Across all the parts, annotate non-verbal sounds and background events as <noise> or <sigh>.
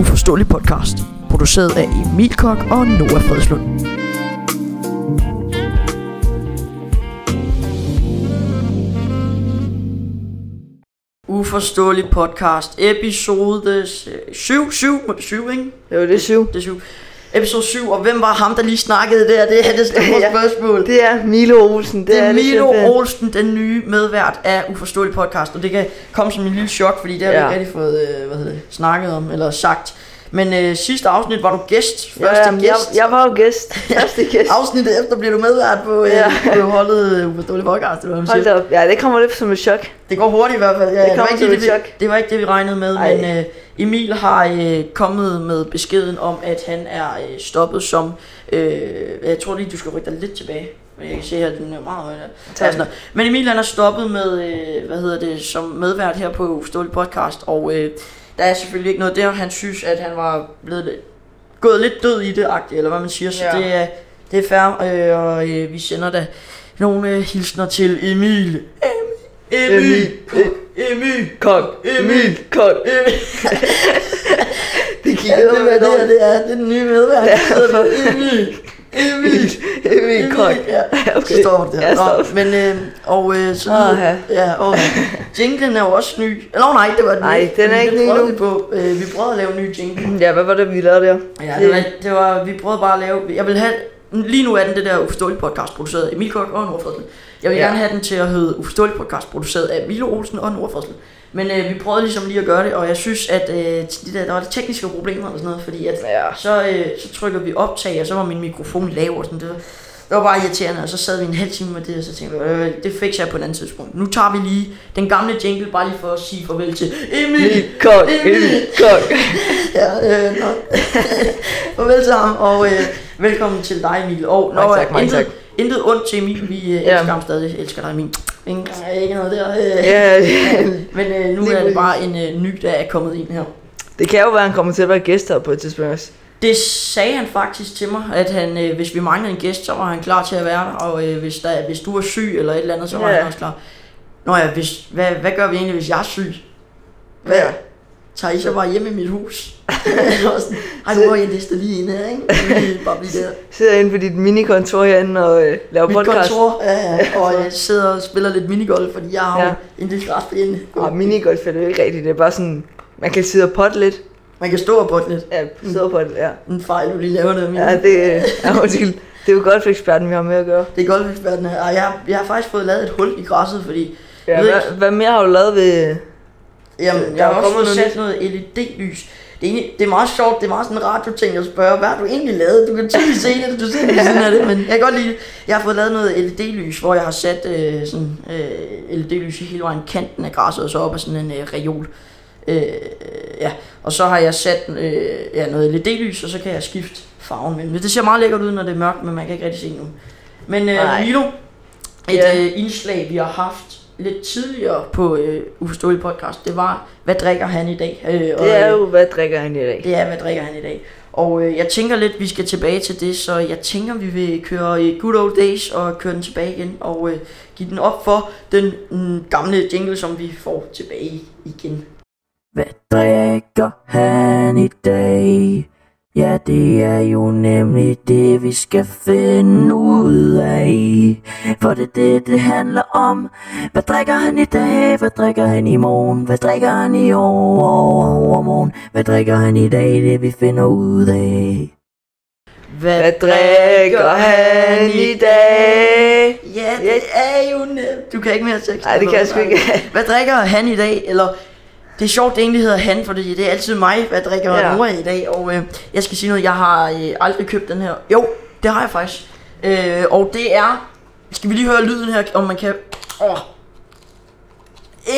uforståelig podcast, produceret af Emil Kok og Noah Fredslund. Uforståelig podcast, episode 7, 7, må det 7, ikke? Jo, det er syv. Det er 7. Episode 7, og hvem var ham, der lige snakkede der? Det er det store <laughs> Ja. spørgsmål. Det er Milo Olsen. Det, Det er simpelthen. Milo Olsen, den nye medvært af Uforståelig Podcast, og det kan komme som en lille chok, fordi det har ja. Ja. vi ikke rigtig fået øh, hvad hedder det, snakket om eller sagt. Men øh, sidste afsnit var du gæst, Ja, første jamen, ja, gæst. Jeg, jeg var jo <laughs> gæst. Første gæst. Afsnittet efter bliver du medvært på, øh, Ja. på holdet øh, Uforståelig Podcast, eller hvad man Hold siger. da op. Ja, det kommer lidt som et chok. Det går hurtigt i hvert fald. Ja, det, Det var kommer ikke som det, vi, et chok. det var ikke det, vi regnede med, Ej. men øh, Emil har øh, kommet med beskeden om, at han er øh, stoppet som... Øh, jeg tror lige, du skal rykke dig lidt tilbage. Men jeg kan se her, den er meget høj. der. Tak. Og sådan noget. Men Emil han er stoppet med, øh, hvad hedder det, som medvært her på Uforståelig Podcast, og øh, der er selvfølgelig ikke noget der. Han synes, at han var blevet lidt, gået lidt død i det, agtigt, eller hvad man siger, så Ja. det er, det er fair, øh, og øh, vi sender da nogle øh, hilsner til Emil. Emil. Emil. Emil. Kok. Emil. Kok. Emil. Det Ja, det, er, det, er, det er det er den nye medvært. Ja. Så er det Emil. Emil. <laughs> Emil Kok. Ja. Okay. Okay. Så står det Ja, der. Nå, stop. men, øh, og øh, så Åha. ja, og jinglen er jo også ny. Eller oh, nej, det var den Nej, ikke. den er fordi det ikke ny prøvede nu. Vi, på. Øh, vi prøvede at lave en ny jingle. Ja, hvad var det, vi lavede der? Ja, det, var, Øh, det var, vi prøvede bare at lave, jeg vil have, lige nu er den det der uforståelige podcast produceret af Emil Kok og Nordfredsen. Jeg vil Ja. gerne have den til at hedde uforståelig podcast produceret af Milo Olsen og Nordfredsen. Men øh, vi prøvede ligesom lige at gøre det, og jeg synes, at øh, de der, der var lidt tekniske problemer eller sådan noget, fordi at, Ja. så, øh, så trykker vi optag, og så var min mikrofon lav og sådan det. var- Det var bare irriterende, og så sad vi en halv time med det, og så tænkte jeg, øh, det fikser jeg på et andet tidspunkt. Nu tager vi lige den gamle jingle, bare lige for at sige farvel til Emil. Emil Kok. Emil. Emil Kok. Ja, øh, nå. <laughs> Farvel til ham, og øh, velkommen til dig, Emil. Og, Mange tak, mange intet, tak. intet ondt til Emil, vi øh, elsker Ja. ham stadig. Elsker dig, Emil. Ingen, ikke noget der. Øh. Ja, Men øh, nu Lige er det præcis. bare en øh, ny, der er kommet ind her. det kan jo være, han kommer til at være gæst her på et tidspunkt også. Det sagde han faktisk til mig, at han, øh, hvis vi manglede en gæst, så var han klar til at være der, og øh, hvis, der, hvis du er syg eller et eller andet, så var Ja. han også klar. Nå ja, hvis, hvad, hvad gør vi egentlig, hvis jeg er syg? Hvad? Ja. Tager I så bare hjem i mit <laughs> hus? Og sådan, Ej, nu har jeg en liste lige inde her, ikke? Så kan I Bare blive der. Sidder inde på dit minikontor herinde og øh, laver Mit podcast. kontor, ja, ja. og jeg sidder og spiller lidt minigolf, fordi jeg har ja. Ja. en lille græsplæne. Og Ah, minigolf er det jo ikke rigtigt. Det er bare sådan, man kan sidde og potte lidt. Man kan stå og botte lidt. Ja, sidde og potte, ja. En fejl, du lige laver noget min. Ja, det, ja, undskyld. det er jo golfeksperten, vi har med at gøre. Det er golfverdenen her. Og jeg, har- jeg har faktisk fået lavet et hul i græsset, fordi Ja, ved hvad, hvad mere har du lavet ved... Jamen, Der jeg har er også kommet fået noget sat noget LED-lys. Det er, egentlig, det er meget sjovt, det er meget sådan en radioting at spørge, hvad har du egentlig lavet? Du kan tydeligt se det, du <laughs> sidder lige ved siden af det, men jeg kan godt lide det. Jeg har fået lavet noget LED-lys, hvor jeg har sat øh, sådan øh, LED-lys i hele vejen kanten af græsset, og så op af sådan en øh, reol. Øh, ja, og så har jeg sat øh, ja, noget LED-lys, og så kan jeg skifte farven mellem. det. Det ser meget lækkert ud, når det er mørkt, men man kan ikke rigtig se nu. Men øh, Nej. Milo, et Ja. øh, indslag, vi har haft lidt tidligere på øh, Uforståelig Podcast, det var, hvad drikker han i dag? Øh, og, Det er øh, jo, hvad drikker han i dag? det er, hvad drikker han i dag? Og øh, jeg tænker lidt, vi skal tilbage til det, så jeg tænker, vi vil køre i Good Old Days og køre den tilbage igen og øh, give den op for den mm, gamle jingle, som vi får tilbage igen. Hvad drikker han i dag? Ja, det er jo nemlig det, vi skal finde ud af. For det er det, det handler om. Hvad drikker han i dag? Hvad drikker han i morgen? Hvad drikker han i overmorgen? Hvad drikker han i dag? Det vi finder ud af. Hvad drikker han i dag? Ja, det er jo nemt. Du kan ikke mere sex. Nej, det kan jeg sgu ikke. Hvad drikker han i dag? Eller det er sjovt, det egentlig hedder han, for det, det er altid mig, hvad drikker ja. Ja. Nora i dag. Og øh, jeg skal sige noget, jeg har øh, aldrig købt den her. Jo, det har jeg faktisk. Øh, og det er... Skal vi lige høre lyden her, om man kan... Åh.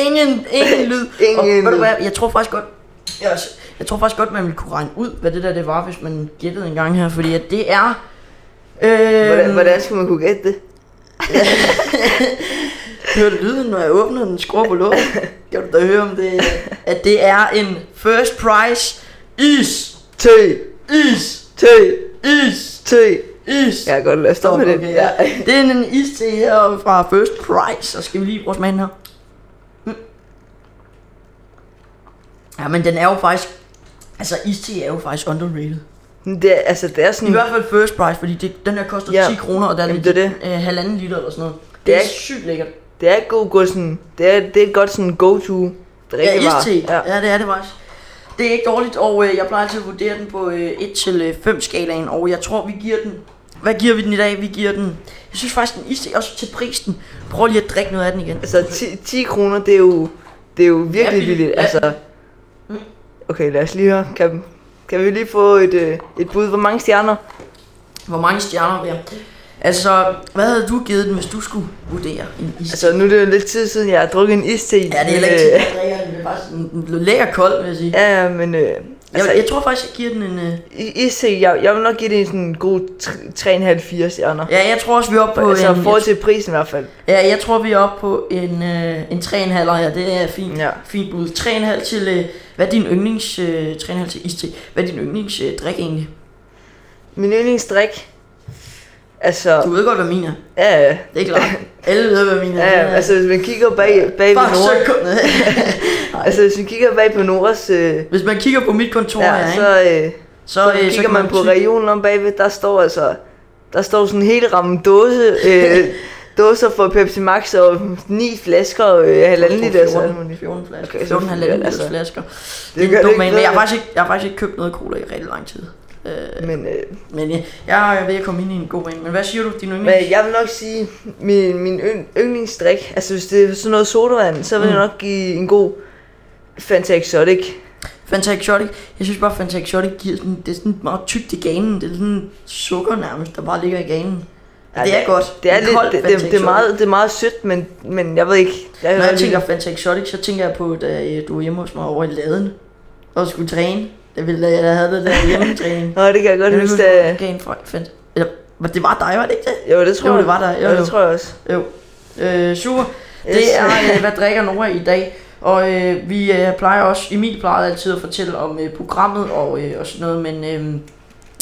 Ingen, ingen lyd. <laughs> Ingen og, Ved du lyd. hvad, jeg tror faktisk godt... Jeg, jeg tror faktisk godt, man ville kunne regne ud, hvad det der det var, hvis man gættede en gang her. Fordi at det er... Øh, Hvordan, hvordan skulle man kunne gætte det? Hørte lyden, når jeg åbner den, skruer på låget. Kan du da høre, om det at det er en first prize is. Tø, Is. tø, Is. tø. Is. Jeg har godt lyst Stop med det. okay, ja. Det er en is til her fra First Price, så skal vi lige bruge smagen her. Mm. Ja, men den er jo faktisk Altså, iste er jo faktisk underrated. Men Det er, altså, det er sådan... I hvert fald first price, fordi det, den her koster Ja. 10 kroner, og der er Jamen, lidt, det er Øh, halvanden liter eller sådan noget. Det, Det er, er er ikke- sygt lækkert. Det er et god, god sådan, det er, det er et godt sådan go-to Ja, drikkevare. iste. Ja. ja. ja, det er det faktisk. Det er ikke dårligt, og øh, jeg plejer til at vurdere den på øh, 1-5 skalaen, og jeg tror, vi giver den... Hvad giver vi den i dag? Vi giver den... Jeg synes faktisk, den iste, også til prisen. Prøv lige at drikke noget af den igen. Altså 10, 10 kroner, det er jo, det er jo virkelig Ja, ja, billigt. billigt. Ja. Mm. Altså, okay, lad os lige høre. Kan, kan vi lige få et, øh, et bud? Hvor mange stjerner? Hvor mange stjerner vil jeg? Altså, hvad havde du givet den, hvis du skulle vurdere en iste? Altså, nu er det jo lidt tid siden, jeg har drukket en iste. øh, Ja, det er heller ikke tit, jeg drikker den. Det er faktisk en, en lækker kold, vil jeg sige. <laughs> Ja, ja, men øh, Jeg, altså, jeg tror faktisk, jeg giver den en... Øh, i- iste, jeg, jeg vil nok give det en sådan god 3,5-4 stjerner. ja, jeg tror også, vi er oppe på altså, i en... forhold til prisen i hvert fald. Ja, jeg tror, vi er oppe på en, øh, en 3,5 her. Det er fint, ja. Ja. fint bud. 3,5 til... Øh, hvad er din yndlings... Øh, 3,5 til iste. Hvad er din yndlings øh, drik egentlig? Min yndlingsdrik, altså, Du ved godt, hvad min er. ja, ja, Det er <laughs> klart. Alle ved, hvad min er. ja, altså, hvis man kigger bag, bag ved Bare Nora, sekundet. Altså hvis vi kigger bag på Noras, øh, <laughs> Hvis man kigger på mit kontor ja, ja, her, så, ikke? øh, så, øh, kigger kan man, på ty- regionen om bagved, der står altså, der står sådan en hel ramme dåse, <laughs> øh, dåser for Pepsi Max og ni flasker og øh, halvanden liter. Så, 14, 14 flasker. Okay, så 14 halvanden altså, liters flasker. det Det, gør er det dumt, ikke men bedre. jeg har, faktisk ikke, jeg har faktisk ikke købt noget cola i rigtig lang tid. Øh, men, øh, men jeg, jeg er ved at komme ind i en god en. Men hvad siger du, din yndlings? men jeg vil nok sige, min, min yng- yndlingsdrik, altså hvis det er sådan noget sodavand, så vil mm. jeg nok give en god Fanta Exotic. Fanta Exotic, jeg synes bare, Fanta Exotic giver sådan, det er sådan meget tykt i ganen. Det er sådan sukker nærmest, der bare ligger i ganen. Ja, det er godt. Det er, En lidt, kold det, Fanta det, det, er Exotic. meget, det er meget sødt, men, men jeg ved ikke. Jeg, Når jeg lige- tænker Fanta Exotic, så tænker jeg på, da øh, du var hjemme hos mig over i laden og skulle træne. Da vi da jeg havde det <laughs> der hjemmetræning. Nå, det kan jeg godt Jeg huske, husker, da... du gav en fra Fanta. Eller, men det var dig, var det ikke det? Jo, det tror Jo, jeg. det var der. Jo, Jo, jo. det tror jeg også. Jo. Øh, super. Yes. Det er, øh, <laughs> hvad drikker Nora i dag? Og øh, vi øh, plejer også, Emil plejer altid at fortælle om øh, programmet og, øh, og sådan noget, men øh,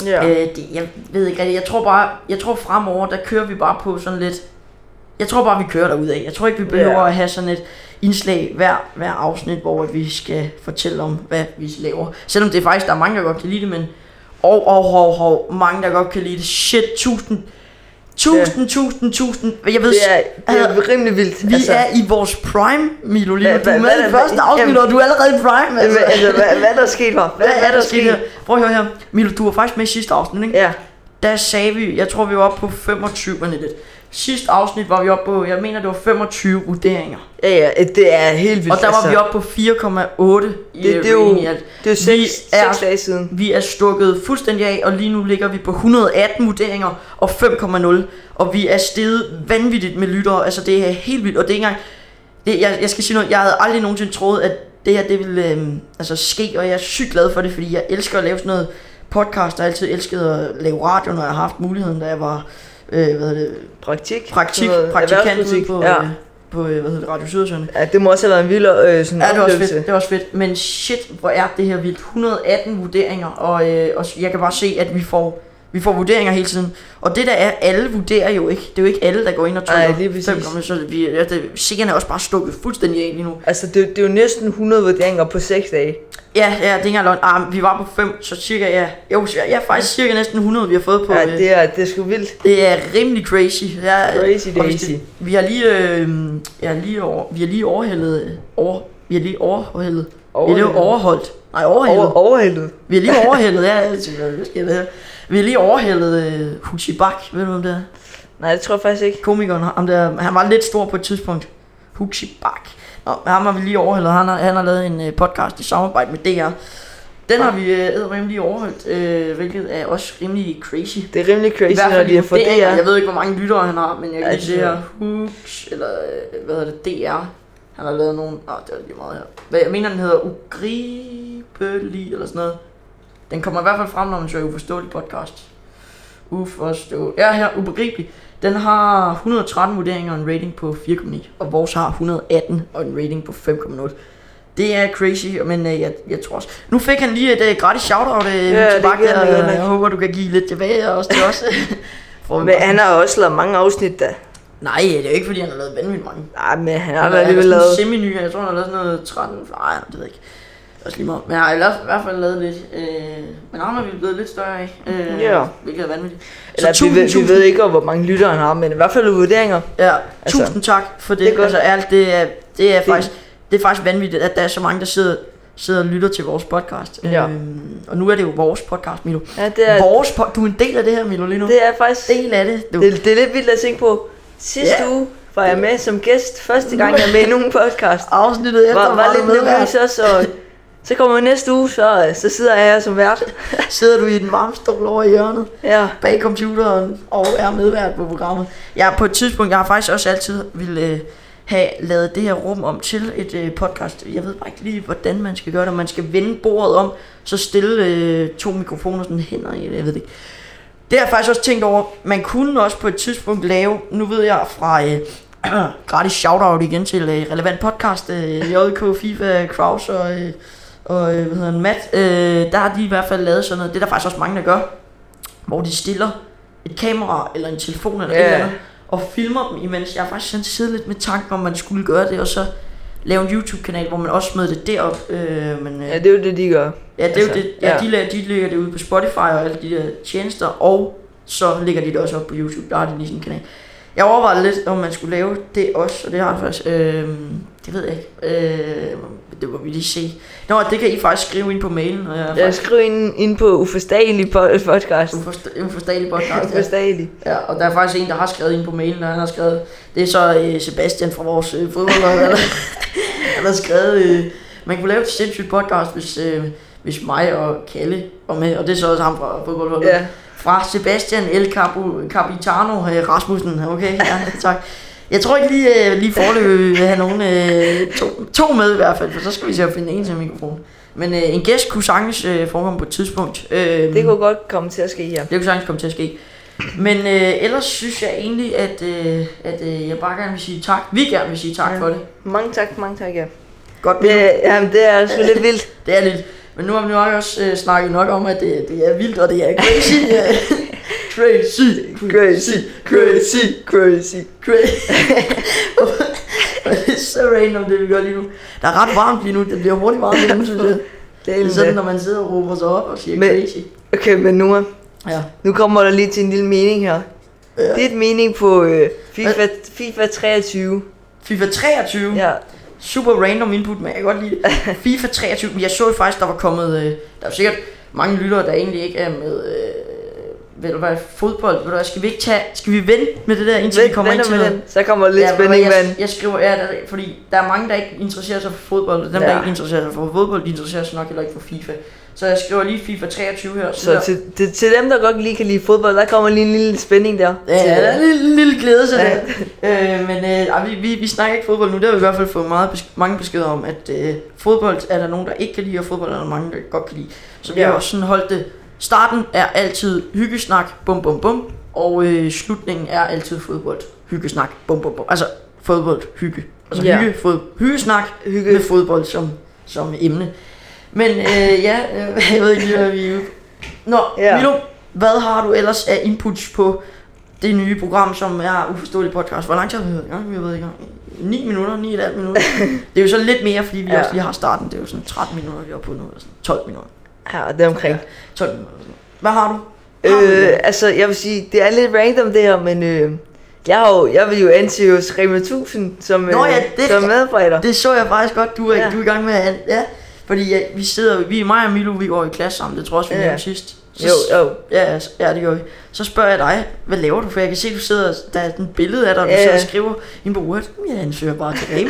Ja. ja. øh, det, jeg ved ikke rigtigt. Jeg tror bare, jeg tror fremover, der kører vi bare på sådan lidt, jeg tror bare, vi kører derudad. Jeg tror ikke, vi behøver Ja. at have sådan et indslag hver, hver afsnit, hvor vi skal fortælle om, hvad vi laver. Selvom det er faktisk, der er mange, der godt kan lide det, men og, og, og, og mange, der godt kan lide det. Shit, tusind, tusind, tusind, tusind. Jeg ved, Det er, det altså, er rimelig vildt. vi altså, er i vores prime, Milo lige nu. Hvad- Du er hvad- med hvad i er- første hvad- afsnit, jamen- og du er allerede i prime. Altså. altså, altså hvad, hvad er der sket her? Hvad, er der sket her? her? Prøv at høre her. Milo, du var faktisk med i sidste afsnit, ikke? Ja, Der sagde vi, jeg tror vi var oppe på 25 men lidt. Sidste afsnit var vi oppe på, jeg mener det var 25 vurderinger. ja, ja, det er helt vildt. Og der var altså, vi oppe på 4,8 i Det, det, er jo, rating i alt. det er jo Vi seks, er- seks dage siden. Vi er stukket fuldstændig af, og lige nu ligger vi på 118 vurderinger og 5,0. Og vi er steget vanvittigt med lyttere. Altså, det er helt vildt. Og det er ikke engang... Det, jeg, jeg skal sige noget. Jeg havde aldrig nogensinde troet, at det her det ville øhm, altså, ske. Og jeg er sygt glad for det, fordi jeg elsker at lave sådan noget podcast. Jeg har altid elsket at lave radio, når jeg har haft muligheden, da jeg var... Øh, hvad hedder det? Praktik. Praktik, Sådan noget praktikant ude erhvervspolitik, på, Ja. øh, på øh, hvad hedder det, Radio Sydsjøen. ja, det må også have været en vild øh, sådan Ja, det var også fedt, oplevelse. det var også fedt. Men shit, hvor er det her vildt. 118 vurderinger, og, øh, og jeg kan bare se, at vi får, vi får vurderinger hele tiden. Og det der er, alle vurderer jo ikke. Det er jo ikke alle, der går ind og trykker. Nej, lige præcis. fem gange, så vi, ja, det, seerne er også bare stukket fuldstændig af lige nu. Altså, det, det er jo næsten 100 vurderinger på 6 dage. Ja, ja, det er ikke engang løgn. Ah, vi var på 5, så cirka, ja. Jo, ja, ja, faktisk cirka næsten 100, vi har fået på. Ja, øh, det er, det er sgu vildt. Det er rimelig crazy. Ja, Crazy og hvis det- daisy. Vi har lige, øh, ja, lige over, vi har lige overhældet, øh, over, vi har lige overhældet, vi har lige Overhældet. overholdt, nej overhældet, Over, overhældet. Vi har lige overhældet, ja, jeg tænker, hvad sker der her? Vi har lige overhældet øh, Huxi Bak, ved du hvem det er? Nej, det tror jeg faktisk ikke. Komikeren, ham der, han var lidt stor på et tidspunkt. Huxi Bak. Nå, ham har vi lige overhældet, han har, han har lavet en øh, podcast i samarbejde med DR. Den har vi øh, lige overholdt, øh, hvilket er også rimelig crazy. Det er rimelig I crazy, hvert når fald de har i fået DR. det her. Jeg ved ikke, hvor mange lyttere han har, men jeg kan Ja, lige se det her. er- Hooks, eller øh, hvad hedder det, DR. Han har lavet nogle... Åh, det er lige meget her. Hvad, jeg mener, den hedder Ugribelig, eller sådan noget. Den kommer i hvert fald frem, når man søger uforståelig podcast. Uforståelig. Ja, her, ubegribelig. Den har 113 vurderinger og en rating på 4,9. Og vores har 118 og en rating på 5,0. Det er crazy, men øh, jeg, jeg tror også... Nu fik han lige et øh, gratis shout-out øh, Ja, ja, det tilbage, øh, giver han og godt nok. jeg håber, du kan give lidt tilbage også til <laughs> os. Får vi Men bare- han har også lavet mange afsnit, da. Nej, det er jo ikke, fordi han har lavet vanvittigt mange. Nej, men han har Han har alligevel lavet lavet... sådan en semi-ny, jeg tror, han har lavet sådan noget 13. Nej, det ved jeg ikke. er også lige meget. Men jeg har i hvert- i hvert fald lavet lidt. Øh, men navn er vi blevet lidt større af. Øh, Ja. Hvilket er vanvittigt. Så Eller, vi, tusind, ved, vi tusind, ved ikke, hvor mange lyttere han har, men i hvert fald vurderinger. ja, altså, tusind tak for det. det er godt. altså, ærligt, det er, det er faktisk, det er faktisk vanvittigt, at der er så mange, der sidder, sidder og lytter til vores podcast. Ja. Øhm, og nu er det jo vores podcast, Milo. Ja, det er, Ja. Vores po- du er en del af det her, Milo, lige nu. Det det er faktisk... er del af det. Du. det Det, det er lidt vildt at tænke på. Sidste Ja. uge var jeg med som gæst. Første gang, jeg er med i nogen podcast. afsnittet efter Var, var du lidt medvært. nervøs også, og så kommer jeg næste uge, så, øh, så sidder jeg her som <laughs> vært. Sidder du i den varme stol over i hjørnet Ja, bag computeren og er medvært på programmet. Jeg på et tidspunkt, jeg har faktisk også altid ville øh, have lavet det her rum om til et øh, podcast. Jeg ved bare ikke lige, hvordan man skal gøre det. Om Man skal vende bordet om, så stille øh, to mikrofoner sådan hænder i det, jeg ved det ikke. Det har jeg faktisk også tænkt over. Man kunne også på et tidspunkt lave, nu ved jeg fra øh, <clears throat> gratis shoutout igen til øh, relevant podcast, øh, JK, FIFA, Kraus og, øh, og øh, hvad hedder han, Matt. Øh, der har de i hvert fald lavet sådan noget. Det er der faktisk også mange, der gør. Hvor de stiller et kamera eller en telefon eller Ja. yeah. et eller andet, og filmer dem, imens jeg har faktisk sådan siddet lidt med tanken om, man skulle gøre det, og så lave en YouTube-kanal, hvor man også smed det derop. Øh, men, øh, ja det er jo det, de gør. Ja, det er jo Altså, det. Ja, ja. de, lægger, de lægger det ud på Spotify og alle de der tjenester, og så lægger de det også op på YouTube. Der har de lige sådan en kanal. Jeg overvejede lidt, om man skulle lave det også, og det har jeg faktisk. Øh, det ved jeg ikke. Øh, det må vi lige se. Nå, det kan I faktisk skrive ind på mailen, og jeg er Jeg faktisk skriver ind, ind på uforståelig po- podcast. uforst- uforståelig <laughs> podcast. ja. Uforståelig. ja, og der er faktisk en, der har skrevet ind på mailen, og han har skrevet, det er så øh, Sebastian fra vores øh, fodboldhold, han har- <laughs> han har skrevet, øh, man kunne lave et sindssygt podcast, hvis, øh, hvis mig og Kalle var med, og det er så også ham fra fodboldholdet. Ja. Fra Sebastian El Capo, Capitano øh, Rasmussen, okay, ja, tak. Jeg tror ikke lige, øh, lige forløb vil have nogen, øh, to, to med i hvert fald, for så skal vi se at finde en til mikrofon. Men øh, en gæst kunne sagtens øh, forekomme på et tidspunkt. Øh, Det kunne godt komme til at ske her. det kunne sagtens komme til at ske. Men øh, ellers synes jeg egentlig, at, øh, at øh, jeg bare gerne vil sige tak. Vi gerne vil sige tak ja. for det. Mange tak, mange tak, ja. Godt Det, jamen, det er sgu lidt vildt. Det er lidt. Men nu har vi nok også øh, snakket nok om, at det, det er vildt, og det er crazy. øh, crazy, Crazy, crazy, crazy. crazy. <laughs> det er så random, det vi gør lige nu. Der er ret varmt lige nu. Det bliver hurtigt varmt lige nu, synes jeg. Det Det er er sådan, sådan, når man sidder og råber sig op og siger Men- crazy. Okay, men nu, er- Ja. nu kommer der lige til en lille mening her. Ja. Det er et mening på øh, FIFA, FIFA 23. FIFA 23. Ja, Super random input, men jeg kan godt lide <laughs> det. FIFA 23, men jeg så jo faktisk, der var kommet... Øh, der er jo sikkert mange lyttere, der egentlig ikke er med... Øh, ved du hvad, fodbold, ved du hvad, skal vi ikke tage... Skal vi vente med det der, indtil vi kommer ind til venter med noget? den. Så kommer der lidt Ja, ja, ved du hvad, spænding, jeg, mand. jeg skriver, ja, der, fordi der er mange, der ikke interesserer sig for fodbold, og dem, ja. der Ja. ikke interesserer sig for fodbold, de interesserer sig nok heller ikke for FIFA. Så jeg skriver lige FIFA 23 her. Så til, til, til dem, der godt lige kan lide fodbold, der kommer lige en lille spænding der. Ja, Til- der er en lille, lille glæde til det. Øh, men øh, ej, vi, vi, vi snakker ikke fodbold nu. Det har vi i hvert fald fået meget, besk- mange beskeder om, at øh, fodbold er der nogen, der ikke kan lide, og fodbold er der mange, der godt kan lide. Så vi Ja. har også sådan holdt det. Starten er altid hyggesnak, bum bum bum, og øh, slutningen er altid fodbold, hyggesnak, bum bum bum. Altså fodbold, hygge. Altså Ja. hygge, fod, hyggesnak Hygge. med fodbold som, som emne. Men øh, ja, øh, <laughs> jeg ved ikke lige, hvad vi er ude på. Nå, Ja. ja. Milo, hvad har du ellers af inputs på det nye program, som er Uforståelig Podcast? Hvor lang tid har vi været i gang? Vi har været i gang. 9 minutter, 9,5 <laughs> minutter. det er jo så lidt mere, fordi vi Ja. ja. også lige har starten. Det er jo sådan 13 minutter, vi er oppe på nu. Eller sådan 12 minutter. Ja, det er omkring. 12 minutter. eller sådan noget. Hvad har du? Har du Øh, noget? altså, jeg vil sige, det er lidt random det her, men øh, jeg, har jo, jeg vil jo ansøge hos Rema 1000 som, øh, Nå ja, det- som medarbejder. Det så jeg faktisk godt, du er, Ja. ja. du er i gang med at... Ja, fordi ja, vi sidder, vi, mig og Milo, vi går i klasse sammen, det tror jeg også, vi Ja. ja. nævnte sidst. Så, Jo, jo. Ja, ja, s- ja, det gør vi. Så spørger jeg dig, hvad laver du? For jeg kan se, du sidder, der er et billede af dig, og du Ja, ja. sidder og ja. skriver ind på Word. "Jamen, Jeg ansøger bare til <laughs> game.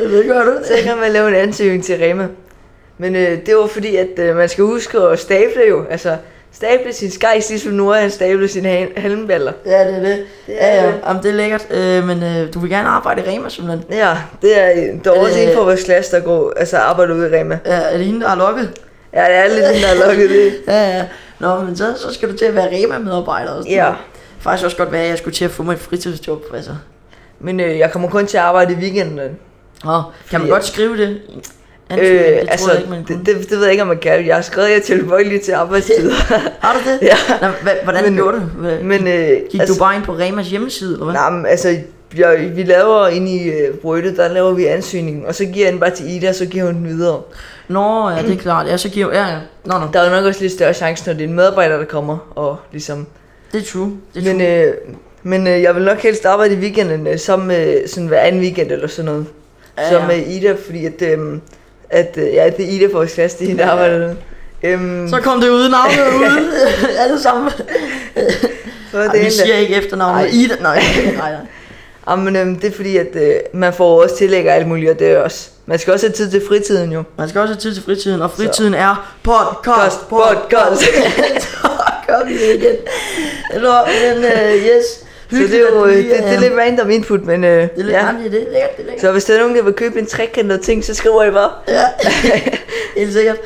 Jeg ved ikke, hvad du Så kan man lave en ansøgning til Rema. Men øh, det var fordi, at øh, man skal huske at stable jo. Altså, stable sin skejs, ligesom Nora, han stable sine ha- halmballer. Ja, det er det. Det Ja, er ja. det. Jamen, det er lækkert. Øh, men øh, du vil gerne arbejde i Rema, simpelthen. Ja, det er, der er også Øh. en fra vores klasse, der går, altså arbejder ude i Rema. Ja, er det hende, der har lukket? Ja, <laughs> det er lidt den, der har lukket det. Ja, ja. Nå, men så, så skal du til at være Rema-medarbejder. og sådan Ja. noget. Faktisk også godt være, at jeg skulle til at få mig et fritidsjob, altså. Men øh, jeg kommer kun til at arbejde i weekenden. Nå, kan man Fordi- godt skrive det? Ansøgning, Øh, det altså, tror jeg ikke, man det, kunne. det, det, ved jeg ikke, om man kan. Jeg har skrevet, at jeg er tilbøjelig til arbejdstider. Har du det? ja. Nå, hva, hvordan <laughs> Men- men, gjorde du? Hva, Men øh, gik altså, du altså, bare ind på Remas hjemmeside, eller hvad? nej, men, altså, jeg, vi laver inde i øh, Brøtte, der laver vi ansøgningen, og så giver jeg den bare til Ida, og så giver hun den videre. Nå, ja, det er klart. Ja, så giver ja, ja. Nå, nå. Der er jo nok også lidt større chance, når det er en medarbejder, der kommer og ligesom... Det er true. Det er Men, true. øh, men øh, jeg vil nok helst arbejde i weekenden, øh, som øh, sådan hver anden weekend eller sådan noget. Ja, Ja, som ja. med Ida, fordi at, øh, at øh, ja, det er Ida for vores klasse, det er hende, der Ja, ja. arbejder dernede. Øhm, Så kom det uden navnet <laughs> ude. <laughs> Alle sammen. så er Ej, vi hende, der- siger ikke efternavnet. Ej. Ida. <laughs> Nej, nej, nej. Jamen, øhm, det er fordi, at øh, man får også tillæg og alt muligt, og det er også... Man skal også have tid til fritiden, jo. Man skal også have tid til fritiden, og fritiden så. er podcast, Kost, podcast. Så <laughs> gør vi det igen. Nå, men uh, yes. Så det er jo øh, det, det er lidt random input, men øh, Det er lidt ja. ja. det, det er lækkert, det er lækkert. Så hvis der er nogen, der vil købe en trekantet ting, så skriver I bare. Ja, <laughs> helt sikkert.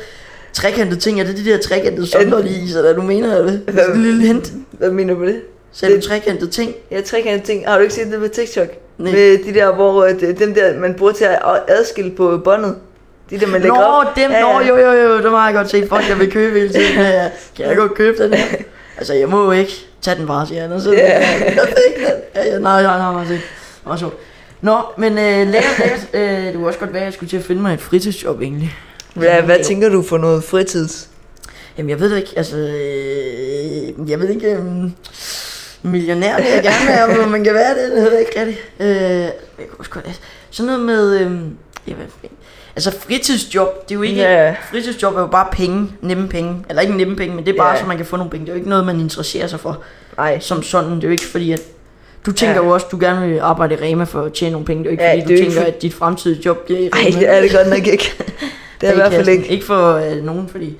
Trekantede ting, er det de der trekantede sønder, de iser, der du mener, eller hvad? Sådan en lille hint. Hvad mener du med det? Sagde du Det- trekantede ting? Ja, trekantede ting. Har du ikke set det på TikTok? Nej. Med de der, hvor øh, det- dem der, man bruger til at adskille på båndet. De der, man lægger Nå, op. dem, Ja, ja, ja. nå, jo, jo, jo, det var jeg godt set. Fuck, jeg vil købe hele tiden. Ja, ja. Kan jeg godt købe <laughs> den her? Altså, jeg må jo ikke tage den bare, siger han. Og så, Ja. ja. Jeg fik den. Ja, ja, nej, nej, nej, nej, det var sjovt. Nå, men øh, lækkert, lækkert. Øh, det kunne også godt være, at jeg skulle til at finde mig et fritidsjob, egentlig. Hvad, hvad tænker du for noget fritids? Jamen, jeg ved det ikke, altså... Øh, jeg ved ikke... Øh, millionær vil jeg gerne være, men man kan være det, det ved jeg ikke rigtigt. Øh, jeg kunne også godt... Altså, sådan noget med... Øh, ja, hvad, altså, fritidsjob, det er jo ikke... Ja. Fritidsjob er jo bare penge, nemme penge. Eller ikke nemme penge, men det er bare, Ja. så man kan få nogle penge. Det er jo ikke noget, man interesserer sig for Nej. som sådan. Det er jo ikke fordi, at... Du tænker Ja. jo også, at du gerne vil arbejde i Rema for at tjene nogle penge. Det er jo ikke Ja, fordi, det er du jo ikke tænker, for- at dit fremtidige job bliver i Rema. Nej, det er det godt nok ikke. <laughs> Det er i hvert fald Kassen. ikke. Ikke for øh, nogen, fordi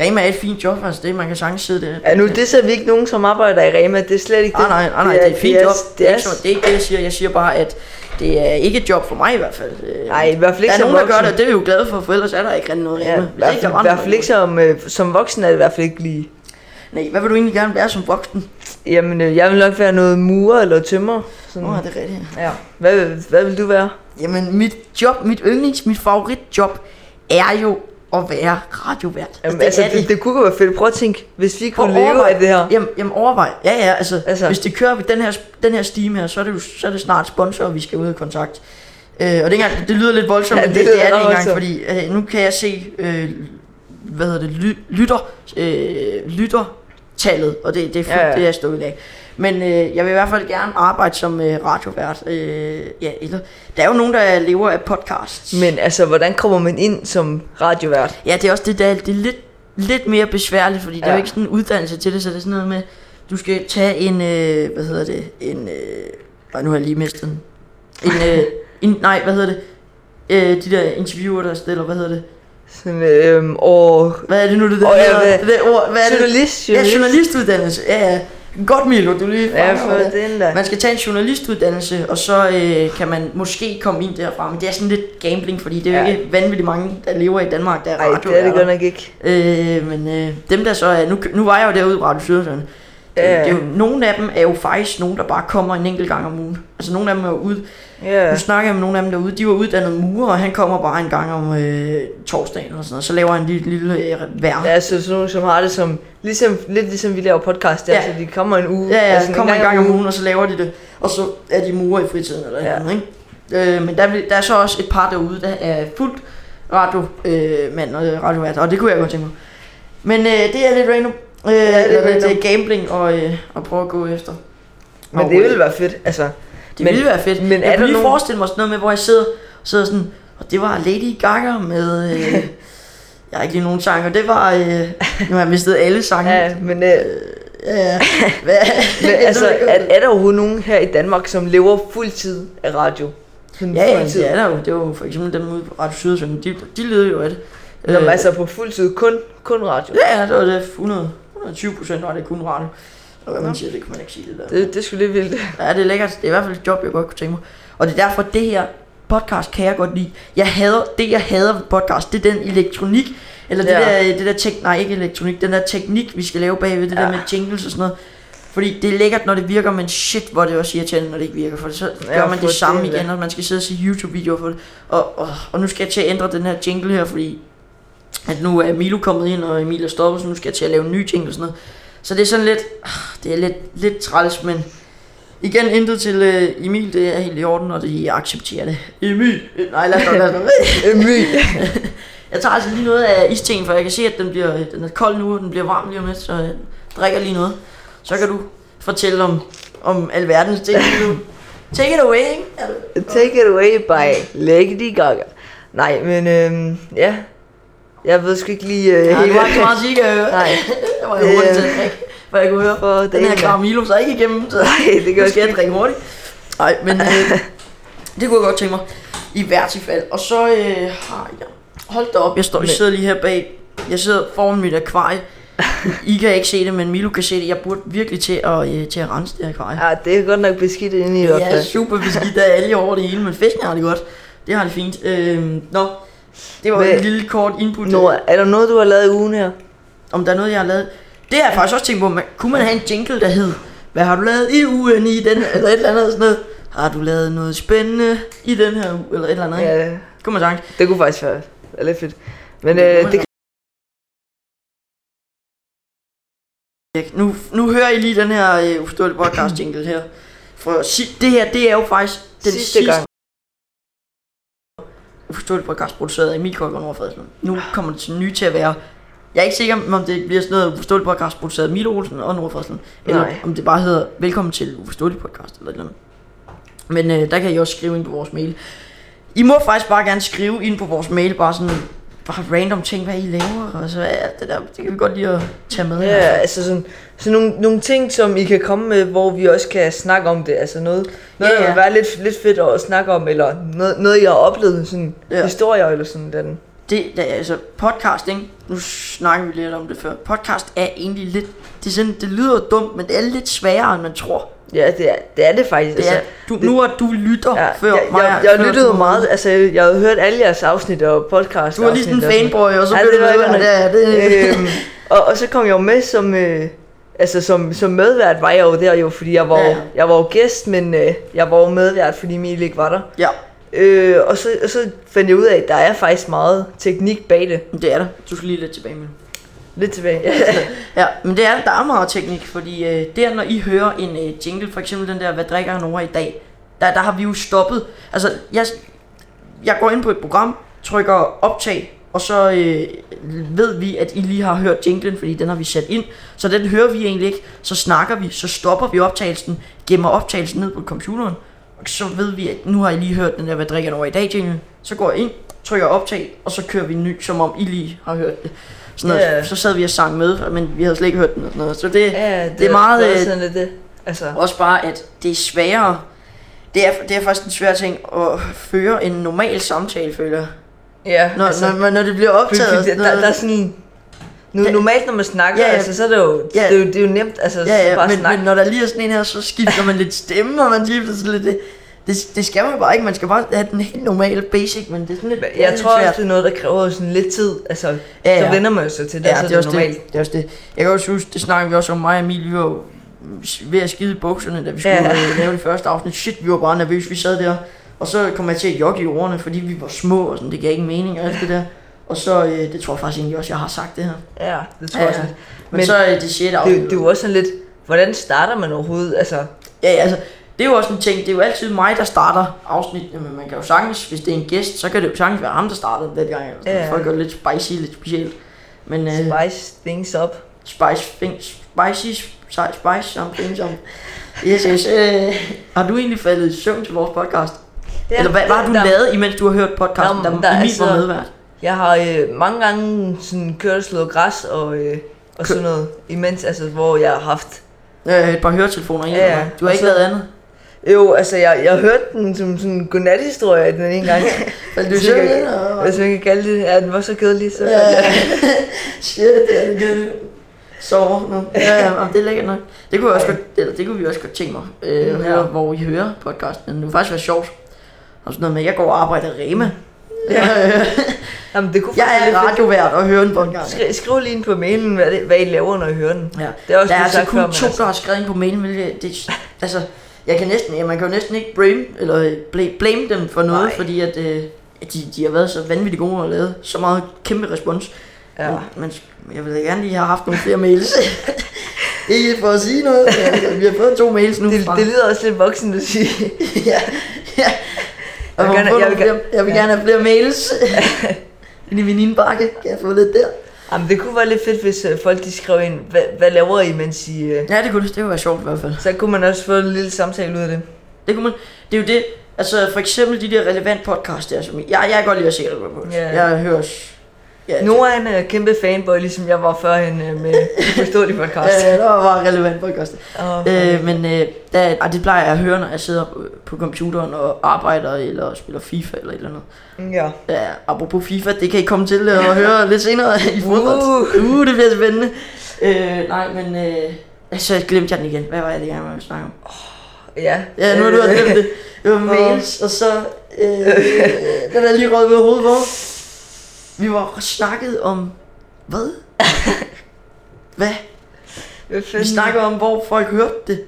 Rema er et fint job, altså det, man kan sagtens sidde der. Ja, nu det ser vi ikke nogen, som arbejder i Rema. Det er slet ikke Nej, det. Ah, nej, nej, nej, det er et fint job. Det er, ikke, sådan- det. det er ikke det, jeg siger. Jeg siger bare, at det er ikke et job for mig i hvert fald. Øh, Nej, i hvert fald Der ikke er som nogen, der gør voksen. det, og det er vi jo glade for, for ellers er der ikke rigtig noget Rema. Ja, Hvis i hvert ikke der fald, var i hvert fald noget ikke som, øh, som voksen er det i hvert fald ikke lige. Rema. Nej, hvad vil du egentlig gerne være som voksen? Jamen, øh, jeg vil nok være noget murer eller tømmer. Sådan. Nå, er det rigtigt? Ja. Hvad, hvad vil du være? Jamen, mit job, mit yndlings, mit favoritjob er jo at være radiovært. Jamen, altså, er det, det, det kunne godt være fedt. Prøv at tænke, hvis vi Prøv kunne at leve overveje- af det her. Jamen, jamen overvej. Ja, ja, altså, Altså. altså. hvis det kører ved den her, den her steam her, så er det, jo, så er det snart sponsor, vi skal ud af kontakt. Øh, og det, er ikke engang, det lyder lidt voldsomt, Ja, ja, det det, det, lyder det er det ret ikke engang, fordi voldsomt. øh, nu kan jeg se, øh, hvad hedder det, ly, lytter, øh, lyttertallet, og det, det er fuldt, Ja, ja, ja. ja. det er stået i dag. Men øh, jeg vil i hvert fald gerne arbejde som øh, radiovært. Øh, ja, eller, der er jo nogen, der lever af podcasts. Men altså, hvordan kommer man ind som radiovært? Ja, det er også det, der det er lidt, lidt mere besværligt, fordi ja. der er Ja. jo ikke sådan en uddannelse til det, så det er sådan noget med, du skal tage en, øh, hvad hedder det, en, øh, nej, nu har jeg lige mistet den. En, <laughs> øh, en nej, hvad hedder det, øh, de der interviewer, der stiller, hvad hedder det, Sådan, øhm, og... hvad er det nu, det der, Åh, ja, hedder? hvad- det der ord, hvad er det? Journalist, Ja, journalistuddannelse, ja, ja. Godt, Milo, du lige Ja, fanger for det. den der. Man skal tage en journalistuddannelse, og så øh, kan man måske komme ind derfra, men det er sådan lidt gambling, fordi det er jo Ja. ja. ikke vanvittigt mange, der lever i Danmark, der er Nej, det er det radioværter. godt nok ikke. Øh, men øh, dem der så er, nu, nu var jeg jo derude i Radio Sydsjælland. Ja, ja. Ja. Det er jo, nogle af dem er jo faktisk nogen, der bare kommer en enkelt gang om ugen. Altså nogle af dem er jo ude, Ja. nu snakker jeg med nogle af dem derude, de var uddannet murer, og han kommer bare en gang om øh, torsdagen og sådan noget. Så laver han lige et lille øh, vejr. Ja, så altså sådan nogen, som har det som... Ligesom, lidt ligesom vi laver podcast der, Ja. så de kommer en uge. Ja, ja, altså, altså, kommer en gang om ugen, og så laver de det. Og så er de murer i fritiden eller Ja. ja. noget, ikke? Øh, men der, vil- der er så også et par derude, der er fuldt radio, øh, mand og øh, radiovært, og det kunne jeg godt tænke mig. Men øh, det er lidt random. Øh, ja, det er det er lidt random. øh, gambling og, øh, at prøve at gå efter. Men Og, det øh, ville være fedt, altså. det men- ville være fedt. men Men er jeg der kunne lige nogen- forestille mig sådan noget med, hvor jeg sidder, sidder sådan, og det var Lady Gaga med... <laughs> Øh, jeg har ikke lige nogen sange, og det var... Øh, nu har jeg mistet alle sange. Ja, men, <laughs> øh, ja. Hvad? <laughs> men altså, er, er der overhovedet nogen her i Danmark, som lever fuldtid af radio? Sådan Ja, ja, fuldtid. det er der jo. Det var jo for eksempel dem ude på Radio Sydsjælland, de, de levede jo af det. Øh, Nå, men altså på fuldtid, kun, kun radio. ja, ja, det var det. 100, 120 procent var det kun radio. Og hvad man siger, det kan man ikke sige det der. Det, det skulle lidt vildt. <laughs> Ja, det er lækkert. Det er i hvert fald et job, jeg godt kunne tænke mig. Og det er derfor, det her podcast kan jeg godt lide. Jeg hader, det jeg hader ved podcast, det er den elektronik, eller det, Ja. ja. der, det der tek, nej ikke elektronik, den der teknik, vi skal lave bagved, det ja. Ja. der med jingles og sådan noget. Fordi det er lækkert, når det virker, men shit, hvor er det også irriterende, når det ikke virker, for så Ja, ja, gør man for det samme det, det, ja. igen, og man skal sidde og se YouTube-videoer for det. Og, og, og nu skal jeg til at ændre den her jingle her, fordi at nu er Milo kommet ind, og Emil er stoppet, så nu skal jeg til at lave en ny jingle og sådan noget. Så det er sådan lidt, ah, det er lidt, lidt træls, men igen intet til øh, Emil, det er helt i orden, og det, jeg accepterer det. Emil, øh, nej lad os lad os Emil. Jeg tager altså lige noget af isteen, for jeg kan se, at den, bliver, øh, den er kold nu, og den bliver varm lige om lidt, så jeg drikker lige noget. Så kan du fortælle om, om alverdens <laughs> ting. Du. Take it away, ikke? Er du- Take it away by Lady Gaga. Nej, men øhm, ja. Jeg ved sgu ikke lige øh, Ja, det helt, var ikke så meget, at I ikke kan høre. Nej. <laughs> det var jeg hurtigt til at Øh, drikke, hvad jeg kunne høre. for den her dælen da. karamilo så ikke igennem, så <laughs> Nej, det gør nu skal jeg jeg drikke hurtigt. Nej, men øh, det kunne jeg godt tænke mig. I hvert fald. Og så øh, har jeg... Hold da op, jeg, står, jeg Men- sidder lige her bag. Jeg sidder foran mit akvarie. I kan ikke se det, men Milo kan se det. Jeg burde virkelig til at, øh, til at rense det her akvarie. Ja, det er godt nok beskidt inde i hvert Ja, fald. super beskidt af alle over det hele, men fiskene har det godt. Det har det fint. Øhm, nå, det var Hvad- en lille kort input. Nora, er der noget, du har lavet i ugen her? om der er noget, jeg har lavet. Det har jeg faktisk også tænkt på. Man, kunne man have en jingle, der hed, hvad har du lavet i ugen i den eller et eller andet sådan noget. Har du lavet noget spændende i den her uge, eller et eller andet, ikke? Ja, Kunne man sagt. det kunne faktisk være være lidt fedt. Men Det øh, kunne det man Nu, nu hører I lige den her øh, uforståelige podcast jingle her. For si- det her, det er jo faktisk den sidste, sidste gang. uforståelige podcast produceret af Emil Kolk og Nora Fredslund. Nu Ah. kommer det til nye til at være... Jeg er ikke sikker, om det bliver sådan noget uforståeligt podcast produceret af Milo Olsen og Nora Fredslund. Eller Nej. om det bare hedder Velkommen til uforståelig podcast eller et eller andet. Men øh, der kan I også skrive ind på vores mail. I må faktisk bare gerne skrive ind på vores mail, bare sådan bare random ting, hvad I laver, og så ja, det der, det kan vi godt lige at tage med. Ja, altså sådan, sådan nogle, nogle ting, som I kan komme med, hvor vi også kan snakke om det. Altså noget, noget Ja, der ja. vil være lidt, lidt fedt at snakke om, eller noget, noget jeg har oplevet, sådan Ja. ja. historier eller sådan den. Det, der, altså podcast, ikke? Nu snakker vi lidt om det før. Podcast er egentlig lidt, det, er sådan, det lyder jo dumt, men det er lidt sværere, end man tror. Ja, det er det, er det faktisk. Det er, altså, du, nu er du lytter ja, før jeg, mig. jeg, jeg, før lyttede du- jo meget, altså jeg, jeg havde hørt alle jeres afsnit og podcast. Du er lige sådan en fanboy, og så Ja, blev det du var sådan, godt nok. ja, ja, det, øhm, og, og så kom jeg jo med som, øh, altså som, som medvært var jeg jo der jo, fordi jeg var, Ja. ja. jeg var jo gæst, men øh, jeg var jo medvært, fordi Emil ikke var der. ja, Øh, og, så, og så fandt jeg ud af, at der er faktisk meget teknik bag det. det er der. Du skal lige lidt tilbage med det. Lidt tilbage. <laughs> Ja. Ja, men det er der er meget teknik, fordi øh, der når I hører en øh, jingle, for eksempel den der, hvad drikker han over i dag, der, der har vi jo stoppet. Altså, jeg, jeg går ind på et program, trykker optag, og så øh, ved vi, at I lige har hørt jinglen, fordi den har vi sat ind. Så den hører vi egentlig ikke, så snakker vi, så stopper vi optagelsen, gemmer optagelsen ned på computeren, og så ved vi, at nu har I lige hørt den der, hvad drikker han over i dag jingle. Så går jeg ind, trykker optag, og så kører vi en ny, som om I lige har hørt det. Sådan noget. Ja. Så sad vi og sang med, men vi havde slet ikke hørt den og sådan noget. Så det, ja, det er meget... Det er øh, sådan lidt det. Altså, også bare, at det er sværere. Det er, det er faktisk en svær ting at føre en normal samtale, føler jeg. ja, Når, altså, altså, når, når det bliver optaget og der, sådan der, der er noget. sådan... Nu, Det- normalt, når man snakker, Ja, ja, ja. ja. Altså, så er det jo, Ja. ja. det er jo, det er jo nemt altså, Ja, ja, bare at men, snakke. men når der lige er sådan en her, så skifter man lidt stemme, og man skifter sådan lidt... Det, det, det skal man bare ikke. Man skal bare have den helt normale basic, men det er sådan lidt, det er jeg lidt tror svært. også, det er noget, der kræver sådan lidt tid. Altså, Ja, ja, ja. ja. så vender man jo sig til det, Ja, ja, så det er også Altså, normalt. det. Det er også det. Jeg kan også huske, det snakkede vi også om mig og Emil, vi var jo ved at skide i bukserne, da vi skulle Ja. ja. lave det første afsnit. Shit, vi var bare nervøse, vi sad der. Og så kom jeg til at jogge i ordene, fordi vi var små, og sådan, det gav ikke mening og alt det der. Og så, øh, det tror jeg faktisk egentlig også, jeg har sagt det her. Ja, det tror Ja, jeg ja. også. Men, lidt. Men så øh, det sjette det, er afsnit. jo- det er jo også sådan lidt, hvordan starter man overhovedet? Altså, Ja, ja, altså, det er jo også en ting, det er jo altid mig, der starter afsnittene, men man kan jo sagtens, hvis det er en gæst, så kan det jo sagtens være ham, der starter den gang. eller sådan. Ja, ja. Folk er lidt spicy, lidt specielt. Men, øh, spice things up. Spice things, spicy, si- spice something, som... Yes, yes. Øh, har du egentlig faldet i søvn til vores podcast? Ja, Eller hvad, hvad har du der- lavet, imens du har hørt podcasten, der- der, der der er Emil var altså- medvært? Jeg har øh, mange gange sådan kørt og slået græs og, øh, og sådan noget, imens, altså, hvor jeg har haft... Øh, et par høretelefoner i, Ja, ja, ja. Du har Og ikke så- lavet andet? Jo, altså, jeg, jeg hørte den som sådan en godnathistorie den ene <laughs> gang. Faldt du i Hvis søvn? man kan- Hvis man kan kalde det, ja, den var så kedelig, så... Ja. Ja. Shit, det er det Sover nu. Ja, ja, men det er lækkert nok. Det kunne, jeg også godt, eller, det kunne vi også godt tænke mig. Øh, Mm, høre, ja. hvor I hører podcasten. Det kunne faktisk være sjovt. Og sådan noget med, at jeg går og arbejder i Rema. Ja. Jamen, det kunne jeg faktisk er være lidt radiovært og hører en podcast. fedt. Skri- Skriv lige ind på mailen, hvad, det, hvad I laver, når I hører den. Ja. Det er også der er blevet altså sagt kun før, men to, altså- der har skrevet ind på mailen, hvilket det, altså, jeg kan næsten, ja, man kan jo næsten ikke blame, eller øh, bla- blame dem for noget, Nej. Nej. fordi at, øh, at de, de har været så vanvittigt gode og lavet så meget kæmpe respons. Ja. Men, men jeg ville da gerne lige have haft nogle flere mails. <laughs> ikke for at sige noget, men altså, vi har fået to mails nu Det, fra. det lyder også lidt voksen at sige. <laughs> ja, ja. Jeg, Jeg vil jeg, gerne- jeg, vil, jeg vil flere, jeg gerne- vil <laughs> ja. gerne have flere mails. ind i min indbakke. Kan jeg få lidt der? Jamen, det kunne være lidt fedt, hvis øh, folk de skrev ind, hvad, hvad laver I, mens I... Øh... Ja, det kunne det kunne være sjovt i hvert fald. Så kunne man også få en lille samtale ud af det. Det kunne man, det er jo det, altså for eksempel de der relevant podcast der, som jeg, jeg kan godt lide at se relevant podcast. Ja. Jeg hører s- ja, Nu er han øh, kæmpe fanboy, ligesom jeg var førhen øh, <laughs> med Forstå de podcast. Ja, der var bare relevant podcast. Og, Øh, men øh, der, ej, det plejer jeg at høre, når jeg sidder på, på computeren og arbejder eller spiller FIFA eller et eller andet. mm, ja. Ja, apropos FIFA, det kan I komme til at <laughs> høre lidt senere i fodbold. Uh. uh, det bliver spændende. Øh, nej, men øh, så glemte jeg den igen. Hvad var jeg lige gerne med at snakke om? Ja, Ja, nu har du også glemt det. Det var mails, og så... Øh, den er lige røget ved hovedet på. Vi var snakket om... Hvad? Hvad? <laughs> Hvad Vi fanden? snakkede om, hvor folk hørte det.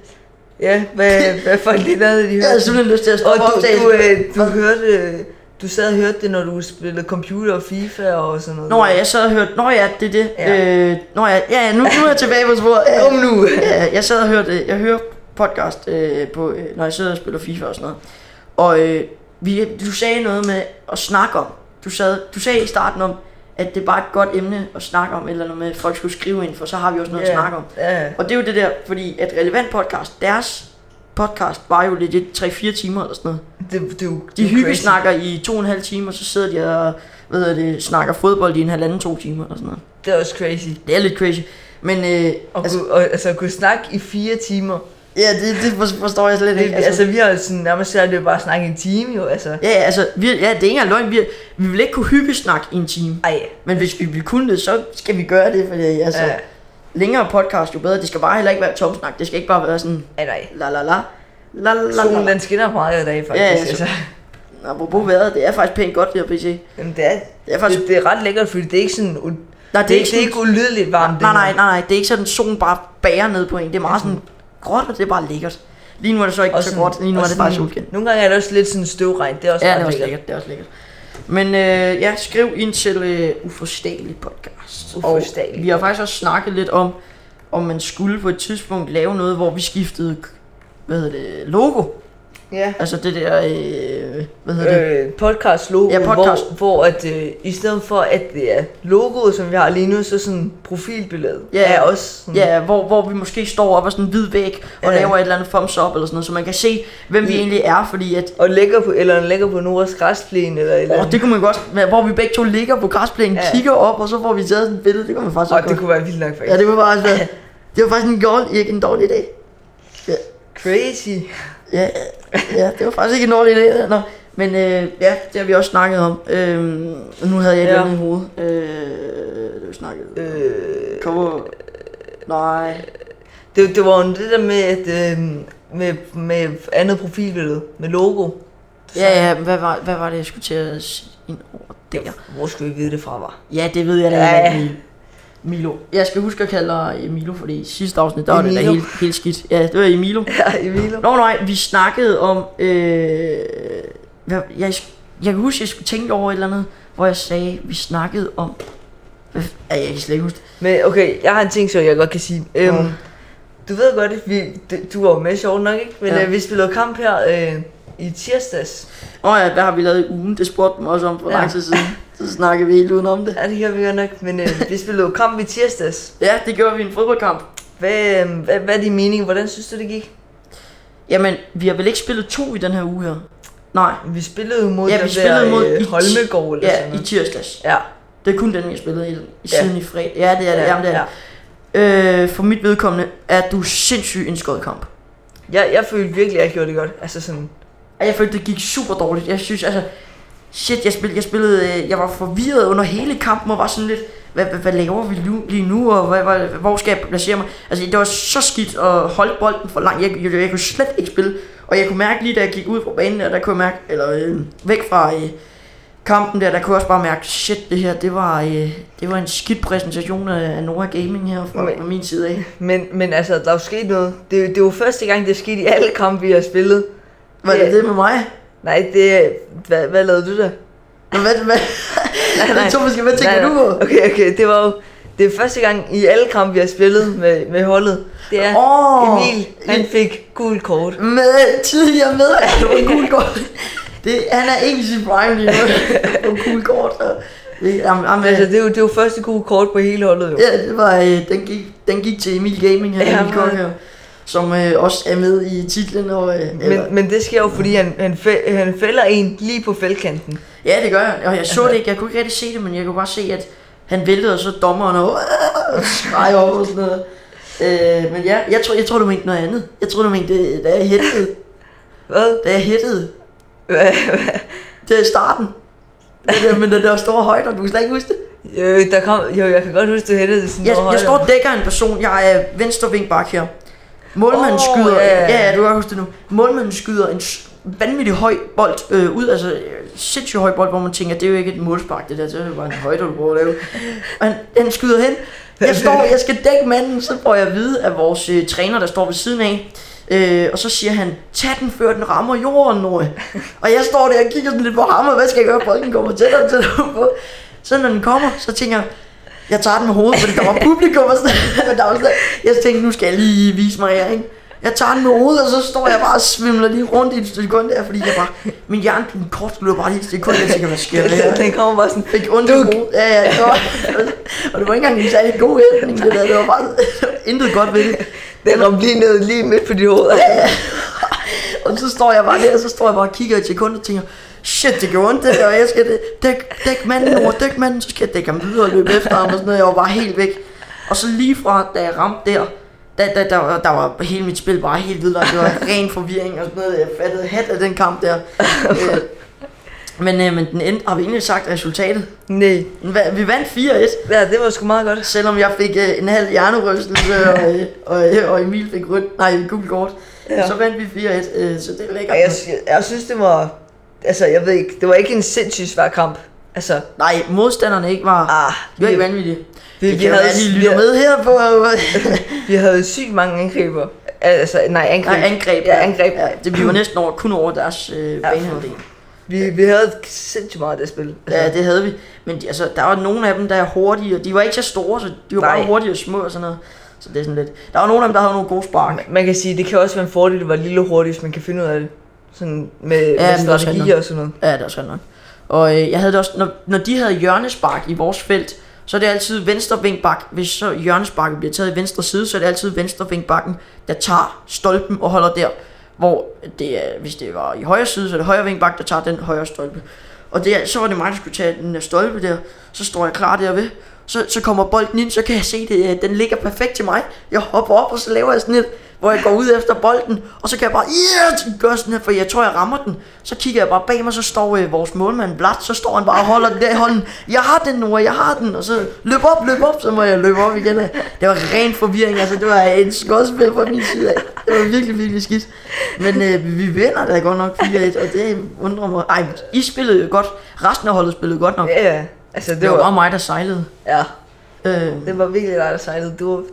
Ja, hvad, hvad folk lige lavede, de Jeg havde hørte. simpelthen lyst til at Og stoppe du, optagelsen. du, øh, du hørte... øh, Du sad og hørte det, når du spillede computer og FIFA og sådan noget. Nå ja, jeg sad og hørte, nå ja, det er det. Ja. Øh, nå ja, ja, ja, nu, nu er jeg tilbage på sporet. Kom nu. Ja, jeg sad og hørte, øh, jeg hører podcast, øh, på, øh, når jeg sidder og spiller FIFA og sådan noget. Og øh, vi, du sagde noget med at snakke om. Du, sad, du sagde i starten om, at det er bare et godt emne at snakke om, eller noget med, at folk skulle skrive ind, for så har vi også noget Ja, at snakke om. Ja, Og det er jo det der, fordi at Relevant Podcast, deres podcast var jo lidt 3-4 timer eller sådan noget. det, det, er jo- det, De er jo crazy. hyggesnakker i to og en halv time, og så sidder de og hvad hedder det, snakker fodbold i en halvanden to timer eller sådan noget. Det er også crazy. Det er lidt crazy. Men øh, altså, Og, altså, kunne, og, altså at kunne snakke i fire timer. ja, det, det for- forstår jeg slet Det, ikke. altså, altså, vi har jo sådan nærmest særligt det er bare at snakke i en time jo, altså. ja, ja, altså, vi, ja, det er ikke engang løgn. Vi, vi vil ikke kunne hyggesnakke i en time. Ej, Men hvis vi vil kunne det, så skal vi gøre det, fordi altså, Ja. ja. længere podcast jo bedre. Det skal bare heller ikke være tomsnak. Det skal ikke bare være sådan ej, nej. la la la. La la Solen la. den skinner meget i dag, faktisk. Ja, ja, så- altså. Nå, Apropos vejret, det er faktisk pænt godt det her PC. Jamen, det er, Det er faktisk... det, det er ret lækkert, fordi det er ikke sådan... u- Nej, det, er ikke, det er ikke ulydeligt varmt. Nej, det nej, her. nej, nej, det er ikke sådan, solen bare bærer ned på en. Det er meget sådan gråt, og det er bare lækkert. Lige nu er det så ikke Og så sådan- gråt, lige nu og er det sådan- bare solskin. Nogle gange er det også lidt sådan støvregn. Det er også Ja, ret det er også lækkert. lækkert, det er også lækkert. Men øh, ja, skriv ind til øh, Uforståelig Podcast. Og Uforståelig. vi har faktisk også snakket lidt om, om man skulle på et tidspunkt lave noget, hvor vi skiftede, hvad hedder det, logo. Ja. Altså det der, øh, hvad hedder det? Øh, podcast logo, Ja, podcast. hvor, hvor at, øh, i stedet for at det er logoet, som vi har lige nu, så sådan profilbilledet Ja. er også sådan, Ja, hvor, hvor vi måske står op ad sådan en hvid væg og Ja. Mm. laver et eller andet thumbs up eller sådan noget, så man kan se, hvem vi Ja. egentlig er, fordi at og lægger på, eller lægger på Noras græsplæne eller et eller Åh, andet. det kunne man godt, men hvor vi begge to ligger på græsplænen, Ja. ja. kigger op, og så får vi taget sådan et billede. Det kunne man faktisk Og også det godt. kunne være vildt nok faktisk. Ja, det kunne faktisk være, det var faktisk en god, ikke en dårlig idé. Ja, Crazy. ja, ja, det var faktisk ikke en dårlig idé. Nå. Men øh, ja, det har vi også snakket om. Øh, nu havde jeg Ja. det ja. i hovedet. Øh, det har vi snakket. Øh. Øh, Cover. Nej. det, det var jo det der med, at, øh, med, med andet profilbillede, med logo. Ja, ja, men hvad var, hvad var det, jeg skulle til at sige ind over der? Hvor skulle vi vide det fra, var? Ja, det ved jeg da Ja, ja. ja. ikke, Emil. Milo. Jeg skal huske at kalde dig Emilo, fordi i sidste afsnit, der var det da Emilo. helt, helt skidt. Ja, det var Emilo. <laughs> Ja, Emilio. Nå nej, vi snakkede om, øh, hvad, jeg, jeg kan huske, jeg skulle tænke over et eller andet, hvor jeg sagde, vi snakkede om, hvad, ja, jeg kan slet ikke huske det. Men okay, jeg har en ting, som jeg godt kan sige. Øhm, Nå. Du ved godt, at vi, d- du var jo med sjov nok, ikke? Men Ja. ja. øh, vi spillede kamp her øh, i tirsdags. Nå ja, hvad har vi lavet i ugen, det spurgte dem også om for Ja. ja. lang tid siden, så snakkede vi helt udenom det. Ja, det gør vi godt nok, men øh, vi spillede jo kamp i tirsdags. Ja, det gjorde vi i en fodboldkamp. Hvad, øh, hvad, hvad er din mening? Hvordan synes du, det gik? Jamen, vi har vel ikke spillet to i den her uge her? Nej. Vi spillede jo mod Ja, den vi spillede der, mod øh, i ti- Holmegård eller sådan Ja, i noget. tirsdags. Ja, Det er kun den, jeg spillede i, i Ja. siden i fredag. Ja, det er det. Ja, Jamen, det er ja. det. Øh, for mit vedkommende er du sindssygt indskåret i kamp. Jeg, jeg følte virkelig, at jeg gjorde det godt. Altså sådan, Og jeg følte, det gik super dårligt. Jeg synes, altså... Shit, jeg spillede, jeg, spillede, øh, jeg var forvirret under hele kampen og var sådan lidt, hvad, hvad, hvad laver vi nu, lige nu, og hvad, hvad, hvor skal jeg placere mig? Altså, det var så skidt at holde bolden for langt. Jeg, jeg, jeg kunne slet ikke spille. Og jeg kunne mærke lige, da jeg gik ud fra banen der, der kunne jeg mærke, eller øh, væk fra øh, kampen der, der kunne jeg også bare mærke, shit, det her, det var, øh, det var en skidt præsentation af, af Nora Gaming her fra, Men- fra min side af. men, men altså, der er jo sket noget. Det, er jo- det er jo første gang, det er sket i alle kampe, vi har spillet. Øh, Var det det med mig? Nej, det er... Hvad, hvad lavede du der? Nå, hvad, hvad? <laughs> Nej, nej. Det to måske, <laughs> hvad tænker Nej, du nej. på? Okay, okay, det var jo... Det er første gang i alle kampe, vi har spillet med, med holdet. Det er Åh. Emil, han fik gul kort. Med tidligere med Alvar Kulgaard. Det, han er ikke i sit prime lige nu. På Kulgaard. så Jamen, jamen, Altså, det er, jo, det er jo første gode kort på hele holdet, jo. Ja, det var, øh, den, gik, den gik til Emil Gaming her, Ja, ja, Emil Kok men- her, som øh, også er med i titlen. Og, øh, eller, Men, men det sker jo, fordi han, han, fæ- han fælder en lige på fældkanten. ja, det gør jeg, og jeg Altså- så det ikke, jeg kunne ikke rigtig se det, men jeg kunne bare se, at han væltede, og så dommeren og, øh, og skreg over og sådan noget. Øh, men ja, jeg tror, jeg tror, du mente noget andet. Jeg tror, du mente, øh, da jeg hættede. Hvad? Da jeg hættede. Hvad? Hvad? Det er starten. Det der, men den der store højder, du kan slet ikke huske det. Øh, der kom, <laughs> jo, jeg kan godt huske, du hættede det sådan Jeg, over jeg højre. står og dækker en person. Jeg er venstre vingbak her. Målmanden oh, Åh, skyder... ja, ja, Ja, ja. ja, du kan godt huske det nu. Målmanden skyder en s- vanvittig høj bold øh, ud. Altså øh, sindssygt høj bold, hvor man tænker, det er jo ikke et målspark, det der. Det er jo bare en højde, du prøver at lave. Og han, han skyder hen. Jeg står, jeg skal dække manden, så får jeg at vide af vores øh, træner, der står ved siden af. Øh, og så siger han, tag den før den rammer jorden, Norge. Og jeg står der og kigger sådan lidt på ham, og hvad skal jeg gøre, bolden kommer tættere og tættere på. Så når den kommer, så tænker jeg, jeg tager den med hovedet, fordi der var publikum og sådan men der var sådan, Jeg tænkte, nu skal jeg lige vise mig her, ikke? Jeg tager den med hovedet, og så står jeg bare og svimler lige rundt i et sekund der, fordi jeg bare, min hjerne, den kort løber bare lige et sekund, jeg tænker, hvad sker der her? Den- Den kommer bare sådan, fik ondt i hovedet. Ja, ja, det var, og det var ikke engang en særlig god ændring, det der. Det var bare det var intet godt ved det. den ramte lige ned, lige midt på dit hoved. Og så står jeg bare der, og så står jeg bare og kigger i et sekund og tænker, shit, det gjorde ondt, det der, og jeg skal dæk, dæk manden over, dæk manden, så skal jeg dække ham videre og løbe efter ham og sådan noget. Jeg var bare helt væk. Og så lige fra, da jeg ramte der, der, der, der, var- der var hele mit spil bare helt videre, det var ren forvirring og sådan noget, jeg fattede hat af den kamp <laughs> der. Øh, men, øh, men den endte, har vi egentlig sagt resultatet? Nej. Hva- Vi vandt 4-1. Ja, det var sgu meget godt. Selvom jeg fik øh, en halv hjernerystelse, og, øh, og, øh, og Emil fik rødt, nej, gul kort, Ja. ja. så vandt vi 4-1, øh, så det er Ja, lækkert. Jeg, sy- jeg synes, det var... Altså, jeg ved ikke, det var ikke en sindssygt svær kamp. Altså, Nej, modstanderne ikke var, ah, ah, det var ikke vanvittige. vi, Det, vi, kan havde, være, de vi, lytter havde, med her <laughs> på vi havde sygt mange angriber. Altså, nej, angreb. nej, angreb. Ja, angreb. Ja, det vi var næsten over, kun over deres øh, Ja, banehalvdel. Vi, vi havde sindssygt meget af det spil. Altså, Ja, det havde vi. Men de, altså, der var nogle af dem, der er hurtige, og de var ikke så store, så de var Nej. bare hurtige og små og sådan noget. Så det er sådan lidt. Der var nogle af dem, der havde nogle gode spark. Man kan sige, det kan også være en fordel at være lille og hurtig, hvis man kan finde ud af det. Sådan med, men med det er strategier og sådan noget. Ja, det er også godt nok. Og øh, jeg havde det også, når, når de havde hjørnespark i vores felt, så er det altid venstre vinkbak. Hvis så hjørnesparket bliver taget i venstre side, så er det altid venstre vinkbakken, der tager stolpen og holder der. Hvor det er, hvis det var i højre side, så er det højre vinkbak, der tager den højre stolpe. Og det er, så var det mig, der skulle tage den der stolpe der. Så står jeg klar derved. Så, så kommer bolden ind, så kan jeg se, det, øh, den ligger perfekt til mig. Jeg hopper op, og så laver jeg sådan et, hvor jeg går ud efter bolden, og så kan jeg bare, yeah, gøre sådan her, for jeg tror, jeg rammer den. Så kigger jeg bare bag mig, så står øh, vores målmand Blat, så står han bare og holder den der i hånden. Jeg har den, Nora, jeg har den. Og så løb op, løb op, så må jeg løbe op igen. Det var ren forvirring, altså det var en skodspil fra min side af. Det var virkelig, virkelig skidt. Men øh, vi vinder da godt nok 4-1, og det undrer mig. Ej, I spillede jo godt. Resten af holdet spillede godt nok. Ja, ja. Altså, det, Det var var... bare mig, der sejlede. Ja, Øh, det var virkelig dig, der sejlede. Du var-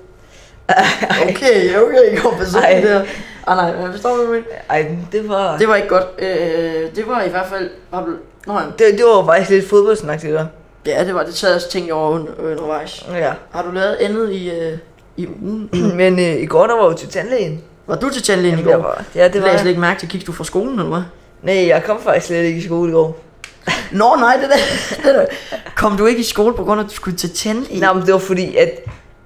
okay, okay, jeg går personligt der. Ah, nej, men forstår du, hvad jeg mener? Ej, det var... Det var ikke godt. Øh, det var i hvert fald... har du- Nå, ja. Det, det var faktisk lidt fodboldsnak, det der. ja, det var det. taget også tænkt over under, undervejs. Ja. <clears throat> Har du lavet andet i... Øh, i ugen? Men øh, i går, der var jo til tandlægen. Var du til tandlægen i går? Jeg var, ja, det var jeg slet jeg. ikke mærke til. Gik du fra skolen, eller hvad? Nej, jeg kom faktisk slet ikke i skole i går. Nå, nej, det der. det der. <laughs> Kom du ikke i skole på grund af, at du skulle til tandlægen? Nej, men det var fordi, at...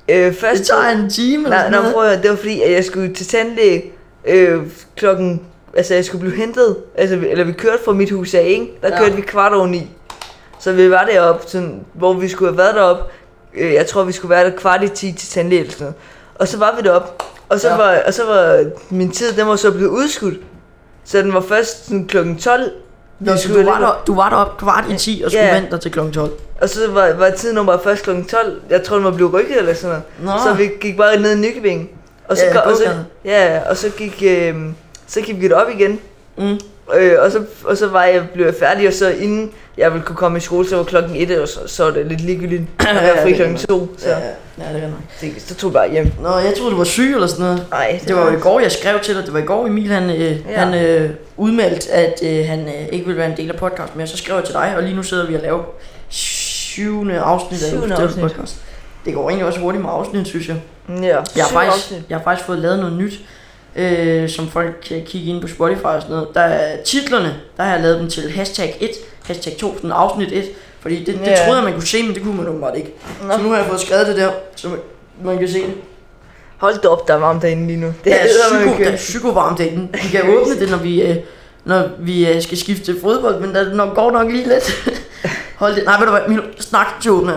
Øh, først, det tager en time eller Nej, sådan nej, noget. prøv at høre, det var fordi, at jeg skulle til tandlæge øh, klokken... Altså, jeg skulle blive hentet. Altså, vi- eller vi kørte fra mit hus af, ikke? Der Ja. kørte vi kvart over ni. Så vi var deroppe, sådan, hvor vi skulle have været deroppe. Øh, jeg tror, vi skulle være der kvart i ti til tandlæge eller sådan noget. Og så var vi deroppe. Og så, Ja. var, og så var min tid, den var så blevet udskudt. Så den var først sådan, klokken 12. Vi Nå, så skulle du var, alligevel- der, du var deroppe kvart i 10 og skulle Ja. vente dig til kl. 12. Og så var, var tiden bare først kl. 12. Jeg tror, den var blevet rykket eller sådan noget. Nå. Så vi gik bare ned i Nykøbing. Og så, Ja, og så, gågaden. ja, og så gik, øh, så gik vi op igen. Mm. Øh, og, så, og så var jeg, blev jeg færdig, og så inden jeg ville kunne komme i skole, så var klokken 1, og så, så var det lidt ligegyldigt. <clears throat> Og jeg var fri det er klokken 2, så, Ja, ja, ja, det er nok. så, så tog jeg bare hjem. Nå, jeg troede, du var syg eller sådan noget. Nej, Det var jo i går, jeg skrev til dig. Det var i går, Emil han, øh, Ja. ja. han øh, udmeldte, at øh, han øh, ikke ville være en del af podcasten mere. Så skrev jeg til dig, og lige nu sidder vi og laver syvende afsnit af Syvende Ustøtte afsnit. podcast. Det går egentlig også hurtigt med afsnit, synes jeg. Ja, Jeg har, syv faktisk, afsnit. jeg har faktisk fået lavet noget nyt, øh, som folk kan kigge ind på Spotify og sådan noget. Der er titlerne, der har jeg lavet dem til hashtag 1, hashtag 2, sådan afsnit 1. Fordi det, det Ja. troede jeg, man kunne se, men det kunne man åbenbart ikke. Nå. Så nu har jeg fået skrevet det der, så man- man kan se det. Hold da op, der er varmt derinde lige nu. Det <laughs> er, eddermame psyko, det er kønt. psykovarmt derinde. Vi kan åbne det, når vi, øh, når vi øh, skal skifte til fodbold, men der når, går nok lige lidt. <laughs> Hold det. Nej, ved du hvad, Milo, snak til åbner.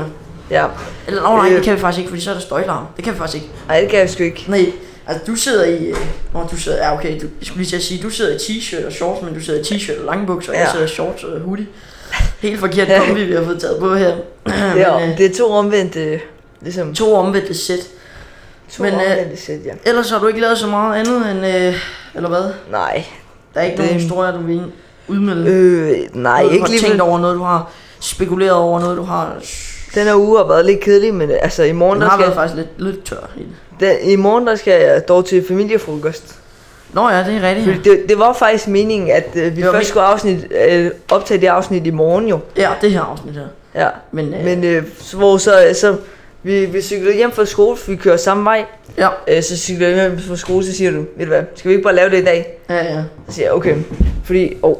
Ja. Eller oh, nej, Øh. det kan vi faktisk ikke, fordi så er der støjlarm. Det kan vi faktisk ikke. Ej, det kan jeg sgu ikke. Nej, altså du sidder i... Øh, nå, du sidder... Ja, okay, du, jeg skulle lige til at sige, du sidder i t-shirt og shorts, men du sidder i t-shirt og lange bukser, og jeg Ja. sidder i shorts og hoodie. Helt forkert <laughs> kombi, vi har fået taget på her. <clears throat> Det er, men, øh, det er to omvendte, ligesom to omvendte sæt. to men, øh, omvendte sæt, ja. Ellers har du ikke lavet så meget andet end... Øh, eller hvad? Nej. Der er ikke Det- nogen historier, du vil udmelde? Øh, nej, noget, du ikke har lige. tænkt vel- over noget, du har spekuleret over noget, du har... Den her uge har været lidt kedelig, men øh, altså i morgen, Den der har skal, været faktisk lidt, lidt tør i det. den, i morgen der skal jeg dog til familiefrokost. Nå ja, det er rigtigt. Fordi det, det var faktisk meningen, at øh, vi Det var først min- skulle afsnit, øh, optage det afsnit i morgen jo. Ja, det her afsnit her. Ja. Men, øh, Men øh, så- hvor så, så vi, vi cyklede hjem fra skole, for vi kører samme vej. ja, Øh, så cykler jeg hjem fra skole, så siger du, ved du hvad, skal vi ikke bare lave det i dag? ja, ja. Så siger jeg, okay. Fordi, åh, oh,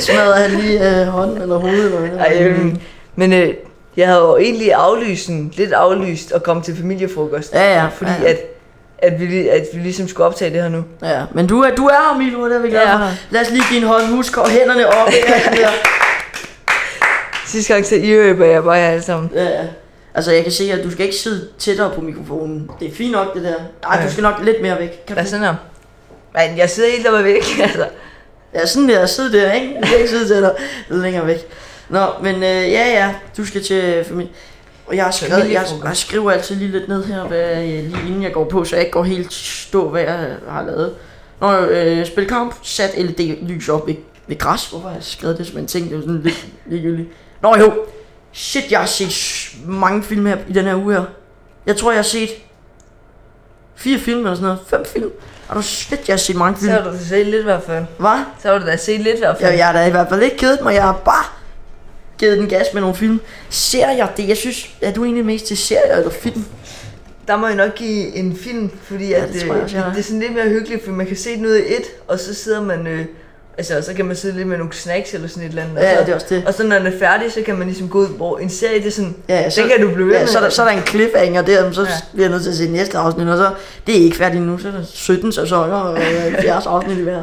Smadrer han lige øh, hånden eller hovedet eller noget? Ej, øh, men øh, jeg havde jo egentlig aflyst, en- lidt aflyst at komme til familiefrokost. Ja, ja, Fordi ja, ja. At, at, vi, li- at vi ligesom skulle optage det her nu. Ja, men du er, du er her, Milo, og det er vi glade Ja. for. Lad os lige give en hånd, husk og hænderne op. ikke? Altså, der. Sidste gang så ihøber jeg bare jer alle sammen. ja, ja. Altså, jeg kan se, at du skal ikke sidde tættere på mikrofonen. Det er fint nok, det der. Ej, Ja. du skal nok lidt mere væk. Kan Hvad du? sådan her? Men jeg sidder helt <laughs> oppe væk, altså. Ja, sådan der, sidde der, ikke? Du kan ikke sidde tættere. Lidt længere væk. Nå, men øh, ja, ja, du skal til familie. Og jeg, har skrevet, jeg, Familiefrokost. jeg skriver altid lige lidt ned her, hvad, jeg- lige inden jeg går på, så jeg ikke går helt stå, hvad jeg har lavet. Når øh, spil kamp, sat LED-lys op ved, ved græs. Hvorfor har jeg skrevet det som en ting? Det er jo sådan lidt ligegyldigt. Nå jo, shit, jeg har set s- mange film her i den her uge her. Jeg tror, jeg har set fire film eller sådan noget. Fem film. Er du shit, jeg har set mange Så film. har du da set lidt i hvert fald. Hvad? Så har du da set lidt i hvert fald. Jeg, jeg har da i hvert fald ikke kedet mig, jeg har bare givet den gas med nogle film. Serier, det jeg synes, er du egentlig mest til serier eller film? Der må jeg nok give en film, fordi Ja, at, det det, tror jeg også, jeg det, har. det er sådan lidt mere hyggeligt, for man kan se noget i et, og så sidder man... Øh, altså, så kan man sidde lidt med nogle snacks eller sådan et eller andet. og Ja, så, det er også det. Og så når den er færdig, så kan man ligesom gå ud, hvor en serie, det er sådan... Ja, ja, så, den kan du blive ved Ja, med. så, er der, så er der en cliffhanger der, så Ja. ja. bliver jeg nødt til at se næste afsnit, og så det er ikke færdigt nu, så er der 17 sæsoner og <laughs> øh, 70 afsnit i hver.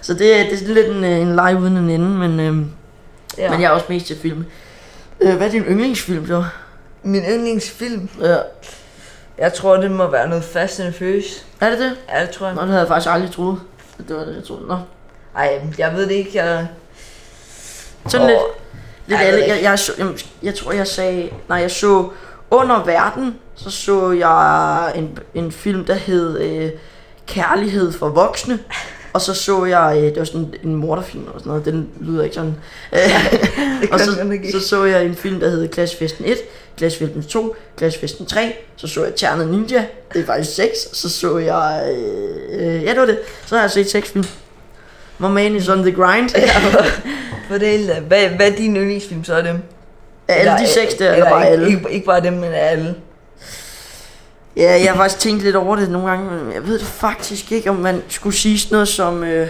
Så det, er- det er lidt en, øh, en leg uden en ende, men, øhm, ja. ja. men jeg er også mest til film. Øh, hvad er din yndlingsfilm så? Min yndlingsfilm, Ja. jeg tror, det må være noget Fast and Furious. Er det det? Ja, det tror jeg. Nå, det havde jeg faktisk aldrig troet. at Det var det, jeg troede. Nå. Ej, jeg ved det ikke, jeg... Sådan lidt, Åh, Lidt Ej, jeg ved alle, det jeg, jeg, så, jeg, jeg tror jeg sagde, nej jeg så under verden, så så jeg en, en film, der hed øh, Kærlighed for voksne. Og så så jeg, øh, det var sådan en morderfilm eller sådan noget, den lyder ikke <laughs> sådan. <laughs> Øh, det og kan jeg nok så, ikke. så så jeg en film, der hed Klassefesten 1, Klassefesten 2, Klassefesten 3, så så jeg Ternet Ninja, det er faktisk 6, så så jeg, øh, øh, ja det var det, så har jeg set 6 film. My man is on the grind. For det hele, hvad, hvad er din yndlingsfilm så er det? Af alle de seks der, eller bare ikke, alle? Ikke, ikke bare dem, men alle. Ja, jeg har faktisk tænkt lidt over det nogle gange, men jeg ved det faktisk ikke, om man skulle sige sådan noget som... Øh,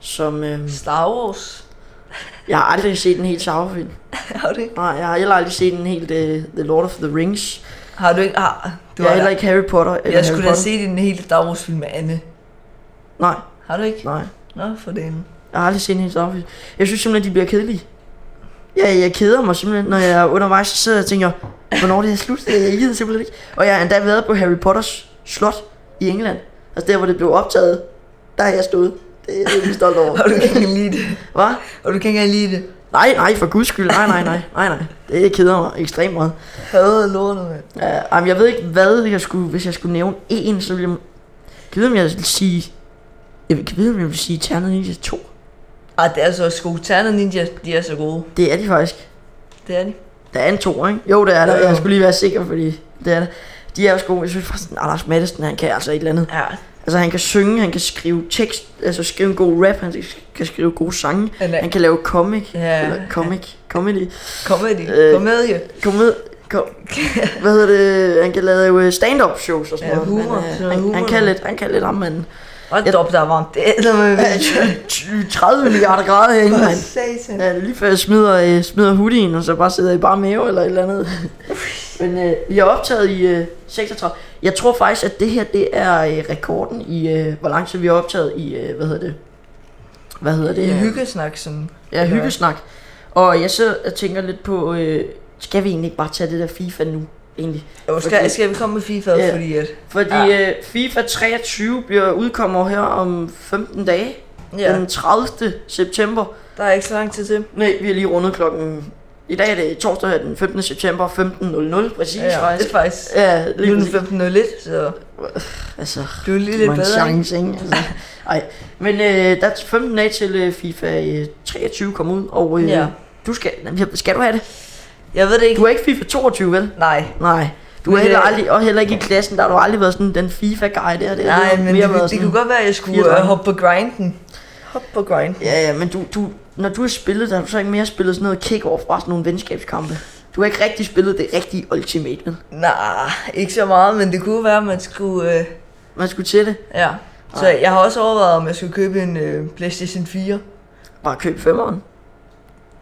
som øh, Star Wars. <laughs> jeg har aldrig set en helt Sauron-film. Har du ikke? Nej, jeg har heller aldrig set en helt øh, The Lord of the Rings. Har du ikke? Har, Du jeg du har har heller ikke Harry Potter. Eller Jeg Harry skulle da Potter. se din hele Star Wars film med Anne. Nej, Har du ikke? nej. Nå, for <laughs> den. Jeg har aldrig set en helt Sauron-film. Jeg synes simpelthen, de bliver kedelige. Ja, jeg keder mig simpelthen, når jeg er undervejs, så sidder jeg og tænker, hvornår er det her slut? Jeg gider simpelthen ikke. Og jeg har endda været på Harry Potters slot i England. Altså der, hvor det blev optaget, der har jeg stået. Det er jeg virkelig stolt over. Og du kan ikke lide det. Hvad? Og du kan ikke lide det. Nej, nej, for guds skyld. Nej, nej, nej, nej, nej. Det keder mig ekstremt meget. Havde lortet, mand. Uh, jamen, jeg ved ikke, hvad jeg skulle, hvis jeg skulle nævne én, så ville jeg... Kan jeg vide, om jeg vil sige... Jeg vil- kan vide, om jeg vil sige Ternet Ninja 2. Ej, det er så også gode. Terner Ninja, de er så gode. Det er de faktisk. Det er de. Der er en to, ikke? Jo, det er der. Jo, jo. Jeg skulle lige være sikker, fordi det er der. De er også gode. Jeg synes faktisk, at Anders Madsen, han kan altså et eller andet. Ja. Altså, han kan synge, han kan skrive tekst, altså skrive en god rap, han kan skrive gode sange, Han er- han kan lave comic, Ja. eller comic, comedy. Comedy. Øh, Komedie. Kom med. <laughs> Kom. Hvad hedder det? Han kan lave øh, stand-up shows og sådan Ja, noget. humor. men, øh, Sådan noget han, humor. <laughs> han, kan lidt, han kan lidt om manden. Hold op, der er varmt. Det <laughs> er med Øh, 30 milliarder grader herinde, For mand. satan. Ja, det er lige før jeg smider, øh, smider hoodien, og så bare sidder i bare mave eller et eller <laughs> andet. Men øh, vi har optaget i øh, 36. Jeg tror faktisk, at det her det er øh, rekorden i, øh, hvor lang tid vi har optaget i, øh, hvad hedder det? Hvad hedder det? Det er hyggesnak, sådan. Ja, hyggesnak. Og jeg sidder og tænker lidt på, øh, skal vi egentlig ikke bare tage det der FIFA nu, egentlig? Jo, Fordi- skal, skal vi komme med FIFA, Ja. fordi at... Fordi ja. øh, FIFA 23 bliver udkommer her om 15 dage, ja. Ja, den 30. september. der er ikke så lang tid til. Nej, vi har lige rundet klokken... I dag er det torsdag den 15. september 15.00, præcis ja. det faktisk. er faktisk... Ja, lige Nu er den præcis. 15.01, så Altså, du er lige det lidt var en bedre. ikke? chance, ikke? Altså, ej. Men øh, der er 15 dage til øh, FIFA øh, 23 kommer ud, og øh, ja. Ja. du skal, skal du have det? Jeg ved det ikke. Du er ikke FIFA 22, vel? Nej. Nej. Du Men, er heller øh, aldrig, og heller ikke i klassen, der har du aldrig været sådan den FIFA-guy der. Det har Nej, mere men det, været det kunne godt være, at jeg skulle fire øh, drenge. hoppe på grinden. Hop på grinden. Ja, ja, men du, du, når du har spillet, der har du så ikke mere spillet sådan noget kick-off, bare sådan nogle venskabskampe. Du har ikke rigtig spillet det rigtige Ultimate, vel? Nej, ikke så meget, men det kunne være, at man skulle... Øh, Man skulle til det. ja. Så jeg har også overvejet, om jeg skulle købe en øh, PlayStation 4. Bare køb femmeren.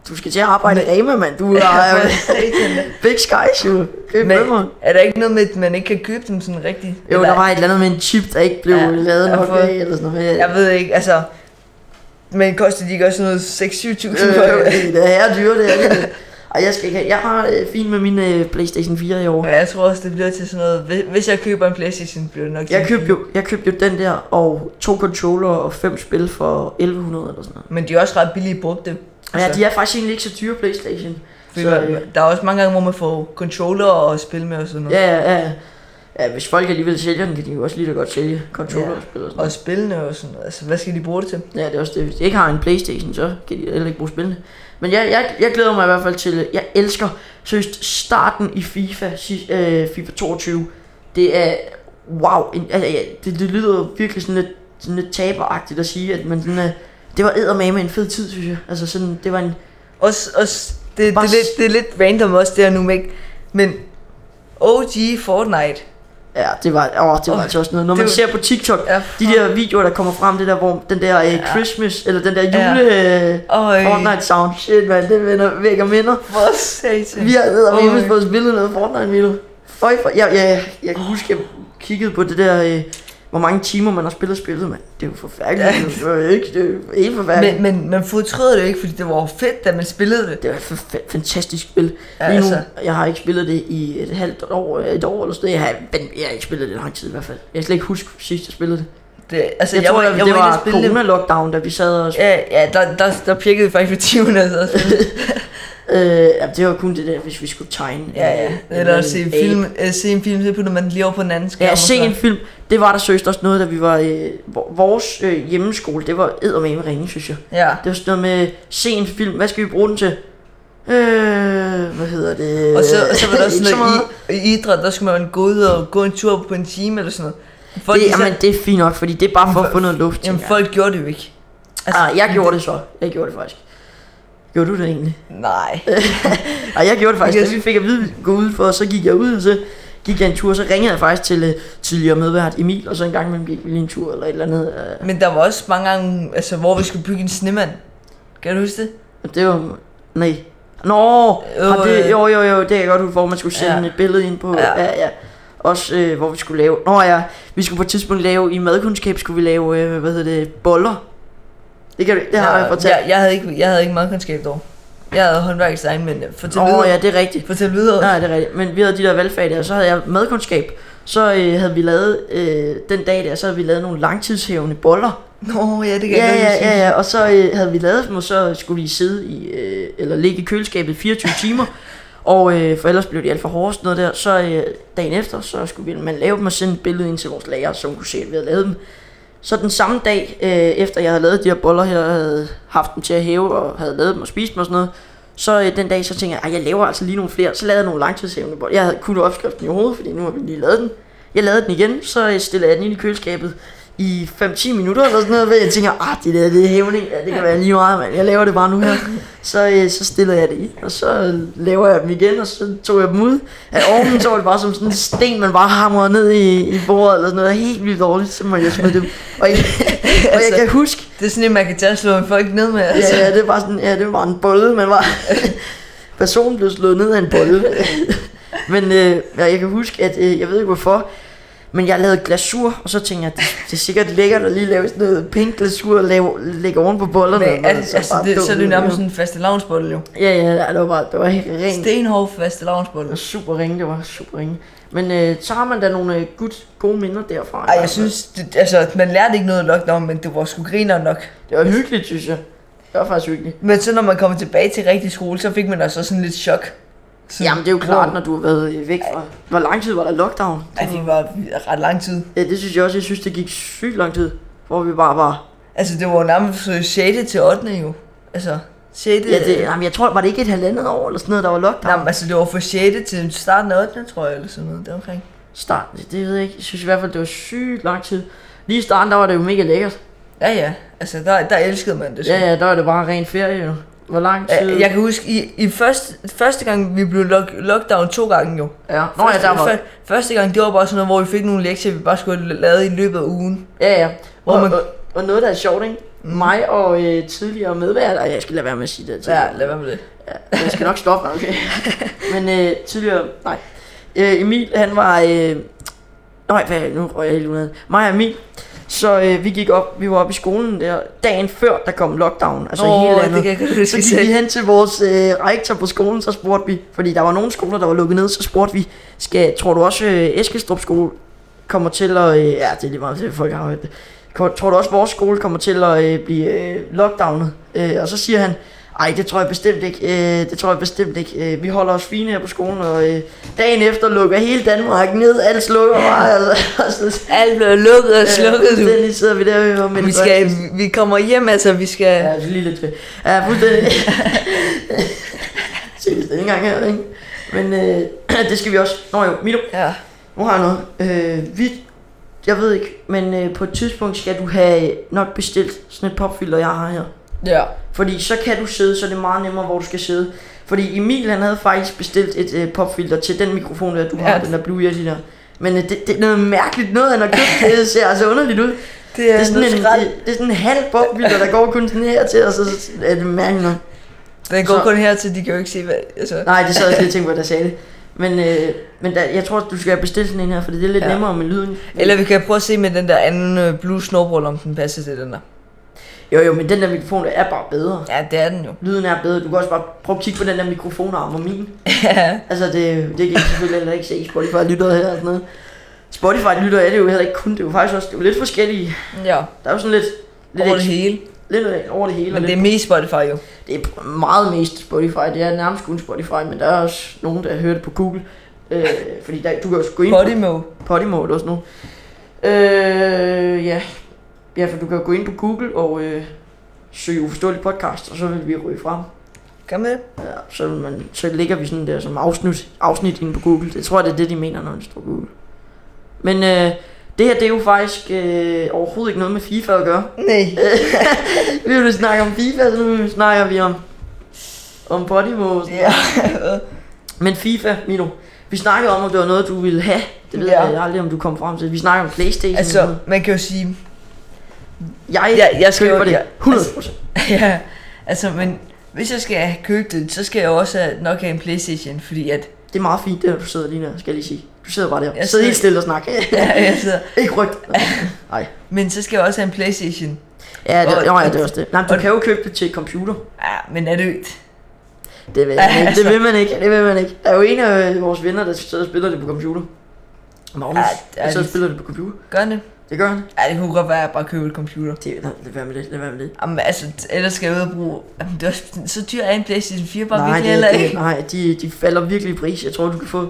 Du skal til at arbejde i Rema, mand. <laughs> Du er jo <laughs> big skies, jo. Køb men femmeren. er der ikke noget med, at man ikke kan købe dem sådan rigtigt? Jo, der var et eller andet med en chip, der ikke blev Ja, lavet jeg nok har fået- af, eller sådan noget. Jeg ved ikke, altså... Men koster de ikke også noget 6-7.000 Øh, for <laughs> det? det er dyre, det er det. Ej, jeg skal ikke have. Jeg har øh, fint med min øh, Playstation 4 i år. Ja, jeg tror også, det bliver til sådan noget... Hvis- Hvis jeg køber en Playstation, bliver det nok til Jeg en købte bil. jo, jeg købte jo den der, og to controller og fem spil for 1100 eller sådan noget. Men de er også ret billige brugte. Ja, de er faktisk egentlig ikke så dyre, Playstation. Så, Så, øh, der Altså- er også mange gange, hvor man får controller og spil med og sådan noget. ja, ja, ja. ja, hvis folk alligevel sælger den, kan de jo også lige så godt sælge controller og spil og sådan noget. Og spillene og sådan noget. Altså, hvad skal de bruge det til? Ja, det er også det. Hvis de ikke har en Playstation, så kan de heller ikke bruge spillene. Men jeg, jeg, jeg glæder mig i hvert fald til, jeg elsker seriøst starten i FIFA, si- øh, FIFA 22. Det er, wow, en, altså, ja, det, det lyder jo virkelig sådan lidt, sådan lidt taberagtigt at sige, at man sådan, øh, det var eddermame en fed tid, synes jeg. Altså sådan, det var en, Også, også det, det, Bare er lidt, det er lidt random også, det her nu, men ikke? Men OG Fortnite. ja, det var, åh, det var Åh, altså også noget. Når det man var- ser på TikTok, Ja, de der videoer, der kommer frem, det der, hvor den der øh, Christmas, eller den der jule... Øh, Øj, Fortnite sound. Shit, man, det vender, vækker minder. for satan. Vi har været Oj. med på at spille noget Fortnite, Milo. Føj for, jeg, jeg, jeg kan huske, jeg kiggede på det der, øh, hvor mange timer man har spillet spillet, mand. Det er jo forfærdeligt. Ja. Det er jo ikke, det er jo helt forfærdeligt. Men, men man fortryder det jo ikke, fordi det var jo fedt, da man spillede det. det var et fa- fantastisk spil. Ja, Lige nu, altså. jeg har ikke spillet det i et halvt år, et år eller sådan noget. Jeg har, men jeg har ikke spillet det i lang tid i hvert fald. Jeg kan slet ikke huske sidst, jeg spillede det. det altså, Jeg, jeg tror, var, jeg, det inde og var spille det. corona-lockdown, da vi sad og Ja, ja der, der, der pirkede vi faktisk på timerne. Altså. Øh, jamen, det var kun det der, hvis vi skulle tegne. Ja, ja. øh, <laughs> Eller en- at se en en- film, øh, se en film, så putter man den lige over på den anden skærm. Ja, og at se sådan en film, det var der søst også noget, da vi var øh, vor- vores øh, hjemmeskole, det var eddermame ringe, synes jeg. Ja. Det var sådan noget med, se en film, hvad skal vi bruge den til? Øh, hvad hedder det? Og så, og så var der også øh, <laughs> Ikke så sådan noget meget. i, i idræt, der skulle man gå ud og gå en tur på en time eller sådan noget. Folk, Det, de så- jamen, det er fint nok, fordi det er bare for at få noget luft. jamen, Jamen, for, folk gjorde det jo ikke. altså, ah, jeg gjorde det så. Jeg gjorde det faktisk. Gjorde du det egentlig? Nej. Ej, jeg gjorde det faktisk. Yes. Da vi fik at vide, at gå ud for, og så gik jeg ud, og så gik jeg en tur, og så ringede jeg faktisk til øh, tidligere medvært Emil, og så en gang imellem gik vi lige en tur, eller et eller andet. Øh, Men der var også mange gange, altså, hvor vi skulle bygge en snemand. Kan du huske det? Og Det var... Nej. Nå, Jo, jo, det, øh. jo, jo, jo, det er godt, hvor man skulle sende Ja. et billede ind på. Ja. Ja, ja. Også øh, hvor vi skulle lave... Nå ja, vi skulle på et tidspunkt lave... I madkundskab skulle vi lave, øh, hvad hedder det, boller. Det, kan, du- det har jeg fortalt. Jeg, jeg, havde ikke, jeg havde ikke meget kundskab dog. Jeg havde håndværkstegn, men øh, fortæl Nå videre. ja, det er rigtigt. Fortæl videre. Nej, det er rigtigt. Men vi havde de der valgfag der, så havde jeg madkundskab. Så øh, havde vi lavet, øh, den dag der, så havde vi lavet nogle langtidshævende boller. Nå, ja, det kan Ja, jeg godt ja, huske. ja, ja, og så øh, havde vi lavet dem, og så skulle vi sidde i, øh, eller ligge i køleskabet i 24 timer, og øh, for ellers blev de alt for hårde og sådan noget der, så øh, dagen efter, så skulle vi man lave dem og sende et billede ind til vores lærer, så hun kunne se, at vi havde lavet dem. Så den samme dag, øh, efter jeg havde lavet de her boller her, og havde haft dem til at hæve, og havde lavet dem og spist dem og sådan noget, så øh, den dag, så tænkte jeg, at jeg laver altså lige nogle flere, så lavede jeg nogle langtidshævende boller. Jeg havde kun opskriften i hovedet, fordi nu har vi lige lavet den. Jeg lavede den igen, så øh, stillede jeg den ind i køleskabet i 5-10 minutter eller sådan noget, hvor jeg tænker, ah, det der, det er hævning, ja, det kan være lige meget, men jeg laver det bare nu her. Så, øh, så stiller jeg det i, og så øh, laver jeg dem igen, og så tog jeg dem ud af ovnen, så var det bare som sådan en sten, man bare hamrede ned i, i bordet eller sådan noget, helt vildt dårligt, så må jeg smide det ud. Og jeg, <laughs> og jeg Altså, kan huske, Det er sådan en, man kan tage og slå folk ned med. Altså. Ja, ja, det var sådan, ja, det var en bolle, man var... Personen blev slået ned af en bolle. men øh, ja, jeg kan huske, at øh, jeg ved ikke hvorfor, men jeg lavede glasur, og så tænkte jeg, det, det er sikkert lækkert at lige lave sådan noget pink glasur og lave, lægge oven på bollerne. Men, men altså, altså, bare det, så er det jo dumt. nærmest sådan en faste lavnsbolle jo. Ja, ja, ja, det var bare, det var helt rent. Stenhård faste Det var lavnsbolle. super ringe, det var super ringe. Men øh, så har man da nogle øh, gut, gode minder derfra. Ej, jeg Altså, synes, det, altså, man lærte ikke noget nok om, men det var sgu griner nok. Det var hyggeligt, synes jeg. Det var faktisk hyggeligt. Men så når man kommer tilbage til rigtig skole, så fik man altså sådan lidt chok. Sådan, Jamen, det er jo klart, når du har været øh, væk fra... Hvor lang tid var der lockdown? Ej, det var ret lang tid. Ja, det synes jeg også. Jeg synes, det gik sygt lang tid, hvor vi bare var... Altså, det var jo nærmest øh, 6. til 8. jo. Altså, 6. Ja, det, jamen, jeg tror, var det ikke et halvandet år eller sådan noget, der var lockdown? Øh. Nej, men altså, det var fra 6. til starten af 8. tror jeg, eller sådan noget deromkring. Start, det, det ved jeg ikke. Jeg synes i hvert fald, det var sygt lang tid. Lige i starten, der var det jo mega lækkert. Ja, ja. Altså, der, der elskede man det. sgu. Ja, ja, der var det bare ren ferie jo. Hvor lang Ja, tid? Øh, Jeg kan huske, i, i første, første gang, vi blev lock, lockdown to gange jo. ja. Nå ja, første, der var... før- første gang, det var bare sådan noget, hvor vi fik nogle lektier, vi bare skulle have lavet i løbet af ugen. Ja, ja. Hvor Og, man- Mm. og, og noget, der er sjovt, ikke? Mig og øh, tidligere medvært, og jeg skal lade være med at sige det. Ja, lad være med det. Men jeg skal nok stoppe <laughs> mig, okay? Men øh, tidligere, nej. Øh, Emil, han var... Øh, nej, hvad, nu røg jeg helt unød. Mig og Emil, så øh, vi gik op, vi var oppe i skolen der, dagen før der kom lockdown, altså Åh, oh, hele landet. det kan jeg godt så huske gik selv. vi hen til vores øh, rektor på skolen, så spurgte vi, fordi der var nogle skoler, der var lukket ned, så spurgte vi, skal, tror du også øh, Eskelstrup skole kommer til at, øh, ja det er lige meget, det folk har hørt det, Ko- tror du også vores skole kommer til at øh, blive øh, lockdownet? Øh, og så siger han, ej det tror jeg bestemt ikke, øh, det tror jeg bestemt ikke, øh, vi holder os fine her på skolen, og øh, dagen efter lukker hele Danmark ned, alt slukker bare, <laughs> altså, altså, Alt blev lukket og slukket, du. Den sidder vi der og hører Mette Vi, skal, Frederiksen. vi kommer hjem, altså, vi skal... Ja, det er lige lidt fedt. Ja, fuldstændig. Se, det er ikke engang her, ikke? Men øh, <clears throat> det skal vi også. Nå jo, Milo, Ja. nu har jeg noget. Øh, vi, jeg ved ikke, men øh, på et tidspunkt skal du have nok bestilt sådan et popfilter, jeg har her. Ja. Fordi så kan du sidde, så det er meget nemmere, hvor du skal sidde. Fordi Emil, han havde faktisk bestilt et øh, popfilter til den mikrofon, der du har, Ja. den der Blue Yeti der. Men øh, det, det, er noget mærkeligt noget, han har købt. Det ser altså underligt ud. Det Det er sådan en, det, det er sådan en halv bobbilder, der går kun sådan her til, og så så er det mærkeligt nok. Den går så- kun her til, de kan jo ikke se, hvad... Altså. Nej, det sad jeg også lige og tænkte på, da jeg sagde det. Men, øh, men der, jeg tror, du skal bestille sådan en her, for det er lidt Ja. ja. nemmere med lyden. Eller vi kan prøve at se med den der anden øh, blue snowball, om den passer til den der. Jo, jo, men den der mikrofon der er bare bedre. Ja, det er den jo. Lyden er bedre. Du kan også bare prøve at kigge på den der mikrofonarm og <laughs> min. altså, det, det kan jeg selvfølgelig heller ikke se. Spotify lytter her og sådan noget. Spotify lytter er det jo heller ikke kun. Det er jo faktisk også det er jo lidt forskellige. Ja, Der er jo sådan lidt... Lidt, over det eks- hele. lidt over det hele. og Men det lidt er mest Spotify jo. det er meget mest Spotify. Det er nærmest kun Spotify, men der er også nogen, der hører det på Google. Øh, fordi der, du kan jo gå ind på Podimo. Podimo eller sådan noget. Øh, ja. ja, for du kan jo gå ind på Google og øh, søge uforståelig podcast, og så vil vi ryge frem. Kom med. Ja, så, vil man, så ligger vi sådan der som afsnit, afsnit inde på Google. Det tror jeg, det er det, de mener, når de står på Google. Men øh, det her, det er jo faktisk øh, overhovedet ikke noget med FIFA at gøre. Nej. Vi vil snakke om FIFA, så nu snakker vi om, om Podimo. Ja. Men FIFA, Milo, vi snakkede om, om det var noget, du ville have. Det ved Ja. ja. jeg aldrig, om du kom frem til. Vi snakker om Playstation. altså, og sådan noget. man kan jo sige, <laughs> jeg, jeg- jeg skal køber jo- det jeg- 100 procent. ja, altså, men hvis jeg skal købe den, så skal jeg jo også have- nok have en Playstation, fordi at <laughs> Det er meget fint, det her, du sidder lige der, skal jeg lige sige. Du sidder bare der. Jeg Jeg sidder sidder- helt stille og snakker. <laughs> ja, jeg sidder. <laughs> ikke rygt. Nej. Men så skal jeg også have en Playstation. Ja, det, Og- jo, ja, det er også det. Nej, men du og- kan jo købe det til computer. Ja, men er det jo- Det vil, Ja, jeg ikke. altså. det vil man ikke. Det vil man ikke. Der er jo en af øh, vores venner, der sidder og spiller det på computer. Magnus, Ja, ja, det er der sidder og lidt- spiller det på computer. Gør det? Det gør han. Ja, det kunne godt være, at jeg bare køber et computer. Det, nej, lad være med det, lad være med det. Jamen, altså, t- ellers skal jeg ud og bruge... Jamen, det er også, så dyr er en Playstation 4 bare nej, virkelig det, heller det, ikke. <laughs> nej de, de falder virkelig i pris. Jeg tror, du kan få...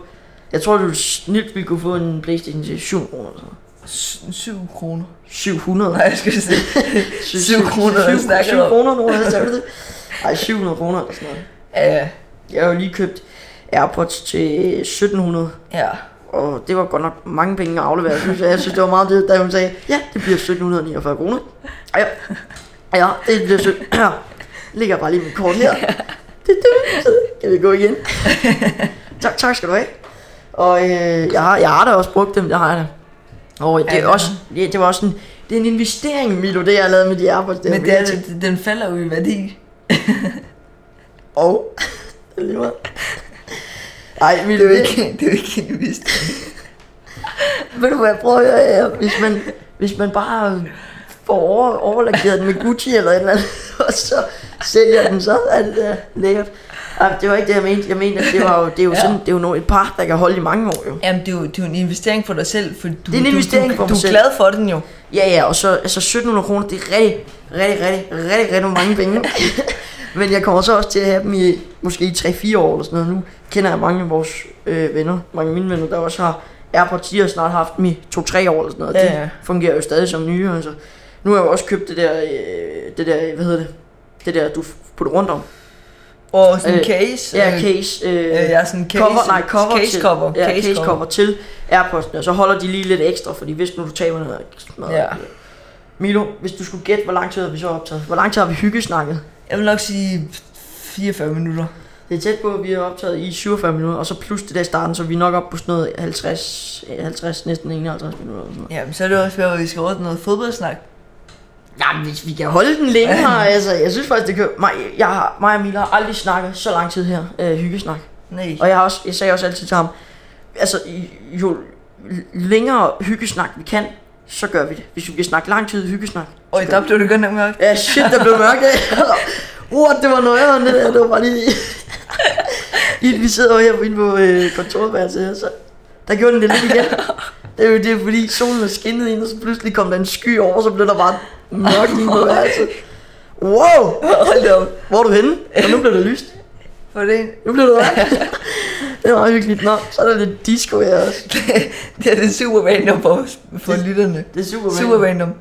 Jeg tror, du snilt ville kunne få en Playstation til 7 kroner. eller sådan noget. S- 7 kroner. <laughs> 700. Nej, jeg skal sige... 7 kroner, Syv- jeg syv- snakker syv om. kroner, nu har jeg det. Ej, 700 kroner eller sådan noget. Ja, Jeg har jo lige købt Airpods til 1700. ja. og det var godt nok mange penge at aflevere, synes jeg. Jeg synes, det var meget dyrt, da hun sagde, ja, det bliver 1749 kroner. Ja, ja det bliver 17. Ja. <clears throat> Ligger bare lige mit kort her. Det, det, så kan vi gå igen. tak, tak skal du have. Og øh, jeg, har, jeg har da også brugt dem, det har jeg da. Og det, er Ja. også, det, det var også en, det er en investering, Milo, det jeg har lavet med de arbejdsdage. Men det er, det- den falder jo i værdi. Og... <laughs> Det er lige meget. Ej, Milo, Det er jo ikke, <laughs> det er jo ikke en investering. Ved du hvad, prøv at høre her. Hvis man, hvis man bare får over, overlakeret den med Gucci eller et eller andet, <laughs> og så sælger den, så er det der lækkert. Ej, det var ikke det, jeg mente. Jeg mente, at det, var jo, det er jo, Ja. sådan, det er jo no- et par, der kan holde i mange år jo. Jamen, det er jo, det er jo en investering for dig selv. For du, er en investering du, for du, mig du er selv. glad for den jo. Ja, ja, og så altså 1700 kroner, det er rigtig, rigtig, rigtig, rigtig, rigtig mange <laughs> penge. Men jeg kommer så også til at have dem i måske i 3-4 år eller sådan noget. Nu kender jeg mange af vores øh, venner, mange af mine venner, der også har Airpods 10 og snart har haft dem i 2-3 år eller sådan noget. Ja, Ja, ja. ja. De fungerer jo stadig som nye. Altså. Nu har jeg jo også købt det der, øh, det der, hvad hedder det? Det der, du putter rundt om. Og sådan en Øh, case. Ja, øh, case. Øh, Øh, ja, sådan en case. cover, nej, cover case til, cover. Ja, case cover. til Airpods'ene, og så holder de lige lidt ekstra, fordi hvis nu du taber noget, smadret. Ja. Milo, hvis du skulle gætte, hvor lang tid har vi så optaget? Hvor lang tid har vi hyggesnakket? Jeg vil nok sige 44 minutter. Det er tæt på, at vi har optaget i 47 minutter, og så plus det der i starten, så vi er nok op på sådan noget 50, eh, 50 næsten 51 minutter. Eller sådan noget. Jamen, så er det også værd, at vi skal ordne noget fodboldsnak. Jamen, hvis vi kan holde den længere, altså, jeg synes faktisk, det kan... Mig, jeg har, mig og Milo har aldrig snakket så lang tid her, øh, hyggesnak. Nej. Og jeg, har også, jeg sagde også altid til ham, altså jo længere hyggesnak vi kan, så gør vi det. Hvis vi kan snakke lang tid hyggesnak. så Og gør vi der det. blev det godt nok mørkt. Ja, shit, der blev mørkt af. What, det var nøjeren, det der. Det var bare lige... I, vi sidder jo her inde på øh, kontorværelset her, så der gjorde den det lidt igen. Det er jo det, fordi solen er skinnet ind, og så pludselig kom der en sky over, og så blev der bare mørkt inde på værelset. Wow, Hold da op. hvor er du henne? Og nu blev det lyst. For det, Nu bliver det mørkt. det er meget hyggeligt. Nå, så er der lidt disco her også. <laughs> det er det super random for, for lytterne. Det er super, Super random.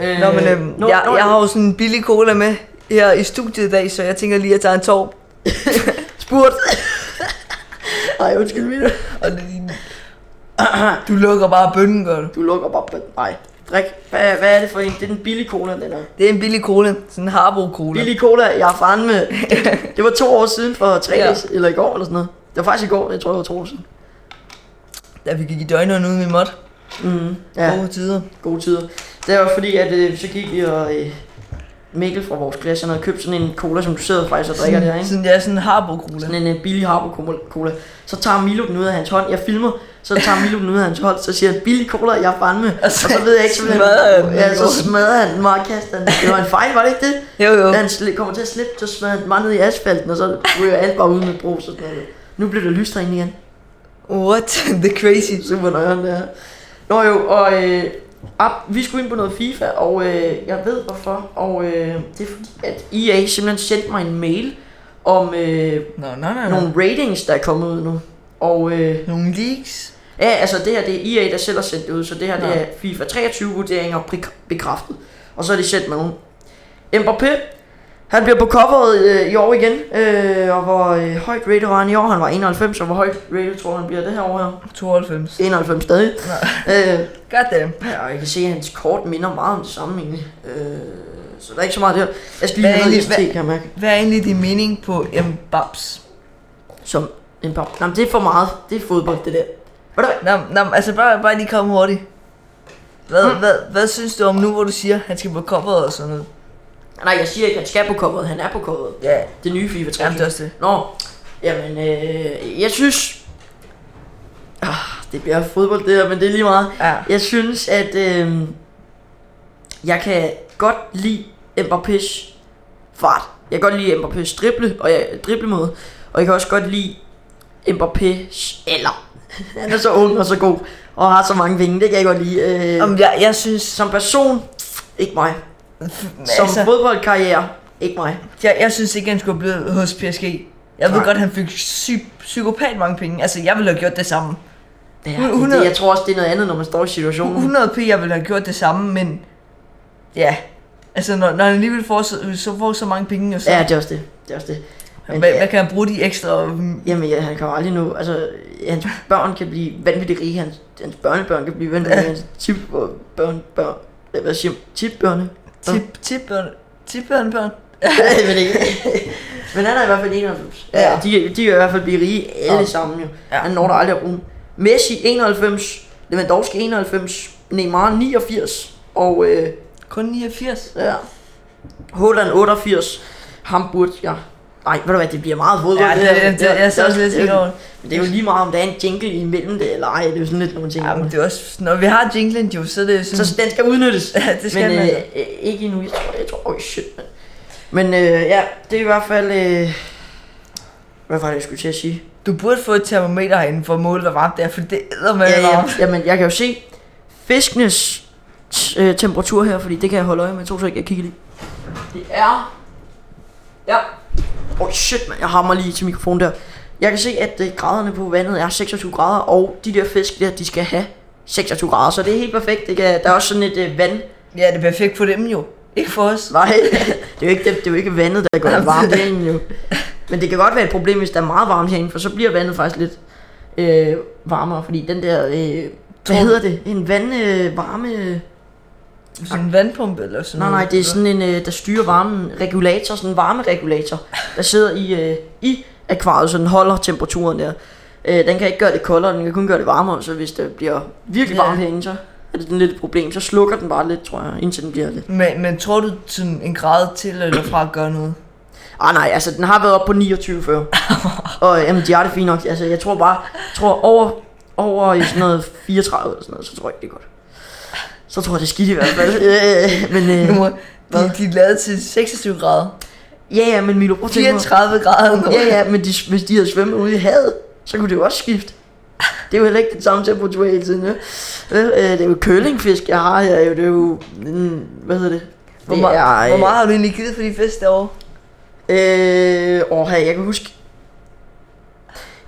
Øh, Nå, men øhm, nå, jeg, nå, jeg har jo sådan en billig cola med her i studiet i dag, så jeg tænker lige, at jeg tager en tår. spurgt. Ej, undskyld mig. Og det, du lukker bare bønnen, gør du. Du lukker bare på Nej. Drik. Hvad, hvad er det for en? Det er den billige cola, den er. Det er en billig cola. Sådan en Harbo cola. Billig cola, jeg har faren med. Det var to år siden for tre Ja. ja. dage, eller i går eller sådan noget. Det var faktisk i går, jeg tror det var to år siden. Da vi gik i døgnerne ude med mod. Mm, Ja. ja, Gode tider. gode tider. Det var fordi, at øh, så gik vi og øh, Mikkel fra vores klasse, han havde købt sådan en cola, som du sidder faktisk og drikker der, ikke? Sådan, ja, sådan en Harbo cola. sådan en øh, billig Harbo cola. Så tager Milo den ud af hans hånd. Jeg filmer, så tager Milo den ud af hans hånd, så siger han, billig cola, jeg er fandme. Og så, og så ved jeg ikke, så vil han- smadrer han den. ja, så smadrer han den meget og kaster den. Det var en fejl, var det ikke det? Jo, jo. Da han sli- kommer til at slippe, så smadrer han den meget ned i asfalten, og så ryger alt bare ud med brus og sådan noget. Nu bliver det lyst herinde igen. What? <laughs> The crazy. Super nøjeren det her. Nå jo, og øh, op, vi skulle ind på noget FIFA, og øh, jeg ved hvorfor. Og øh, det er fordi, at EA simpelthen sendte mig en mail om øh, Nå, nå, nå, nå. nogle ratings, der er kommet ud nu. Og øh, Nogle leaks. Ja, altså det her, det er EA, der selv har sendt det ud, så det her, det Nå. er FIFA 23 vurderinger prik- bekræftet. Og så har de sendt mig nogle. Mbappé, han bliver på coveret øh, i år igen, øh, og hvor øh, højt rated var han i år, han var 91, og hvor højt rated tror jeg, han bliver det her år her. 92. 91 stadig. Øh, God damn. ja, og jeg kan se, at hans kort minder meget om det samme egentlig. Øh, så der er ikke så meget der. Jeg skal Hvad lige er have noget egentlig- iste, kan jeg mærke. Hvad er egentlig din mening på Mbaps? Som en par. Jamen, det er for meget. Det er fodbold, det der. Ved du hvad? Nå, nå, altså bare, bare lige kom hurtigt. Hvad, mm. hvad, hvad synes du om nu, hvor du siger, han skal på coveret og sådan noget? Nej, jeg siger ikke, at han skal på coveret. Han er på coveret. Ja, Det nye FIFA 23. jamen det er også det. Nå, jamen, øh, jeg synes... Ah, det bliver fodbold det her, men det er lige meget. Ja. Jeg synes, at øh, jeg kan godt lide Mbappé's fart. Jeg kan godt lide Mbappé's drible, og jeg, driblemåde. Og jeg kan også godt lide Mbappé's alder. <laughs> Han er så ung og så god, og har så mange vinge, det kan jeg godt lide. Øh, Om jeg, jeg synes, som person, ikke mig. Som altså, fodboldkarriere, ikke mig. jeg, jeg synes ikke, han skulle blive hos PSG. Jeg ved Nej. godt, han fik psy- psykopat mange penge. Altså, jeg ville have gjort det samme. Det Hun- er, hun det, er- jeg tror også, det er noget andet, når man står i situationen. 100 p, jeg ville have gjort det samme, men... Ja, altså når, når han alligevel får så, så, får så mange penge, og så... Ja, det er også det. Det er også det. Men Hvad, det er- hvad kan han bruge de ekstra... øh, Jamen, ja, han kan jo aldrig nå. Altså, hans børn kan blive vanvittigt rige. Hans, hans børnebørn kan blive vanvittigt rige. Hans tipbørn, børn, øh, hvad siger man? Tipbørne? Tip, tip, øh, børn, tip, børn, børn. <laughs> Jeg ved det ikke. Men han er i hvert fald 91. Ja. Ja. De, kan- de kan i hvert fald blive rige alle Ja. sammen jo. Ja. Han når der aldrig at bruge dem. Messi 91, Lewandowski 91, Neymar 89 og øh, Kun 89. ja. Holland 88. Ham burde jeg... Nej, ved du hvad, det bliver meget fodbold. Ja, det, her. det, det, jeg sad også lidt det er jo- tænkt over det. Men det er jo lige meget, om der er en jingle imellem det, eller ej, det er jo sådan lidt nogle ting. Ja, men det er også... Når vi har jinglen jo, så er det jo sådan... Så den skal udnyttes. <laughs> Ja, det skal altså. men, man. øh, øh, ikke endnu. Jeg tror, jeg tror, oh shit, man. Men øh, ja, det er i hvert fald... Øh, hvad var det, jeg skulle til at sige? Du burde få et termometer herinde for at måle, hvor varmt det er, for det æder med Ja, ja, varmt. jamen, jeg kan jo se fiskenes t- øh, temperatur her, fordi det kan jeg holde øje med. To sekunder, jeg kigger lige. Det er... Ja. Oh shit, man. Jeg hammer lige til mikrofonen der. Jeg kan se, at øh, graderne på vandet er 26 grader, og de der fisk der, de skal have 26 grader, så det er helt perfekt. Det kan, der er også sådan et øh, vand, Ja, det er perfekt for dem jo. Ikke for os. Nej, <laughs> det er jo ikke, det, det er jo ikke vandet, der gør det varmt herinde jo. Men det kan godt være et problem, hvis der er meget varmt herinde, for så bliver vandet faktisk lidt øh, varmere, fordi den der, øh, hvad Tror- hedder det, en vandvarme, øh, varme, øh, Sådan en vandpumpe eller sådan nej noget. nej, det er sådan en, øh, der styrer varmen, regulator, sådan en varmeregulator, der sidder i, øh, i akvariet, så den holder temperaturen der. Øh, den kan ikke gøre det koldere, den kan kun gøre det varmere, så hvis det bliver virkelig Ja. varmt herinde, så er det den lidt et problem, så slukker den bare lidt, tror jeg, indtil den bliver lidt. Men, men tror du sådan en grad til eller fra gør noget? Ah nej, altså den har været op på 29 <laughs> før. og øh, jamen, de har det fint nok. Altså jeg tror bare, jeg tror over, over i sådan noget 34 eller sådan noget, så tror jeg ikke det er godt. Så tror jeg det er skidt i hvert <laughs> fald. øh, men Nu øh, må, de, de er lavet til 26 grader. ja ja, men Milo, prøv at tænke på- 34 grader nu. Ja ja, men de, hvis de havde svømmet ude i havet, så kunne det jo også skifte. Det er jo heller ikke den samme temperatur hele tiden, ja. Vel, øh, det er jo kølingfisk, jeg har her. jo. Det er jo, mm, hvad hedder det? Hvor, Det meget, er, øh, hvor meget har du egentlig givet for de fest derovre? Øh, åh, jeg kan huske...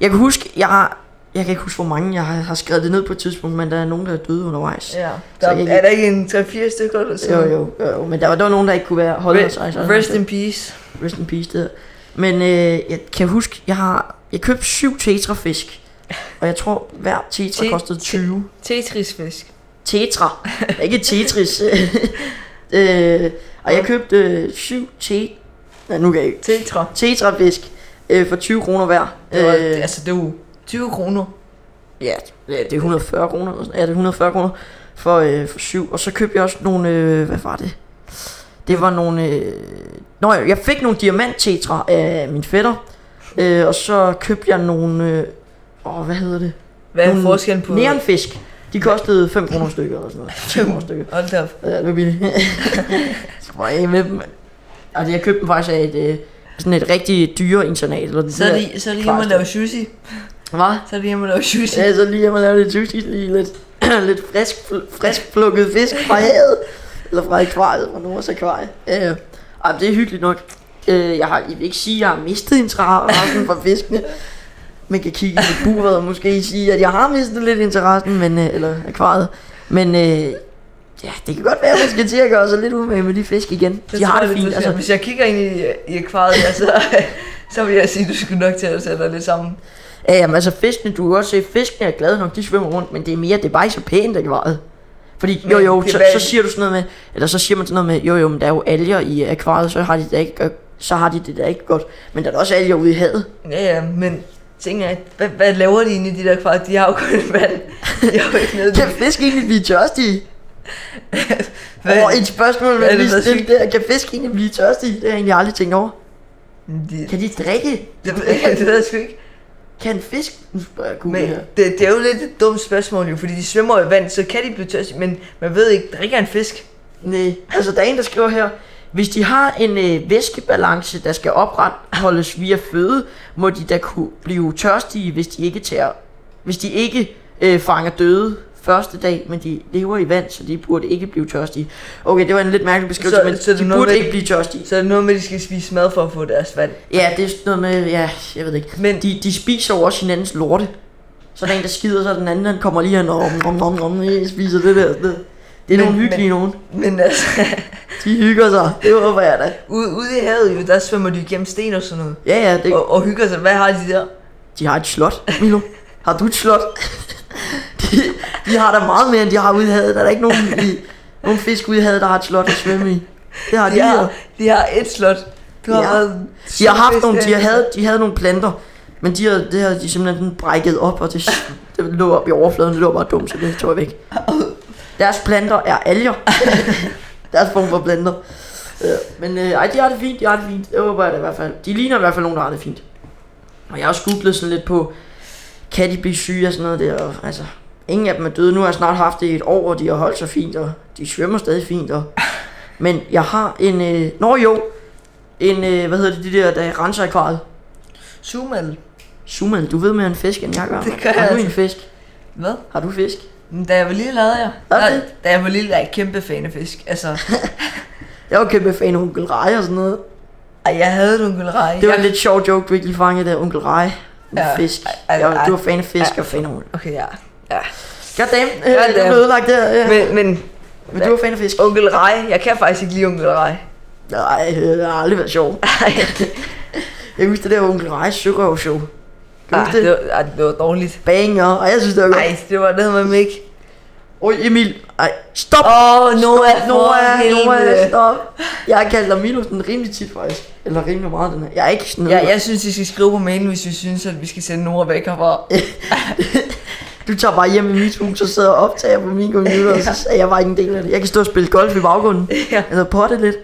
Jeg kan huske, jeg har... Jeg kan ikke huske, hvor mange jeg har, har skrevet det ned på et tidspunkt, men der er nogen, der er døde undervejs. Ja. Så Der, jeg- er der ikke en 3-4 stykker eller sådan Jo, noget? jo, jo, jo, men der var, der var nogen, der ikke kunne være holde sig. altså. Rest, rest in peace. rest in peace, det hedder. Men øh, jeg kan huske, jeg har... Jeg købte syv tetrafisk, og jeg tror, hver tetra Te- kostede te- 20. Tetrisfisk. Tetra, <laughs> ikke Tetris. <laughs> øh, og jeg købte øh, syv te... Nej, nu kan jeg ikke. Tetra. Tetrafisk øh, for 20 kroner hver. Det var, Øh, altså, det er jo 20 kroner. Ja, ja, det er 140 kroner. eller sådan- Ja, det er 140 kroner for, øh, for syv. Og så købte jeg også nogle... Øh, hvad var det? Det var nogle... Øh, nå, jeg jeg fik nogle diamanttetra af min fætter. Øh, og så købte jeg nogle... Øh, åh, hvad hedder det? Hvad er Nogle forskellen på... Neonfisk. De kostede 5 kroner stykket eller sådan <laughs> noget. 5 kroner stykket. Hold da op. Ja, det var billigt. <laughs> så var jeg af med dem. mand. Altså, jeg købte dem faktisk af et... Øh, sådan et rigtig dyre internat. Eller Så er de, så er de hjemme og kvarstad. lave sushi. Hvad? Så er de hjemme og lave sushi. Ja, så Altså, lige hjemme og lave lidt sushi, lige lidt, <clears throat> lidt frisk, frisk plukket fisk fra havet, eller fra akvariet, fra Nords akvarie. Ja, ja. Ej, men det er hyggeligt nok. Øh, jeg, har, jeg vil ikke sige, at jeg har mistet interessen for fiskene. Man kan kigge i buret og måske sige, at jeg har mistet lidt interessen, men, øh, eller akvariet. Men øh, ja, det kan godt være, at man skal til at gøre sig lidt umage med de fisk igen. Det De tror har det jeg, fint. du siger. Altså, Hvis jeg kigger ind i, i akvariet, <laughs> ja, så, så vil jeg sige, at du skulle nok til at sætte dig lidt sammen. Ja, jamen, altså fiskene, du kan godt se, fiskene er glade nok, de svømmer rundt, men det er mere, det er bare ikke så pænt akvariet. Fordi jo Men jo, det er så, bare- så, siger du sådan noget med, eller så siger man sådan noget med, jo jo, men der er jo alger i akvariet, så har de det da ikke, så har de det da ikke godt. Men der er da også alger ude i havet. Ja, ja, men ting er, hvad, hvad laver de inde i de der akvarier? De har jo kun et vand. De har jo ikke noget. Kan fisk egentlig blive tørstige? Hvad- Og et spørgsmål, Hvad man er det, lige der er stille sygt? der. Kan fisk egentlig blive tørstige? Det har jeg egentlig aldrig tænkt over. De, Kan de drikke? det, det, det ved jeg sgu ikke. Kan fisk? Nu spørger jeg Google Men her. det, det er jo lidt et dumt spørgsmål jo, fordi de svømmer jo i vand, så kan de blive tørstige, men man ved ikke, drikker en fisk? Nej, altså der er en, der skriver her, hvis de har en øh, væskebalance, der skal opretholdes via føde, må de da kunne blive tørstige, hvis de ikke, tager, hvis de ikke øh, fanger døde første dag, men de lever i vand, så de burde ikke blive tørstige. Okay, det var en lidt mærkelig beskrivelse, Så- men så det er de noget burde med- ikke blive tørstige. Så er det noget med, at de skal spise mad for at få deres vand. Ja, det er sådan noget med, ja, jeg ved det ikke. Men- de, de spiser jo også hinandens lorte. Så er der en, der skider, så er den anden, han kommer lige hen og om, om, om, om, spiser det der. Det. Det er Men- men, nogle hyggelige nogen. Men altså, <laughs> De hygger sig. Det håber jeg da. ude, ude i havet, jo, der svømmer de igennem sten og sådan noget. Ja, ja, det, Og, og hygger sig. Hvad har de der? De har et slot, Milo. Har du et slot? De, de har da meget mere, end de har ude i havet. Der er da ikke nogen, i, nogen fisk ude i havet, der har et slot at svømme i. Det har de, De de her. har, de har et slot. Du har Ja. været De har haft surfist nogle, de, derinde. havde, de havde nogle planter, men de har, det har de simpelthen brækket op, og det, det lå op i overfladen, det lå bare dumt, så det tog jeg væk. Deres planter er <laughs> alger. Deres form for planter. Øh, Men øh, ej, de har det fint, de har det fint. Det håber jeg da i hvert fald. De ligner i hvert fald nogen, der har det fint. Og jeg har også googlet sådan lidt på, kan de blive syge og sådan noget der, og altså, ingen af dem er døde. Nu har jeg snart haft det i et år, og de har holdt sig fint, og de svømmer stadig fint. <laughs> Og... Men jeg har en, øh... nå jo, en, øh, hvad hedder det, de der, der renser akvariet. Sumal. Sumal, du ved mere en fisk, end jeg gør. Det gør har jeg du en fisk? Hvad? Har du fisk? Men Da jeg var lille lavede jeg. Var Da, det? da jeg var lille, var jeg kæmpe fan af fisk. Altså, Jeg var kæmpe fan af onkel Rej og sådan noget. ej, jeg havde et onkel Rej. Det var Jeg- en lidt sjov joke, du ikke lige fangede der, onkel Rej. En Ja, fisk. ej, ej, Jeg, var- ej. du var fan af fisk og fan af onkel. Okay, ja. Goddamn, øh, Goddamn. det blev ødelagt der. Ja. Men, Men, men men du var fan af fisk. onkel Rej, Jeg kan faktisk ikke lide onkel Rej. Nej, øh, det har aldrig været sjov. <laughs> jeg husker det der onkel Rej sørøvshow. Kan du Ah, huske det, det? var, ah, det var dårligt. Banger, og jeg synes det var godt. Nej, det var det med Mik. Oj, Emil, ej, stop! Åh, oh, Noah, Noah, Noah, helvede. stop. Jeg kalder Milo sådan rimelig tit faktisk. Eller rimelig meget den her. Jeg er ikke sådan Ja, jeg synes, I skal skrive på mailen, hvis I synes, at vi skal sende Nora væk herfra. Du tager bare hjem i mit hus og sidder og optager på min computer, og så er jeg bare ikke en del af det. Jeg kan stå og spille golf i baggrunden. Ja. Eller potte lidt.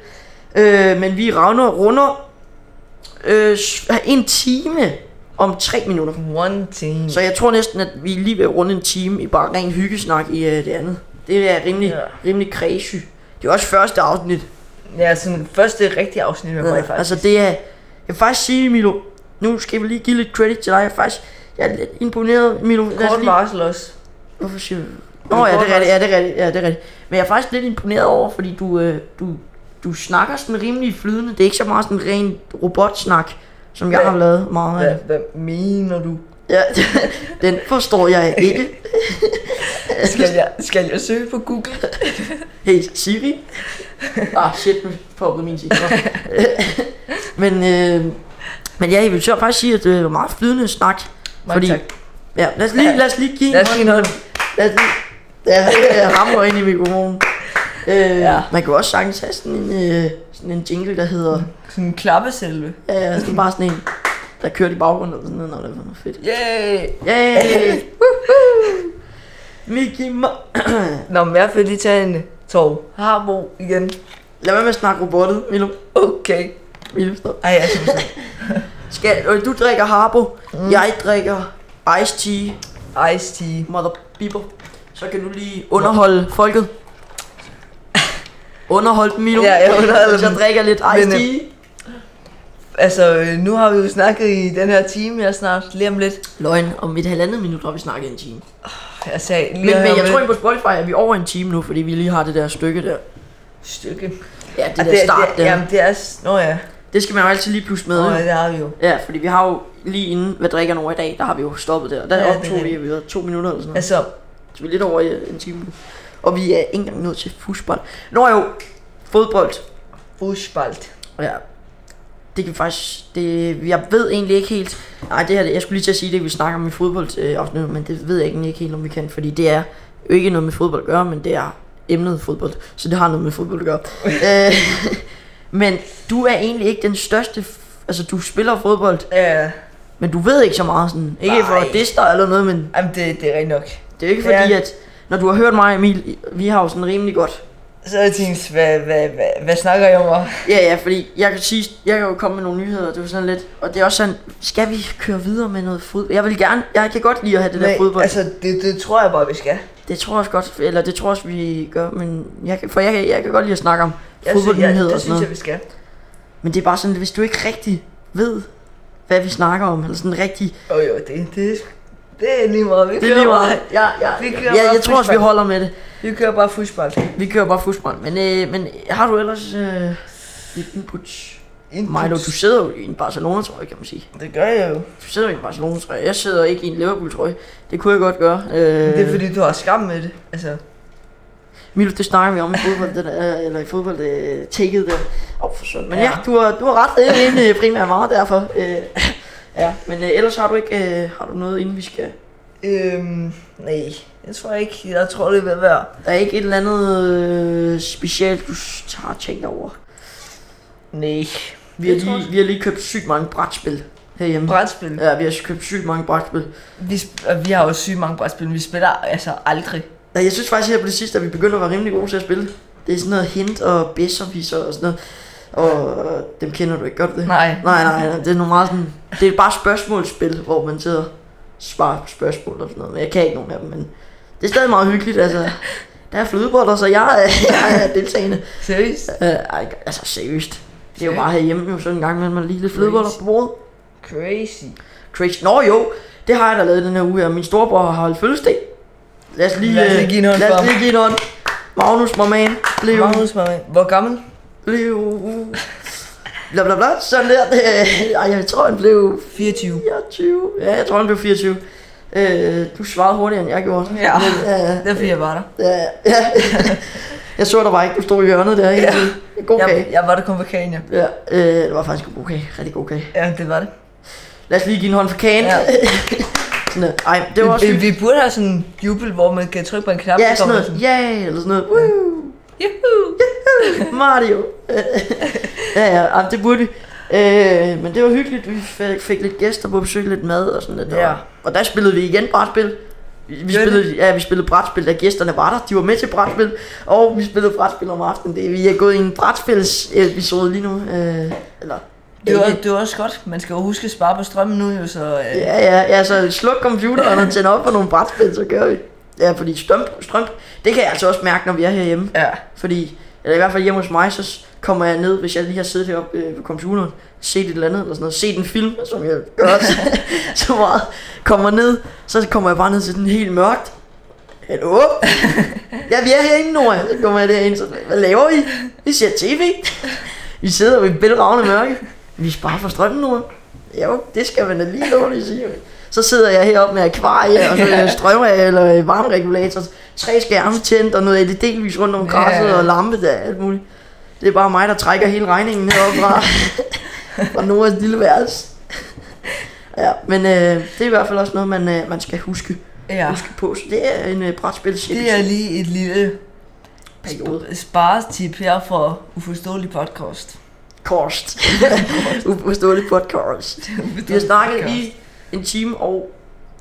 Øh, men vi ravner runder øh, s- en time om tre minutter. One team. Så jeg tror næsten, at vi er lige ved at runde en time i bare ren hyggesnak i øh, det andet. Det er rimelig, Ja. rimelig kredssy. Det er også første afsnit. Ja, sådan første rigtige afsnit med mig, faktisk. Altså det er, jeg vil faktisk sige Milo, nu skal vi lige give lidt credit til dig, jeg er faktisk, jeg er lidt imponeret Milo. Lad os Altså, Kort lige, varsel også. hvorfor siger du? Nå ja, det er rigtigt, ja, det er rigtigt, ja, det er rigtigt. Men jeg er faktisk lidt imponeret over, fordi du, øh, du, du snakker sådan rimelig flydende, det er ikke så meget sådan ren robotsnak, som jeg Hvad? har lavet meget Hvad, af. hvad mener du? Ja, <laughs> den forstår jeg ikke. Skal jeg, skal jeg søge på Google? Hey Siri. Ah shit, nu poppede min Siri. op. <laughs> men, øh, men ja, jeg vil så faktisk sige, at det var meget flydende snak. Mange tak. Ja, lad os lige, lad os lige give en Lad os hånd. give en hånd. Lad os lige, ja, jeg rammer ind i mikrofonen. Øh, Ja. ja. Man kan også sagtens have sådan en, øh, sådan en jingle, der hedder... Sådan en klappeselve. Ja, ja, sådan bare sådan en, der kører i baggrunden eller sådan noget, når det er fedt. Yay! Yeah! Mickey Ma- Nå, men jeg vil lige tage en tog. Harbo igen. Lad være med at snakke robottet, Milo. Okay. Milo, stop. Ej, jeg synes det. Skal, øh, du drikker Harbo, mm. jeg drikker Ice Tea, Ice tea. mother biber. Så kan du lige underholde folket. Underhold dem, Milo. Ja, jeg underholder Så dem. drikker jeg lidt Ice Men, øh, Tea. Altså, øh, nu har vi jo snakket i den her time, jeg snart lige om lidt. Løgn, om et halvandet minut har vi snakket en time. Jeg sagde lige Men, her men jeg om tror lidt. ikke på Spotify, at vi er over en time nu, fordi vi lige har det der stykke der. Stykke. Ja, det Ah, der det, start det, der. Jamen, det er... s- Nå ja. Det skal man jo altid lige pludselig med. Nå, jo. ja, det har vi jo. Ja, fordi vi har jo lige inden, hvad drikker over i dag, der har vi jo stoppet der. Der Ja, det er optog vi, rigtigt. vi havde to minutter eller sådan noget. Altså, Så vi er lidt over i en time. nu. Og vi er ikke engang nået til fodbold. Nå jo, fodbold. fodspalt. Ja. Det kan faktisk... Det, jeg ved egentlig ikke helt... Nej, det her... Jeg skulle lige til at sige det, vi snakker om i fodbold øh, aften, men det ved jeg egentlig ikke helt, om vi kan. Fordi det er jo ikke noget med fodbold at gøre, men det er emnet fodbold. Så det har noget med fodbold <laughs> at gøre. øh, men du er egentlig ikke den største... f- Altså, du spiller fodbold, Ja, men du ved ikke så meget sådan. Ikke for Nej. at disse dig eller noget, men jamen, det, det er rigtigt nok. det er jo ikke fordi, Ja. at... Når du har hørt mig, Emil, vi har jo sådan rimelig godt Så jeg tænkte, hvad, hvad, hvad, hvad snakker jeg om? Ja, ja, fordi jeg kan, sige, jeg kan jo komme med nogle nyheder, det er jo sådan lidt, og det er også sådan, skal vi køre videre med noget fodbold? Jeg vil gerne, jeg kan godt lide at have det der Nej, fodbold. Altså, Altså, det, det tror jeg bare, vi skal. det tror jeg også godt, eller det tror jeg også, vi gør, men jeg kan, for jeg, kan- jeg kan godt lide at snakke om Jeg synes, jeg, fodboldnyheder altså, det og sådan synes jeg, noget. vi skal. Men det er bare sådan, hvis du ikke rigtig ved, hvad vi snakker om, eller sådan rigtig, Jo, jo, det, det, det er lige meget. Vi det er lige meget. Ja, ja, Vi kører ja bare jeg tror også, vi fodbold. holder med det. Vi kører bare fodspalt. Vi kører bare fodbold, men, øh, men har du ellers øh, lidt input? Milo, du sidder jo i en Barcelona-trøje, kan man sige. Det gør jeg jo. Du sidder i en Barcelona-trøje. Jeg sidder ikke i en Liverpool-trøje. Det kunne jeg godt gøre. Øh, Det er fordi, du har skam med det. Altså, Milo, det snakker vi om i fodbold, det der, eller i fodbold, øh, tækket der. Åh, oh, for søren. Men ja, Ja. du, har, du har ret. Det er egentlig primært meget derfor. Øh, <laughs> ja, men øh, ellers har du ikke øh, har du noget, inden vi skal... Øhm, nej, jeg tror ikke. Jeg tror, det vil være. Der er ikke et eller andet øh, specielt, du s- har tænkt over. Nej. Vi har, Jeg tror lige, vi har lige købt sygt mange brætspil herhjemme. Brætspil. Ja, vi har købt sygt mange brætspil. Vi, sp- og vi har jo sygt mange brætspil, men vi spiller altså aldrig. Nej, jeg synes faktisk her på det sidste, at vi begynder at være rimelig gode til at spille. Det er sådan noget hint og bedserviser og sådan noget. Og øh, dem kender du ikke godt, det? Nej. Nej, nej, nej, det er nogle meget sådan, det er bare spørgsmålsspil, hvor man sidder og svarer på spørgsmål og sådan noget, men jeg kan ikke nogen af dem, men det er stadig meget hyggeligt, altså. Der er flødeboller, så jeg, er- <laughs> jeg er deltagende. Seriøst? Øh, ej, altså seriøst. Det er jo bare herhjemme jo sådan en gang, men man lige lidt flødeboller på bordet. Crazy. Crazy. Nå jo, det har jeg da lavet den her uge, og min storebror har holdt fødselsdag. Lad os lige, Lad os øh, lige give en hånd lad for os ham. lige give en hånd. Magnus, my man, blev, Magnus, Magnus. Hvor gammel? blev, bla bla bla, sådan der. <laughs> Ej, jeg tror, han blev 24. 24. Ja, jeg tror, han blev 24. Øh, du svarede hurtigere, end jeg gjorde. Ja. Ja, Derfor jeg var der. ja, ja. <laughs> jeg så dig bare ikke, du stod i hjørnet der. Ja. God Jeg, kage. jeg var der kun for kagen, ja. Ja, øh, det var faktisk en god kage. Rigtig god kage. Ja, det var det. Lad os lige give en hånd for kagen. Ja. Ja. <laughs> sådan noget. Ej, det var også Vi, sygt. vi burde have sådan en jubel, hvor man kan trykke på en knap. Ja, så sådan kommer noget. Ja, eller sådan noget. Woo, Juhu! <laughs> Mario. <laughs> ja, ja, ej, det burde vi. Øh, men det var hyggeligt, vi fik, fik lidt gæster på besøg, lidt mad og sådan lidt. Ja. Og, og der spillede vi igen brætspil. Vi vi Ja, det- spillede, ja, vi spillede brætspil, da gæsterne var der. De var med til brætspil, og vi spillede brætspil om aftenen. Det, vi er gået i en brætspils-episode lige nu. Øh, eller, Det var, ikke- det var også godt. Man skal jo huske at spare på strømmen nu, jo, så... Øh, Ja, ja, ja, så sluk computeren og tænd op for nogle brætspil, så gør vi. Ja, fordi strøm, strøm, det kan jeg altså også mærke, når vi er herhjemme. ja. Fordi, eller i hvert fald hjemme hos mig, så s- kommer jeg ned, hvis jeg lige har siddet heroppe øh, ved computeren, set et eller andet, eller sådan noget, set en film, som jeg gør så, så meget, kommer ned, så kommer jeg bare ned til den helt mørkt. Hallo? ja, vi er herinde, Nora. Så kommer jeg derind, så hvad laver I? Vi ser tv. vi sidder ved bælragende mørke. Vi sparer for strømmen, Nora. Jo, det skal man da lige lovligt sige. Så sidder jeg heroppe med akvarie, og så øh, strømmer jeg, eller øh, varmeregulator, tre skærme tændt, og noget LED-lys rundt om græsset, Ja. og lampe der, alt muligt. Det er bare mig, der trækker hele regningen heroppe fra, <laughs> fra Noras lille værelse. Ja, men øh, det er i hvert fald også noget, man, øh, man skal huske, ja. huske på. Så det er en øh, brætspilsepisode. Det er lige et lille periode. sp- sparetip her for uforståelig podcast. <laughs> Kost. Uforståelig podcast. Vi har snakket i en time og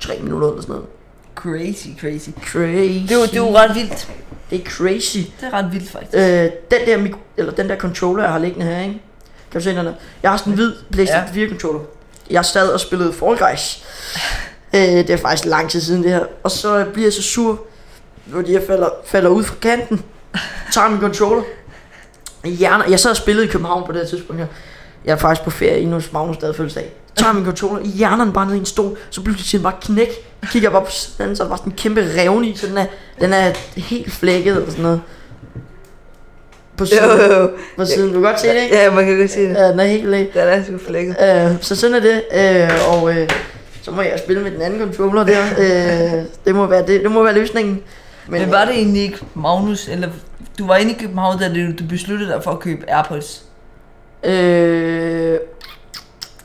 tre minutter eller sådan noget. Crazy, crazy. Crazy. Det er, jo, det er jo ret vildt. Det er crazy. Det er ret vildt, faktisk. Øh, den der mikro, eller den der controller, jeg har liggende her, ikke? Kan du se den der? Jeg har sådan en hvid PlayStation Ja. 4 controller. Jeg sad og spillede Fall Guys. Øh, det er faktisk lang tid siden det her. Og så bliver jeg så sur, fordi jeg falder, falder ud fra kanten. Tager min controller. Hjerner. Jeg sad og spillede i København på det her tidspunkt her. Jeg er faktisk på ferie inde hos Magnus, der havde fødselsdag. Tager min controller, hjernen bare ned i en stol, så pludselig siger den bare knæk. Kigger jeg bare på siden, så er der bare sådan en kæmpe revne i, så den er, den er helt flækket eller sådan noget. På Jo, <laughs> siden. jo, jo. På siden. Du kan godt se det, ikke? Ja, man kan godt se det. Ja, den er helt læg. Den er sgu flækket. Øh, så sådan er det, øh, og øh, så må jeg spille med den anden controller <laughs> der. Øh, det, må være, det, det må være løsningen. Men, men var det egentlig ikke Magnus, eller du var inde i København, da du- du besluttede dig for at købe Airpods. Øh,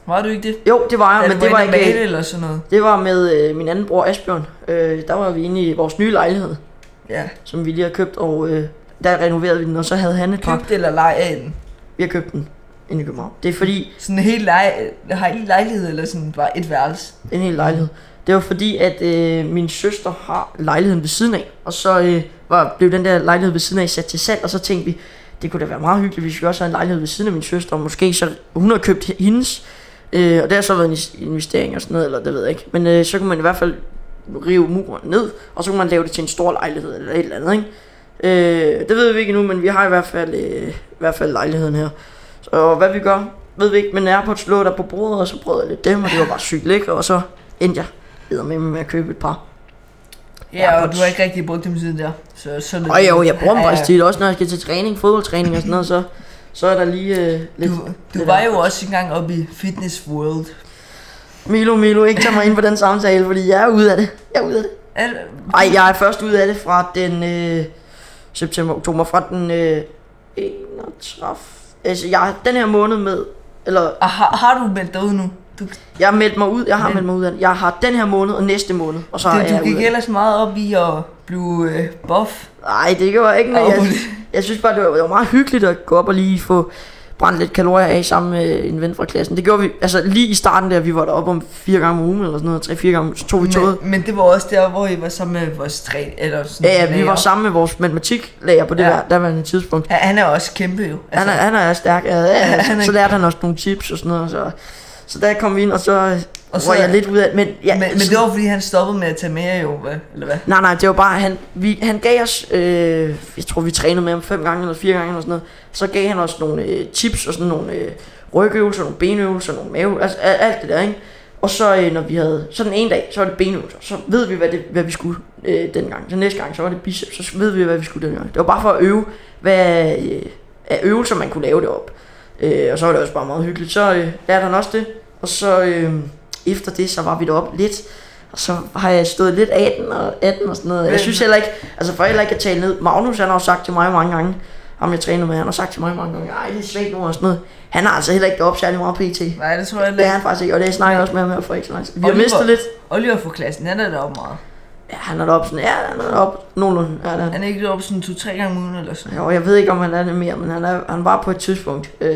Var du ikke det? jo, det var Da jeg, du men det var inde og ikke... male eller sådan noget. Det var med øh, min anden bror Asbjørn. Øh, der var vi inde i vores nye lejlighed, Ja. som vi lige har købt, og øh, der renoverede vi den, og så havde han et par. Købt eller leje af den. Vi har købt den inde i København. Det er fordi, Sådan en hel leje, hel lejlighed, eller sådan bare et værelse. en hel lejlighed. Det var fordi, at øh, min søster har lejligheden ved siden af, og så øh, var, blev den der lejlighed ved siden af sat til salg, og så tænkte vi, det kunne da være meget hyggeligt, hvis vi også havde en lejlighed ved siden af min søster, og måske så hun har købt hendes, øh, og det har så været en investering og sådan noget, eller det ved jeg ikke, men øh, så kunne man i hvert fald rive muren ned, og så kunne man lave det til en stor lejlighed eller et eller andet, ikke? Øh, det ved vi ikke endnu, men vi har i hvert fald, øh, i hvert fald lejligheden her. Så, og hvad vi gør, ved vi ikke, men Airpods lå der på bordet, og så prøvede jeg lidt dem, og det var bare sygt lækker, og så endte jeg med med at købe et par. Ja, og Airpods. du har ikke rigtig brugt dem siden der. Så, så er det- Og jo, jeg bruger dem Ja, faktisk tit, også når jeg skal til træning, fodboldtræning og sådan noget, så, så er der lige øh, lidt... Du, du lidt var af- jo også engang oppe i Fitness World. Milo, Milo, ikke tage mig ind på den samtale, fordi jeg er ude af det. Jeg er ude af det. Er, Ej, jeg er først ude af det fra den øh, september, oktober, fra den øh, 31. Altså, jeg den her måned med, eller Og ah, har, har du meldt dig ud nu? Du, jeg har meldt mig ud, jeg har Men- meldt mig ud af den. Jeg har den her måned og næste måned, og så du, er jeg du gik ude af ellers meget op i at blive øh, buff. Nej, det gjorde jeg ikke, men Au. jeg, jeg synes bare, det var, det var meget hyggeligt at gå op og lige få brændt lidt kalorier af sammen med en ven fra klassen. Det gjorde vi, altså lige i starten der, vi var deroppe om fire gange om ugen eller sådan noget, tre-fire gange, så tog vi toget. Men, men det var også der, hvor I var sammen med vores tre, eller sådan Ja, ja, vi lærer. var sammen med vores matematiklærer på det Ja. ja. der, derværende tidspunkt. Han, han er også kæmpe jo. Altså, han, er, han er stærk, ja, ja, ja, han er- så, så lærte han også nogle tips og sådan noget, så, så der kom vi ind, og så, Og og så- så jeg lidt ud af, men, ja, men, men det var fordi, han stoppede med at tage mere jo, hvad? eller hvad? Nej, nej, det var bare, han, vi, han gav os, øh, jeg tror vi trænede med ham fem gange eller fire gange eller sådan noget, så gav han os nogle øh, tips og sådan nogle øh, rygøvelser, nogle benøvelser, nogle mave, altså al- alt det der, ikke? Og så øh, når vi havde, sådan en dag, så var det benøvelser, så ved vi, hvad, det, hvad vi skulle øh, dengang. Så næste gang, så var det biceps, så ved vi, hvad vi skulle dengang. Det var bare for at øve, hvad øh, af øvelser, man kunne lave det op. Øh, og så var det også bare meget hyggeligt. Så øh, lærte han også det, og så øh, efter det, så var vi deroppe lidt, og så har jeg stået lidt 18 og 18 og sådan noget. Jeg synes heller ikke, altså for heller ikke at tale ned. Magnus, han har jo sagt til mig mange gange, ham jeg træner med, han har sagt til mig mange gange, ej, det er svært nu og sådan noget. Han har altså heller ikke op særlig meget pt. Nej, det tror jeg Det er ikke. han faktisk ikke, og det snakker jeg også med ham her for ikke så lang tid. Vi har Oliver. mistet lidt. Oliver fra klassen, han er deroppe meget. Ja, han er deroppe sådan, ja, han er deroppe nogenlunde. Ja, det er han. Han er ikke deroppe sådan to-tre gange om ugen eller sådan Jo, jeg ved ikke, om han er det mere, men han, er, han var på et tidspunkt. Øh,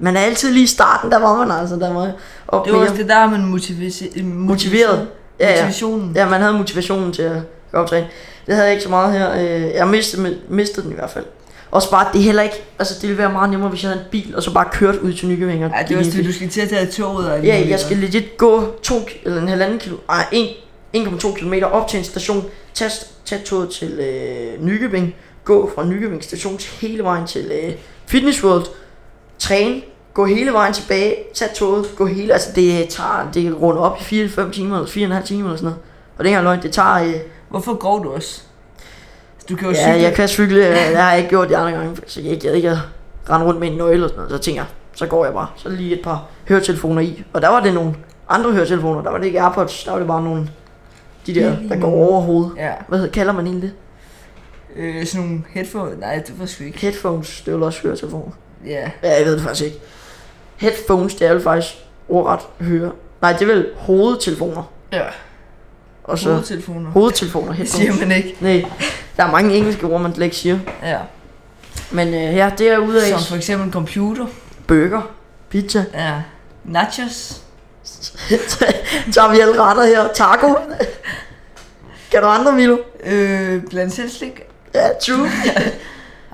man er altid lige i starten, der var man altså, der var op Det var også mere det, der har man motivisi- motiveret. Ja, ja. Motivationen. Ja, man havde motivationen til at gå op og træne. Det havde jeg ikke så meget her. Øh, Jeg mistede, mistede den i hvert fald. Også bare, det er heller ikke, altså det ville være meget nemmere, hvis jeg havde en bil, og så bare kørte ud til Nykøbing. og Ej, det er gik også i det, bil. du skal til at tage toget. og alt Ja, muligt. jeg skal legit gå to, eller en halvanden kilo, ej, en- 1,2 km op til en station, tage, tage toget til øh, Nykøbing, gå fra Nykøbing station til hele vejen til øh, Fitness World, træne, gå hele vejen tilbage, tage toget, gå hele, altså det tager, det runder op i 4-5 timer, eller 4,5 timer eller sådan noget. Og det her løgn, det tager, øh, Hvorfor går du også? Du kan jo ja, cykle. jeg kan cykle, øh, det har jeg ikke gjort de andre gange, så jeg gad ikke at rende rundt med en nøgle og sådan noget, så tænker jeg, så går jeg bare, så er der lige et par høretelefoner i, og der var det nogle andre høretelefoner, der var det ikke Airpods, der var det bare nogle, de der, der går over hovedet, Ja, hvad hedder, kalder man egentlig det? øh, sådan nogle headphones. Nej, det var sgu ikke. Headphones, det er jo også høretelefoner, Ja, ja, jeg ved det faktisk ikke, headphones, det er jo faktisk ordret høre, nej, det er vel hovedtelefoner, ja. og så hovedtelefoner. <laughs> hovedtelefoner, Det siger headphones, man ikke. nej, der er mange engelske ord, man slet ikke siger, Ja. men øh, ja, det er ude af Som for eksempel computer. burger, pizza, Ja. Nachos. <laughs> tager vi alle retter her. Taco. kan du andre, Milo? Øh, blandt selv slik. Ja, true.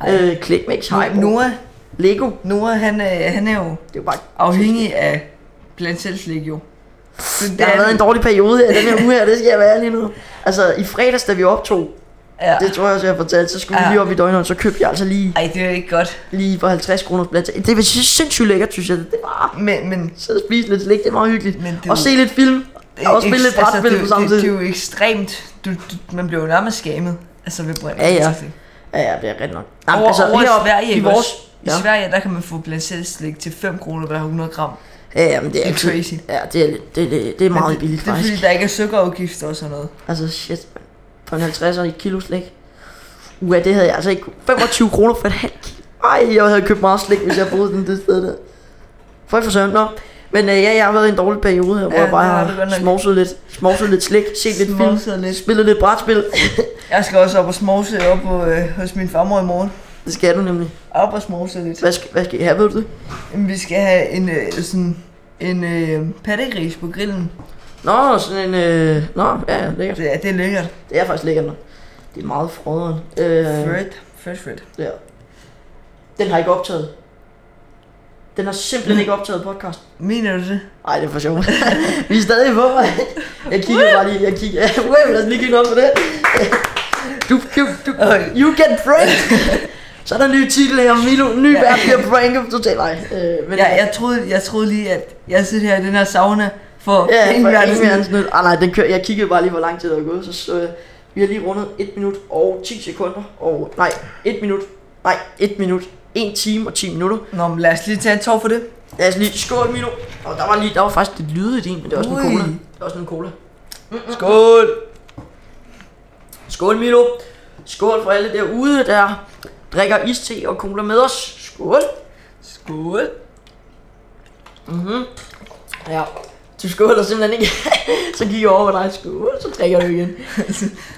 øh, Clickmix, Hype, Noah. Noah, Lego. Noah han, er, han er jo Det er jo bare... afhængig af blandt selv slik, jo. Så det Jeg har er- været en dårlig periode her, den her <laughs> uge her, det skal jeg være lige nu. Altså, i fredags, da vi optog, ja. det tror jeg også, jeg fortalte, så skulle Ja. vi lige op i døgnet, så købte jeg altså lige, Ej, det er ikke godt. lige for 50 kroner blandt andet. Det var sindssygt lækkert, synes jeg. Det var Men, men så spise lidt slik, det er meget hyggeligt. Men det er og jo- se lidt film, og spille lidt brætspil altså, det- på samme det- tid. Det, er jo ekstremt. Du, du, man bliver jo nærmest skamet. Altså ved blandt Ja, ja. selv slik. Ja, ja, det er rigtigt nok. Jamen, over, altså, over i heroppe Sverige, i ikke vores, også? I ja. Sverige, der kan man få blandt selv slik til 5 kroner hver 100 gram. Ja, ja, men det er, er altid- crazy. Ja, det er, lidt- det, det, det er meget Men billigt Det er faktisk. fordi, der ikke er sukkerafgifter og sådan noget. Altså shit, mand. for en 50'er i et kilo slik. Uha, det havde jeg altså ikke. 25 kroner for et halvt kilo. Ej, jeg havde købt meget slik, hvis jeg boede den det sted der. For for søren, nå. Men øh, ja, jeg har været i en dårlig periode her, hvor ja, Ja, jeg bare det har du har godt nok. smovset lidt, smovset lidt slik, set lidt film, Smovset lidt. spillet lidt brætspil. <laughs> Jeg skal også op og smovse op på, øh, hos min farmor i morgen. det skal du nemlig. Op og smovse lidt. Hvad skal, hvad skal I have, ved du det? Jamen, Vi skal have en, øh, sådan, en øh, pattegris på grillen. Nå, sådan en... Øh, nå, ja, ja, lækkert. Det er, det er lækkert. Det er faktisk lækkert nok. Det er meget frøderen. Øh, Fred. Fred, Fred. der. Den har ikke optaget. Den har simpelthen ikke optaget podcast. Mener du det? Nej, det er for sjovt. <laughs> vi er stadig på mig. Jeg kigger bare lige, jeg kigger. <laughs> Wait, lad os lige kigge noget på det. Du, du, du, you get pranked. Så er der en ny titel her, Milo. Ny Ja. vært bliver pranket totalt. Nej, øh, men Jeg, jeg, troede, jeg troede lige, at jeg sidder her i den her sauna for ja, for ingen verden. verdens nyt. Ah, nej, den kører. Jeg kiggede bare lige, hvor lang tid der var gået. Så, så øh, vi har lige rundet 1 minut og 10 sekunder. Og nej, 1 minut. Nej, 1 minut. 1 time og 10 minutter. Nå, men lad os lige tage en tår for det. Lad os lige skål, Milo. Og der var lige, der var faktisk lidt lyde i din, men det er også Ui. Ui. en cola. Det er også en cola. Skål! Skål, Milo. Skål for alle derude, der drikker iste og cola med os. Skål. Skål. Mhm. Ja. Du skåler simpelthen ikke. <laughs> så gik jeg over på dig. Skål, så drikker du <laughs> igen.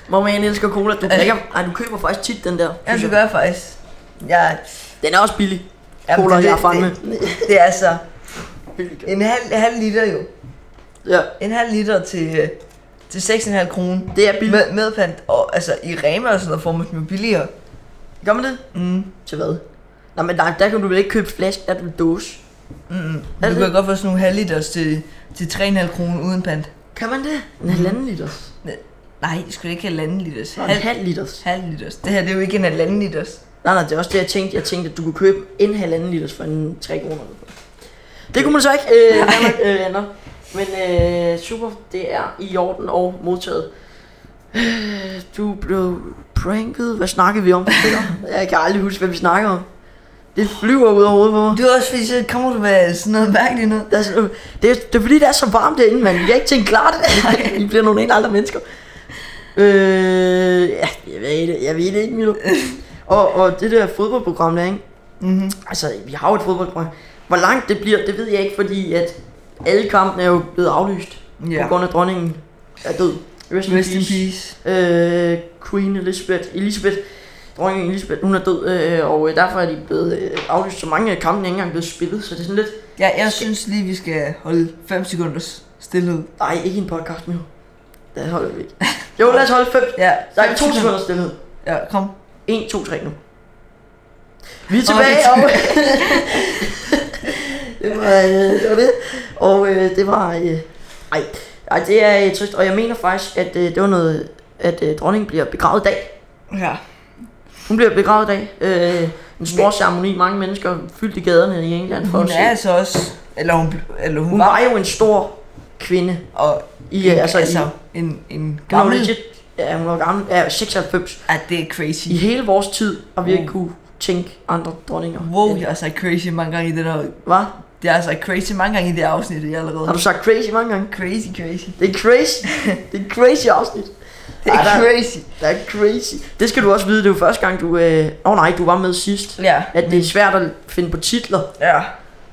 Mamma, jeg elsker cola. Du drikker... Ej, du køber faktisk tit den der. Ja, synes det jeg. gør jeg faktisk. Jeg, Den er også billig. Jamen, Cola, det- jeg er det- fandme. <laughs> det er så Billig. en halv, halv liter jo. Ja, En halv liter til, øh, til 6,5 kroner. det er billigt. Med, med pant. Og altså i Rema og sådan noget får man dem jo billigere. Gør man det? Mm. Til hvad? Nej, men nej, der kan du vel ikke købe flaske, der er du dåse. Mm. Er Du det- kan godt få sådan nogle halv liters til, til 3,5 kroner uden pant. Kan man det? En halvanden liters. Nej, det skulle ikke halvanden liters. Og en Halv, halv liters. halv liters. Det her det er jo ikke en halvanden liters. Nej, nej, det er også det, jeg tænkte. Jeg tænkte, at du kunne købe en halvanden liters for en 3 kroner. eller sådan. Det kunne man så ikke, øh, hvad man, øh, andre. Men øh, super, det er i orden og modtaget. Øh, Du blev pranket. Hvad snakkede <laughs> vi om? Peter? Jeg kan aldrig huske, hvad vi snakker om. Det flyver ud af hovedet på mig. Det er også fordi, så kommer du med sådan noget mærkeligt noget. Der er sådan, øh, det, er, det er fordi, det er så varmt derinde, mand. Jeg har ikke tænkt <laughs> klart. I bliver nogle helt andre mennesker. Øh, ja, jeg ved det, jeg ved det ikke, Milo. Og, og det der fodboldprogram der, ikke? Mm-hmm. Altså, vi har jo et fodboldprogram. Hvor langt det bliver, det ved jeg ikke, fordi at alle kampene er jo blevet aflyst. Ja. På grund af dronningen er død. Rest, Rest in peace. Øh, Queen Elizabeth, Elizabeth, dronning Elizabeth, hun er død, øh, og øh, derfor er de blevet øh, aflyst, så mange af kampene er ikke engang blevet spillet, så det er sådan lidt, Ja, jeg synes lige, vi skal holde 5 sekunders stillhed. Nej, ikke en podcast nu. Det holder vi ikke. Jo, lad os holde fem. Ja, Nej, fem to sekunder stillhed. Ja, kom. En, to, tre nu. Vi er tilbage, og... <laughs> det, var, øh, det var det. Og øh, det var... Øh, ej, ej, det er øh, trist. Og jeg mener faktisk, at øh, det var noget... At øh, dronningen bliver begravet i dag. Ja. Hun bliver begravet i dag. Øh, en stor ceremoni. Mange mennesker fyldt i gaderne i England for Hun at er se. altså også... Eller hun, bl- eller hun, Hun var jo en stor kvinde. Og I, øh, altså, altså, i, en, en hun var gammel... legit, ja, hun var gammel, ja, 96. Ja, det er crazy. i hele vores tid, og vi har ikke Wow. kunne tænke andre dronninger. Wow, jeg har sagt crazy mange gange i det der... Hvad? Det er altså crazy mange gange i det afsnit, jeg allerede. Har du sagt crazy mange gange? Crazy, crazy. Det er <laughs> crazy. det er et crazy afsnit. Det er Ej, der- crazy. Det er crazy. Det skal du også vide, det er jo første gang, du... Åh øh... oh, nej, du var med sidst. Ja. At det er svært at finde på titler. Ja.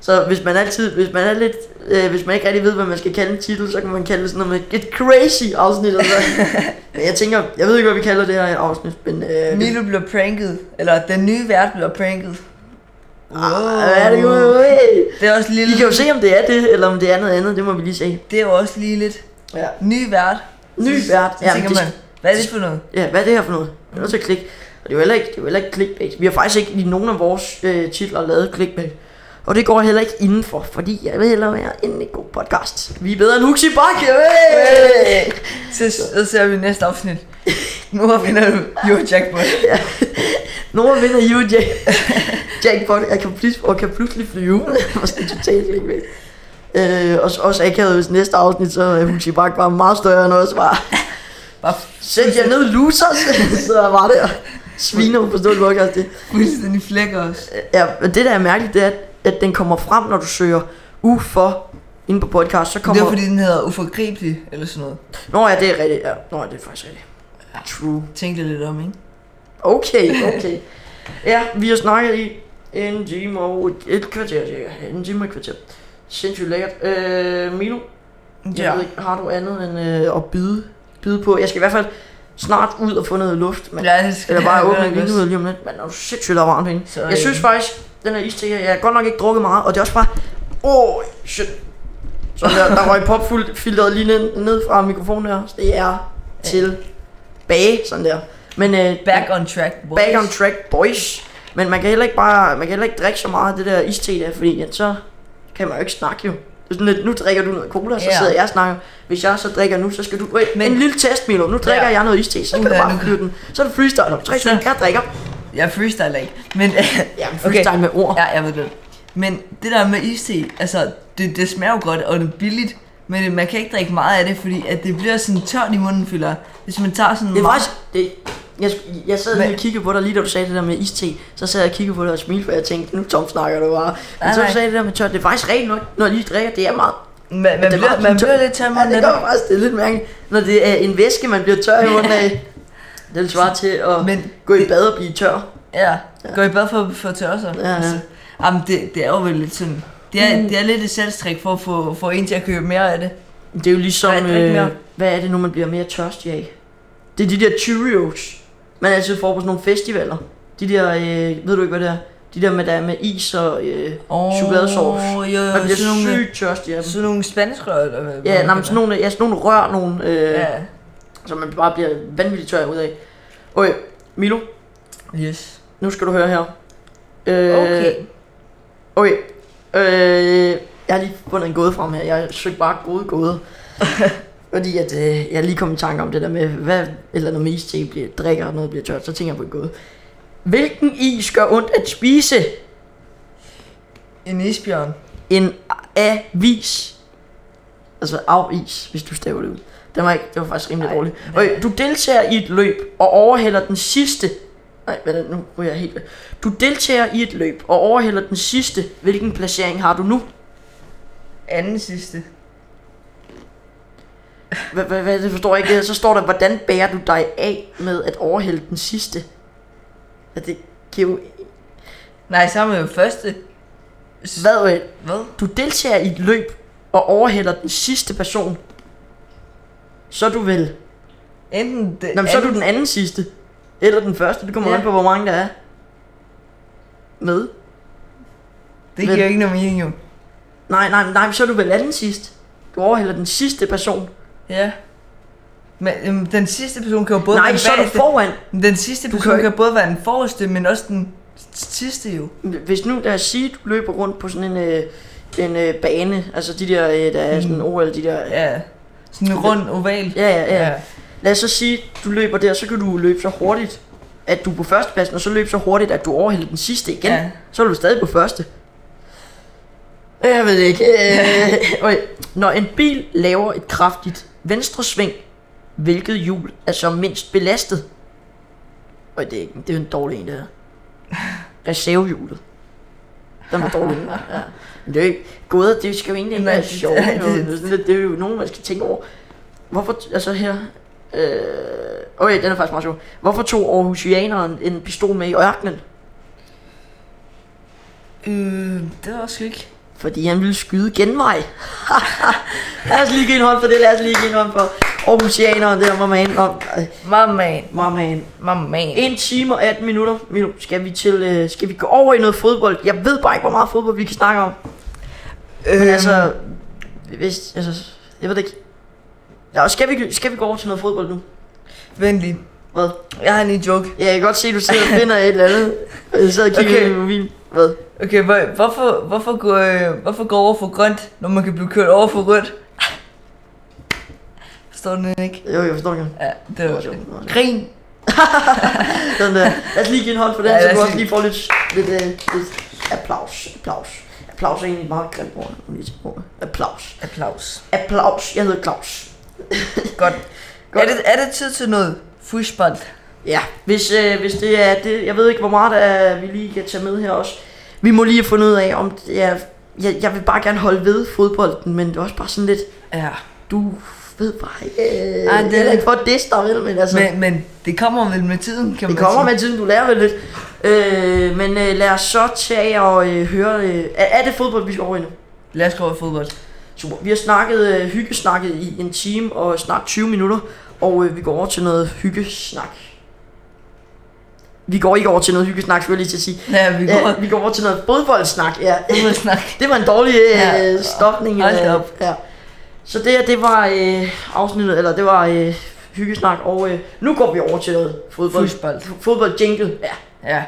Så hvis man altid, hvis man er lidt, øh, hvis man ikke rigtig ved, hvad man skal kalde en titel, så kan man kalde det sådan noget med et crazy afsnit. Eller <laughs> sådan. men jeg tænker, jeg ved ikke, hvad vi kalder det her afsnit, men øh, Milo bliver pranket. Eller den nye vært bliver pranket. ah, hvad er det jo? Hey. Det er også lige I lidt... kan jo se, om det er det, eller om det er noget andet, det må vi lige se. Det er jo også lige lidt... Ja. Ny vært. Ny Så- vært. Så Ja, tænker det- man, hvad er det for noget? Ja, hvad er det her for noget? Jeg er nødt til at klikke. Og det er jo heller ikke, det er jo heller ikke clickbait. Vi har faktisk ikke i nogen af vores øh, titler lavet clickbait. Og det går jeg heller ikke indenfor, fordi jeg vil hellere være en god podcast. Vi er bedre end Huxi Bak! Hey! Så, så ser vi næste afsnit. Mor vinder du jo jackpot. Nogen vinder you, Jack. Jackpot, jeg kan pludselig, og kan pludselig flyve. Måske totalt clickbait. Øh, og også akavet, hvis næste afsnit, så er Huxi Bak var meget større end os var. Bare Sæt jer ned, losers! <laughs> så var det og sviner på stående podcast. Det. fuldstændig flækker os. Ja, men det der er mærkeligt, det er, at- at den kommer frem, når du søger U for inde på podcast, så Det kommer... er fordi, den hedder uforgribelig, eller sådan noget. Nå ja, det er rigtigt. Ja. Nå ja, det er faktisk rigtigt. True. Tænk det lidt om, ikke? Okay, okay. ja, vi har snakket i en time og et, et kvarter, cirka. En time og et kvarter. Sindssygt lækkert. Øh, Milo, jeg ved ikke, har du andet end øh, at byde, byde på? Jeg skal i hvert fald snart ud og få noget luft, men Ja, det skal Eller bare <laughs> jeg åbne nok også. vinduet lige om lidt. Men er du sindssygt der er varmt herinde. Så, Jeg synes øh, faktisk, den her iste her, jeg har godt nok ikke drukket meget, og det er også bare... Åh, oh, shit. Så der, der røg popfilteret lige ned, ned fra mikrofonen her. Så det er til bage, sådan der. Men øh, Back on track, boys. back on track, boys. Men man kan heller ikke bare, man kan heller ikke drikke så meget af det der iste der, fordi at så kan man jo ikke snakke jo. Det er sådan lidt, nu drikker du noget cola, så Ja. sidder jeg og snakker. Hvis jeg så drikker nu, så skal du... Wait, Men- Men, en lille test, Milo. Nu drikker Ja. jeg noget iste, så kan Uha, du bare nu- fyre den. Så er det freestyle. Tre, Så- så... jeg drikker. Jeg freestyler ikke, men... <laughs> Ja, men freestyle med ord. Ja, jeg ved det. Men det der med iste, altså, det, det smager jo godt, og det er billigt, men man kan ikke drikke meget af det, fordi at det bliver sådan tørt i munden, føler jeg. Hvis man tager sådan Det er meget- faktisk... Det, jeg, jeg sad lige Men- og kiggede på dig, lige da du sagde det der med iste, så sad jeg og kiggede på dig og smilte, for jeg tænkte, nu Tom snakker du bare. Men Nej, så du nej. sagde det der med tørt, det er faktisk rent nok, når lige drikker, det er meget. Man, man, det er bliver, meget man tørt. bliver lidt tør i Ja, munden. det af det. gør faktisk, det er lidt mærkeligt, når det er en væske, man bliver tør i munden af. Den svarer til at Men Men gå i det- bad og blive tør. Ja, går I bad for, for tørre så? Ja, Mm. ja. Jamen, det, det er jo vel lidt sådan... Det er, det er lidt et salgstrik for at få for en til at købe mere af det. Det er jo ligesom, Hvad er det, ikke hvad, mere? øh, hvad er det nu, man bliver mere tørstig af? Det er de der Cheerios, man altid får på sådan nogle festivaler. De der, øh, ved du ikke hvad det er? De der med, der er med is og øh, Åh, chokoladesauce. Jo, jo, man bliver sådan nogle, øh, sygt tørstig af dem. sådan nogle spansk rør, eller hvad? Ja, hvad nej, man men sådan nogle, ja, sådan nogle rør, nogle, øh, kalder det. ja. som man bare bliver vanvittigt tør ud af. Okay, Milo, Ja, yes. nu skal du høre her. Øh, Okay. Okay. Øh, jeg har lige fundet en gåde frem her. Jeg søgte bare gode gåder. Fordi at, øh, jeg lige kom i tanke om det der med, hvad et eller noget med iste bliver, drikker og noget bliver tørt, så tænker jeg på en gåde. Hvilken is gør ondt at spise? En isbjørn. En avis. Altså avis, hvis du staver det ud. Det var, ikke, det var faktisk rimelig Nej, dårligt. Okay, du deltager i et løb og overhælder den sidste. Nej, hvad er det? nu ryger jeg helt væk. Du deltager i et løb og overhælder den sidste. Hvilken placering har du nu? Anden sidste. Hvad, hvad, hvad, det forstår jeg ikke. Så står der, hvordan bærer du dig af med at overhælde den sidste? Ja, det giver jo... Nej, sammen med den første. Hvad, øh, Hvad? du deltager i et løb og overhælder den sidste person. Så er du vel... Enten det, Nå, men så er du den anden sidste. Eller den første. Det kommer Ja. an på, hvor mange der er. Med. Det giver jo ikke nogen mening, jo. Nej, nej, nej, men så er du vel anden sidst. Du overhælder den sidste person. Ja. Men øhm, den sidste person kan jo både Nej, være så er du bagefter- foran. Men Den sidste person kan kan, jo kan både være den forreste, men også den sidste jo. Hvis nu, lad os sige, du løber rundt på sådan en, øh, en øh, bane, altså de der, øh, der er sådan OL, de der Ja. Sådan en rund oval. Ja, ja, ja. Lad os så sige, du løber der, så kan du løbe så hurtigt, at du er på førstepladsen, og så løbe så hurtigt, at du overhælder den sidste igen. Ja. Ja. Så er du stadig på første. Jeg ved ikke. <laughs> Øh, okay. Når en bil laver et kraftigt venstre sving, hvilket hjul er så mindst belastet? Og det er, ikke- det er jo en dårlig en, det her. Reservehjulet. Den var dårlig. <laughs> den her. Ja. Men det er jo ikke gåder, det skal jo egentlig ikke Nej, være det- sjovt. det- jo. Det, er sådan lidt- det er jo nogen, man skal tænke over. Hvorfor, altså her, øh, okay, den er faktisk meget sjov. Hvorfor tog Aarhusianeren en pistol med i ørkenen? Øh, det var også ikke. Fordi han ville skyde genvej. <laughs> lad os lige give en hånd for det, lad os lige give en hånd for Aarhusianeren der, hvor man om. Mamman, Mamma mamman. En time og 18 minutter. Milo, skal vi, til, øh, skal vi gå over i noget fodbold? Jeg ved bare ikke, hvor meget fodbold vi kan snakke om. Øhm, Men altså, hvis, altså, jeg ved det ikke. Ja, og skal vi, skal vi gå over til noget fodbold nu? vent lige. Hvad? Jeg har en lille joke. Ja, jeg kan godt se, at du sidder og finder et eller andet. Jeg sidder og kigger okay. Okay. i min mobil. Hvad? Okay, hvor, hvorfor, hvorfor, gå, øh, hvorfor gå over for grønt, når man kan blive kørt over for rødt? Forstår du den ikke? Jo, jeg forstår ikke. Ja, det var Nå, sjovt, nå, sjovt. Grin. Sådan der. Lad os lige give en hånd for den, Ja, ja, lad så os du også lige- lige får lidt, lidt, øh, lidt applaus. Applaus. Applaus er egentlig et meget grimt ord. når man lige tænker over det. Applaus. Applaus. Applaus. Jeg hedder Claus. Godt. Godt. Er, det, er det tid til noget fushbold? Ja, hvis, øh, hvis det er det, jeg ved ikke, hvor meget der er, vi lige kan tage med her også. Vi må lige have fundet ud af, om det er, jeg, jeg vil bare gerne holde ved fodbolden, men det er også bare sådan lidt, Ja. du ved bare ikke, øh, Ej, Ej, det det er- er da ikke for at disse dig, vel, men altså, men, Men, men det kommer vel med tiden, kan det man kommer sige. med tiden, du lærer vel lidt. Øh, men øh, lad os så tage og øh, høre, øh, er, er det fodbold, vi skal over i nu? Lad os gå over i fodbold. Super. Vi har snakket, øh, hyggesnakket i en time og snart 20 minutter, og øh, vi går over til noget hyggesnak. Vi går ikke over til noget hyggesnak, skulle jeg lige til at sige. Ja, vi går over Ja, vi går over til noget fodboldsnak, <laughs> ja. ud og snakke. Det var en dårlig Ja. øh, stopning. Hold da øh, op. Ja. Så det her, det var øh, afsnittet, eller det var øh, hyggesnak, og øh, nu går vi over til noget fodbold. Fodbold. Fodbold jingle, ja. Ja.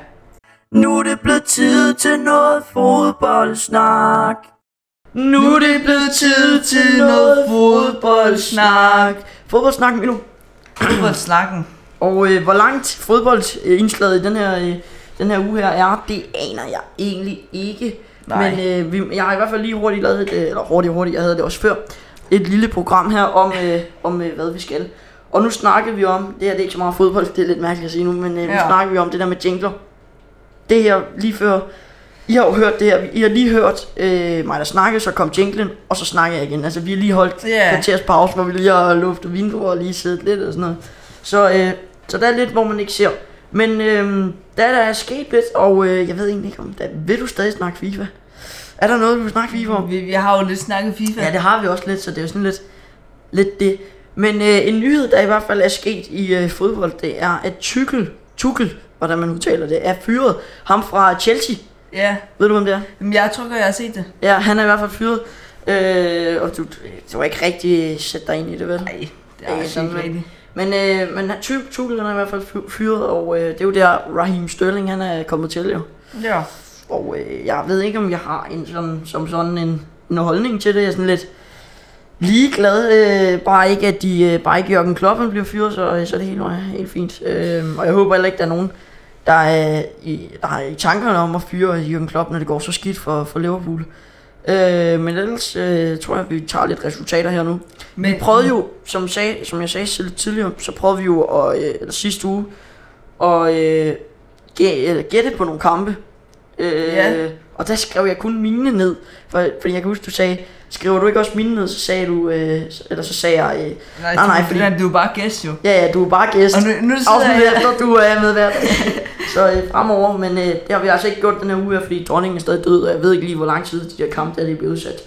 Nu er det blevet tid til noget fodboldsnak. Nu er det blevet tid til noget <clears throat> fodboldsnak. Fodboldsnak, Milo. Fodboldsnakken. Og øh, hvor langt fodboldindslaget i den her, øh, den her uge her er, det aner jeg egentlig ikke. Nej. Nej. Men øh, vi, jeg har i hvert fald lige hurtigt lavet, et, øh, eller hurtigt hurtigt, jeg havde det også før, et lille program her om, øh, om øh, hvad vi skal. Og nu snakker vi om, det her det er ikke så meget fodbold, det er lidt mærkeligt at sige nu, men øh, nu Ja. snakker vi om det der med jingler. Det her lige før, I har jo hørt det her, I har lige hørt øh, mig der snakke, så kom jinglen, og så snakker jeg igen. Altså vi har lige holdt Ja. kvarters pause, hvor vi lige har luftet vinduer og lige siddet lidt og sådan noget. Så øh, Så der er lidt, hvor man ikke ser. Men øhm, der er der er sket lidt, og øh, jeg ved egentlig ikke om der Vil du stadig snakke FIFA? Er der noget, du vil snakke FIFA om? Vi, vi har jo lidt snakket FIFA. Ja, det har vi også lidt, så det er jo sådan lidt, lidt det. Men øh, en nyhed, der i hvert fald er sket i øh, fodbold, det er, at Tuchel, Tuchel, hvordan man udtaler det, er fyret. Ham fra Chelsea. ja. Ved du, hvem det er? Jamen, jeg tror godt, jeg har set det. Ja, han er i hvert fald fyret. Øh, og du, du har ikke rigtig sætte dig ind i det, vel? Nej, Det er ikke sådan rigtigt. Men, øh, men han- Tuchel Tuchel, han er i hvert fald fy- fyret, og øh, det er jo der, Raheem Sterling, han er kommet til, jo. Ja. Og øh, jeg ved ikke, om jeg har en sådan, som sådan en, en holdning til det. Jeg er sådan lidt ligeglad. Øh, bare ikke, at de, øh, bare ikke Jørgen Kloppen bliver fyret, så, så er det helt, nøje- helt fint. Øh, og jeg håber heller ikke, der er nogen, der er, i, der er i tankerne om at fyre Jørgen Klopp, når det går så skidt for, for Liverpool. Øh, men ellers øh, tror jeg, at vi tager lidt resultater her nu. Men Vi prøvede jo, som, sag, som jeg sagde selv tidligere, så prøvede vi jo at, øh, eller sidste uge at øh, gæ- eller gætte på nogle kampe. Øh, Ja. Og der skrev jeg kun mine ned, for, fordi jeg kan huske, du sagde, skriver du ikke også mine ned, så sagde du, øh, s- eller så sagde jeg, øh, Nej, Nej, nej, nej, nej, fordi- fordi... Du er jo bare gæst, jo. ja ja, du er bare gæst. Og nu, nu sidder Afsnit jeg... efter, du er med hver Så øh, fremover, men øh, det har vi altså ikke gjort den her uge her, fordi dronningen er stadig død, og jeg ved ikke lige, hvor lang tid de her kampe der de bliver udsat.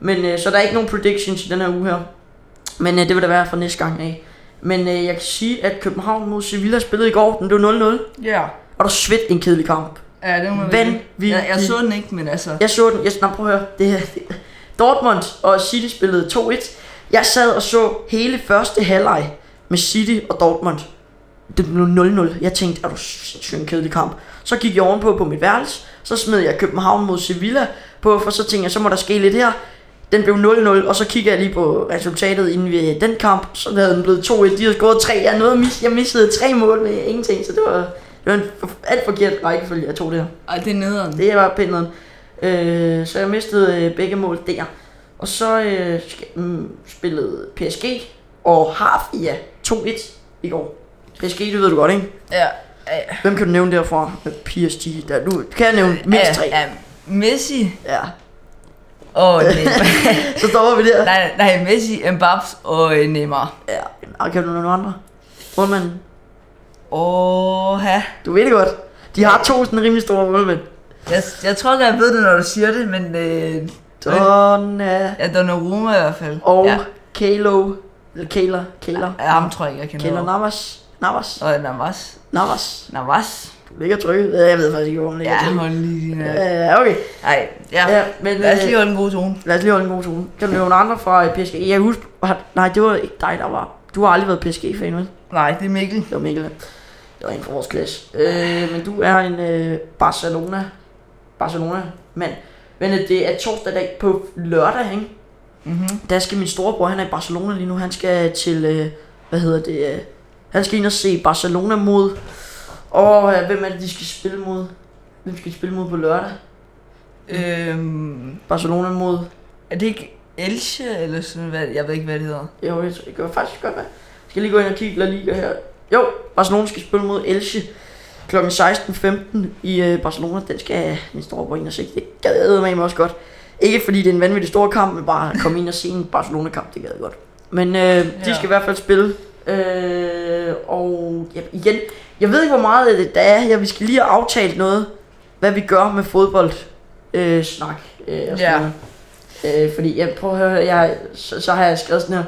Men øh, så der er ikke nogen predictions i den her uge her. Men øh, det vil der være for næste gang af. Men øh, jeg kan sige, at København mod Sevilla spillede i går, den blev 0-0, Ja. og der svedt en kedelig kamp. Ja, det må Vanvittigt. Jeg, jeg så den ikke, men altså... Jeg så den, jeg nej, prøv at høre, det her. Dortmund og City spillede 2-1. Jeg sad og så hele første halvleg med City og Dortmund. Det blev 0-0. Jeg tænkte, er du sindssygt en kedelig kamp. Så gik jeg ovenpå på mit værelse. Så smed jeg København mod Sevilla på, for så tænkte jeg, så må der ske lidt her. Den blev 0-0, og så kigger jeg lige på resultatet inden ved den kamp. Så havde den blevet 2-1. De havde scoret 3. Jeg, nåede at mis- jeg missede tre mål med ingenting, så det var, det var en for- alt forkert rækkefølge, jeg tog det her. Ej, det er nederen. Det var pænt noget. Øh, så jeg mistede øh, begge mål der. Og så øh, sk- mm, spillede PSG og Harfia 2-1 i går. PSG, det ved du godt, ikke? Ja. ja. Hvem kan du nævne derfra? PSG, der du kan jeg nævne mindst tre. Ja, Messi Ja. <laughs> og Neymar. Så stopper vi der. nej, nej, Messi, Mbappé og øh, Neymar. Ja. Og kan du nævne nogle andre? Målmanden. Åh, ja. Du ved det godt. De har to sådan rimelig store målmænd. Jeg, jeg tror ikke, jeg ved det, når du siger det, men... Øh, Donna ja, Donnarumma i hvert fald. og Ja, Kalo. Eller Kæler. Kæler. ja, ham tror jeg ikke, jeg kender. Kæler Navas. Navas. Og Navas. Navas. Navas? Du ligger trykket. Ja, Jeg ved faktisk ikke, hvor han ligger Ja, trykket. hold lige din... øh. Øh, okay. Ej, ja. Ja, men, men, Lad os øh, lige holde en god tone. Lad os lige holde en god tone. Kan du nævne andre fra øh, PSG? Jeg kan huske, har- nej, det var ikke dig, der var. Du har aldrig været PSG-fan, vel? Nej, det er Mikkel. Det var Mikkel. Det var en fra vores klasse. Øh, men du er en øh, Barcelona. Barcelona-mand. Men øh, det er torsdag dag på lørdag, ikke? Mm-hmm. Der skal min storebror, han er i Barcelona lige nu. Han skal til, øh, hvad hedder det? Øh, han skal ind og se Barcelona mod... Og øh, hvem er det, de skal spille mod? Hvem skal de spille mod på lørdag? Øhm, Barcelona mod... er det ikke Elche, eller sådan hvad? Jeg ved ikke, hvad det hedder. Jo, det det kan faktisk godt være. Jeg skal lige gå ind og kigge La Liga her. Jo, Barcelona skal spille mod Elche kl. 16.15 i øh, Barcelona. Den skal min store på ind og se. Det gad jeg med også godt. Ikke fordi det er en vanvittig stor kamp, men bare at komme ind og se en Barcelona-kamp, det gad jeg godt. Men øh, de Ja. skal i hvert fald spille. Øh, og ja, igen, jeg ved ikke, hvor meget af det der er her. Vi skal lige have aftalt noget, hvad vi gør med fodbold. Øh, snak. Øh, og Ja. sådan noget. Øh, fordi jeg prøver at høre, jeg, så, så har jeg skrevet sådan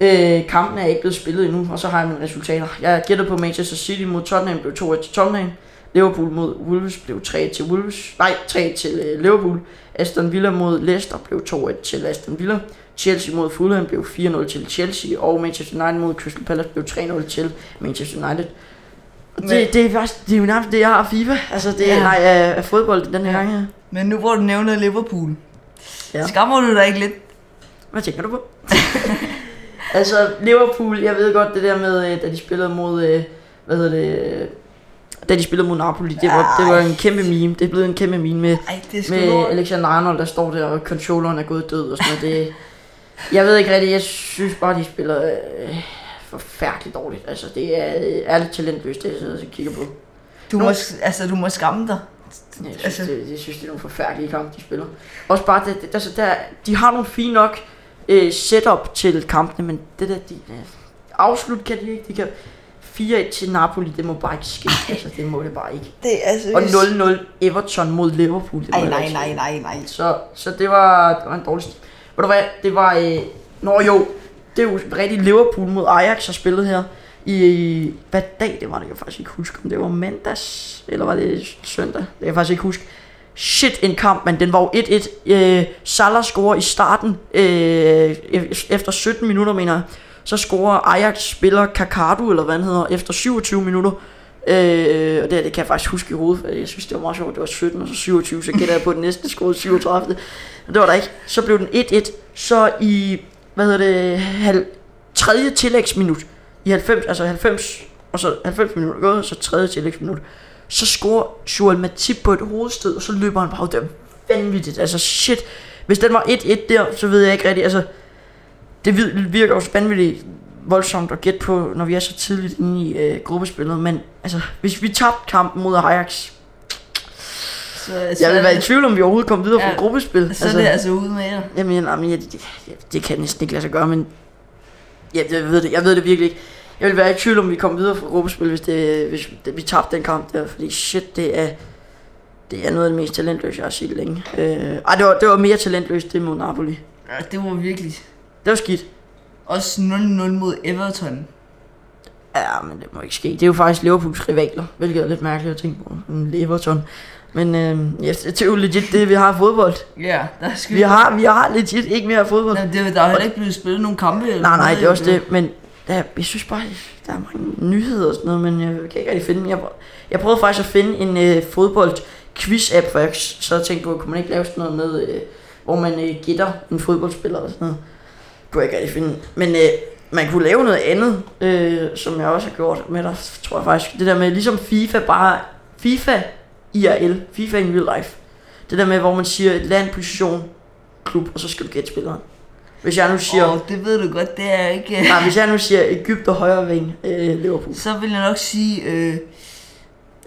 her. Øh, kampen er ikke blevet spillet endnu, og så har jeg mine resultater. Jeg gættede på Manchester City mod Tottenham blev 2-1 til Tottenham. Liverpool mod Wolves blev 3 til Wolves. Nej, 3 til øh, Liverpool. Aston Villa mod Leicester blev 2-1 til Aston Villa. Chelsea mod Fulham blev 4-0 til Chelsea. Og Manchester United mod Crystal Palace blev 3-0 til Manchester United. Og Men- Det, det, er faktisk, det er jo nærmest det, jeg har af FIFA. Altså, det Ja. er nej, af, af fodbold den her gang her. Men nu hvor du nævner Liverpool. Ja. Ja. Skammer du dig ikke lidt? Hvad tænker du på? <laughs> altså, Liverpool, jeg ved godt det der med, øh, da de spillede mod, øh, hvad hedder det, øh, da de spillede mod Napoli, det var, det var en kæmpe meme. Det er blevet en kæmpe meme med, Ej, det er sgu med lort. Alexander Arnold, der står der, og controlleren er gået død og sådan noget. Det, jeg ved ikke rigtigt, jeg synes bare, de spiller øh, forfærdeligt dårligt. Altså, det er øh, ærligt talentløst, det jeg sidder og kigger på. Du Nu- må, s- altså, du må skamme dig. Ja, Jeg synes, Altså- det, jeg synes, det er nogle forfærdelige kampe, de spiller. Også bare, det, det, altså, der, de har nogle fine nok øh, setup til kampene, men det der, de, øh, afslut kan de ikke. De kan 4-1 til Napoli, det må bare ikke ske. altså, det må det bare ikke. Det er altså... Og 0-0 Everton mod Liverpool. Det altså må Ej, heller nej, ikke ske. nej, nej, nej. Så, så det, var, det var en dårlig stil. Ved du hvad, det var... Øh, nå jo, det er jo rigtig Liverpool mod Ajax har spillet her. I, hvad dag det var, det kan jeg faktisk ikke huske. Om det var mandags, eller var det søndag? Det kan jeg faktisk ikke huske. Shit en kamp, men den var jo 1-1. Øh, Salah scorer i starten, øh, e- efter 17 minutter, mener jeg. Så scorer Ajax spiller Kakadu, eller hvad han hedder, efter 27 minutter. Øh, og det, her, det kan jeg faktisk huske i hovedet, for jeg synes det var meget sjovt, det var 17 og så 27, så gætter jeg på at den næste scorede 37. Men det var der ikke. Så blev den 1-1, så i, hvad hedder det, halv, tredje tillægsminut, i 90, altså 90, og så 90 minutter gået, og så tredje tillægsminut, så scorer Joel Matip på et hovedstød, og så løber han bare ud. Det er vanvittigt, altså shit. Hvis den var 1-1 der, så ved jeg ikke rigtigt, altså, det vir- virker jo vanvittigt voldsomt at gætte på, når vi er så tidligt inde i øh, gruppespillet, men altså, hvis vi tabte kampen mod Ajax, Så, så, jeg er vil være i det- tvivl, om vi overhovedet kom videre Ja, fra gruppespil. så er det altså ude med jer. Jamen, jeg, jamen jeg, det, jeg- det kan næsten ikke lade sig gøre, men jeg, jeg, ved det, jeg ved det virkelig ikke. Jeg vil være i tvivl, om vi kom videre fra gruppespil, hvis, det, hvis det, vi tabte den kamp der, fordi shit, det er, det er noget af det mest talentløse, jeg har set længe. Øh, ej, det var, det var mere talentløst, det mod Napoli. Ja, det var virkelig. Det var skidt. Også 0-0 mod Everton. Ja, men det må ikke ske. Det er jo faktisk Liverpools rivaler, hvilket er lidt mærkeligt at tænke på. Mm, Everton. Men øh, ja, det er jo legit det, vi har i fodbold. Ja, der skal Vi har, vi har legit ikke mere fodbold. Jamen, det, der er heller ikke blevet spillet nogen kampe. eller Nej, nej, noget, øh, det er også jo. det, men der, jeg synes bare, der er mange nyheder og sådan noget, men jeg kan ikke rigtig finde dem. Jeg, prø- jeg prøvede faktisk at finde en øh, fodbold quiz app for jeg så tænkte på, kunne man ikke lave sådan noget med, øh, hvor man øh, gætter en fodboldspiller og sådan noget. Kunne jeg ikke rigtig finde. Men øh, man kunne lave noget andet, øh, som jeg også har gjort med dig, tror jeg faktisk. Det der med ligesom FIFA bare, FIFA IRL, FIFA in real life. Det der med, hvor man siger et land, position, klub, og så skal du gætte spilleren. Hvis jeg nu siger, Åh, det ved du godt, det er ikke... øh, Nej, hvis jeg nu siger Ægypter højre ving, øh, Liverpool. Så vil jeg nok sige... Øh...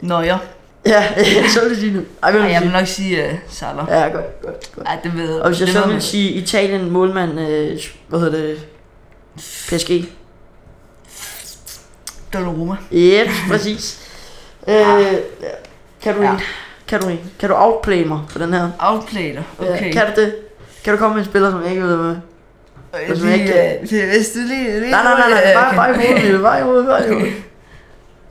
Nå ja. Ja, <laughs> så vil jeg sige nu. Ej, vil Ej, du jeg vil sige? nok sige øh, Salah. Ja, godt, godt, godt. Ej, det ved jeg. Og hvis jeg det så ved vil man. sige Italien, målmand, øh, hvad hedder det, PSG. Donnarumma. <laughs> Yep, præcis. Øh, kan du Ja. en? Kan du en? Kan du outplay mig på den her? Outplayer. Ja, Okay. Kan du det? Kan du komme med en spiller, som jeg ikke ved med? Øh, hvis man lige, ikke- øh, det- Hvis du lige... lige Nej, nej, nej, nej, øh, bare, kan- bare i <laughs> hovedet, bare i hovedet, bare i hovedet.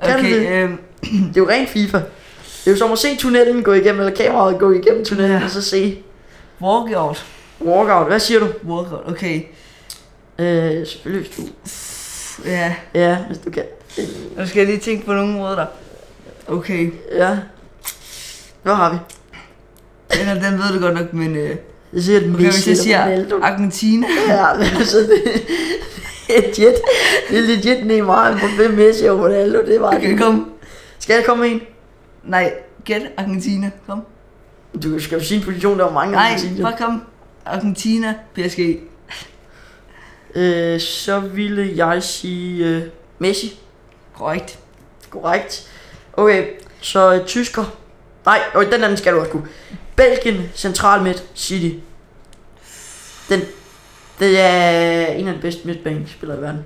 Kan Okay, du det? øhm, Det er jo rent FIFA. Det er jo som at se tunnelen gå igennem, eller kameraet gå igennem tunnelen, Ja. og så se walkout. walkout. Hvad siger du? Walkout, okay. Øh, selvfølgelig hvis du Ja, Ja, hvis du kan. nu skal jeg lige tænke på nogle ord der. Okay, Ja. Hvad har vi? den, her, den ved du godt nok, men... Øh, Jeg siger, at okay, hvis Messi jeg eller siger Ronaldo. Argentina, Ja, men <laughs> altså, det, det er legit, det er legit Neymar, men det er Messi og Ronaldo, det var okay, det. kom. Skal jeg komme med en? Nej, gæt Argentina, kom. Du skal jo sige en position, der var mange Nej, gange sige det. bare kom. Argentina, PSG. Øh, så ville jeg sige øh, Messi. Korrekt. Korrekt. Okay, så øh, tysker. Nej, øh, den anden skal du også kunne. Belgien, Central Midt, City. Den, det er en af de bedste midtbanespillere i verden.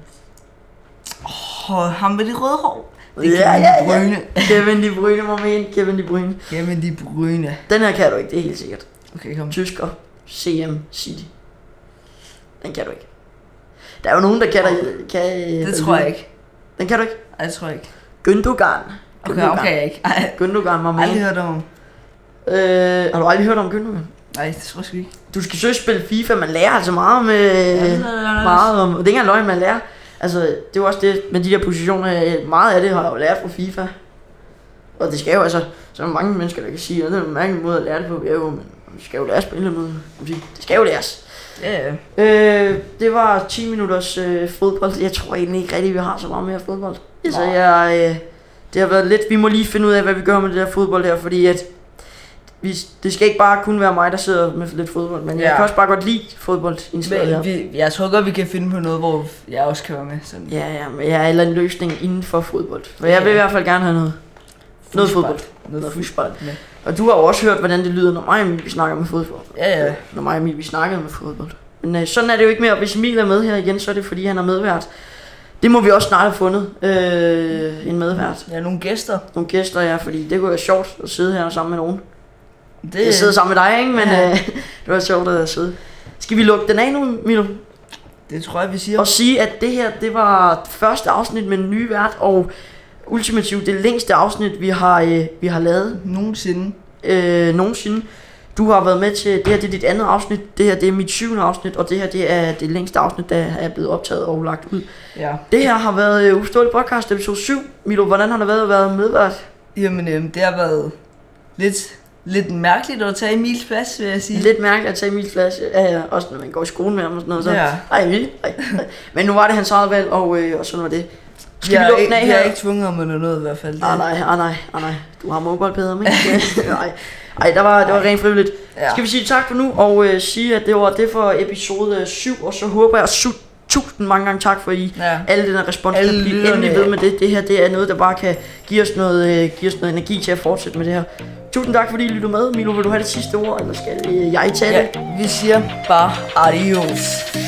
Og ham med det røde hår. Det er Ja, Kevin ja, De ja. Bruyne. <laughs> Kevin De Bruyne, må mene. Kevin De Bruyne. Jamen, De Bruyne. Den her kan du ikke, det er helt sikkert. Okay, kom. Tysker, CM City. Den kan du ikke. Der er jo nogen, der kan dig. Kan, Det tror jeg ikke. Den kan du ikke. Ej, det tror jeg ikke. Gündogan. Okay, okay, ikke. Ej, Gündogan, må aldrig mene. hørt om ham. Øh, har du aldrig hørt om Gündogan? Nej, det tror jeg sgu ikke. Du skal søge spille FIFA, man lærer altså meget om... Øh, det er der også. meget om, og det er ikke engang løgn, man lærer. Altså, det er jo også det med de der positioner, øh, meget af det har jeg jo lært fra FIFA. Og det skal jo altså, så er der mange mennesker, der kan sige, at det er en mærkelig måde at lære det på, ja jo, men vi skal jo lære at spille med, det skal jo læres. Ja, ja. Øh, det var 10 minutters øh, fodbold. Jeg tror egentlig ikke rigtigt, vi har så meget mere fodbold. Altså, Nej. jeg, øh, det har været lidt... Vi må lige finde ud af, hvad vi gør med det der fodbold her, fordi at... Vi, det skal ikke bare kun være mig, der sidder med lidt fodbold, men ja. jeg Ja. kan også bare godt lide fodboldindslaget her. Men, vi, jeg tror godt, vi kan finde på noget, hvor jeg også kan være med. Sådan. Ja, ja, men jeg er eller en løsning inden for fodbold. For jeg vil Ja. i hvert fald gerne have noget. Noget Fuldspart. fodbold. Noget Noget fuldspart med. Og du har jo også hørt, hvordan det lyder, når mig og Emil vi snakker med fodbold. Ja, ja. Når mig og Emil vi snakker med fodbold. Men øh, sådan er det jo ikke mere. Hvis Emil er med her igen, så er det fordi, han er medvært. Det må vi også snart have fundet øh, en medvært. Ja, nogle gæster. Nogle gæster, ja, fordi det kunne være sjovt at sidde her sammen med nogen. Det, Jeg sidder sammen med dig, ikke? Men Ja. øh, <laughs> det var sjovt at sidde. Skal vi lukke den af nu, Milo? det tror jeg, vi siger. Og sige, at det her, det var første afsnit med en ny vært, og ultimativt det længste afsnit, vi har, øh, vi har lavet Nogensinde. øh, nogensinde. Du har været med til, det her det er dit andet afsnit, det her det er mit syvende afsnit, og det her det er det længste afsnit, der er blevet optaget og lagt ud. Ja. Det her har været øh, Uståelig Podcast episode 7. Milo, hvordan har det været at være medvært? Jamen, øhm, det har været lidt, lidt mærkeligt at tage Emils plads, vil jeg sige. Lidt mærkeligt at tage Emils plads, ja, ja, også når man går i skole med ham og sådan noget. Så. Ja. Ej, vi. Ej. Men nu var det hans eget valg, og, øh, og sådan var det. Skal Jeg vi er lukke den ikke- af Jeg her? er ikke tvunget om eller noget i hvert fald. Ah, nej, ah, nej, ah, nej. Du har mobile <laughs> med, ikke? nej. Ej, der var, det var rent frivilligt. Ja. Skal vi sige tak for nu, og øh, sige, at det var det for episode 7, og så håber jeg, su- tusind mange gange tak for I. Ja. Alle den her respons, Alle kan blive lytterne. endelig ved med det. Det her det er noget, der bare kan give os noget, øh, give os noget energi til at fortsætte med det her. Tusind tak, fordi I lyttede med. Milo, vil du have det sidste ord, eller skal øh, jeg tage det? Ja, vi siger bare adios.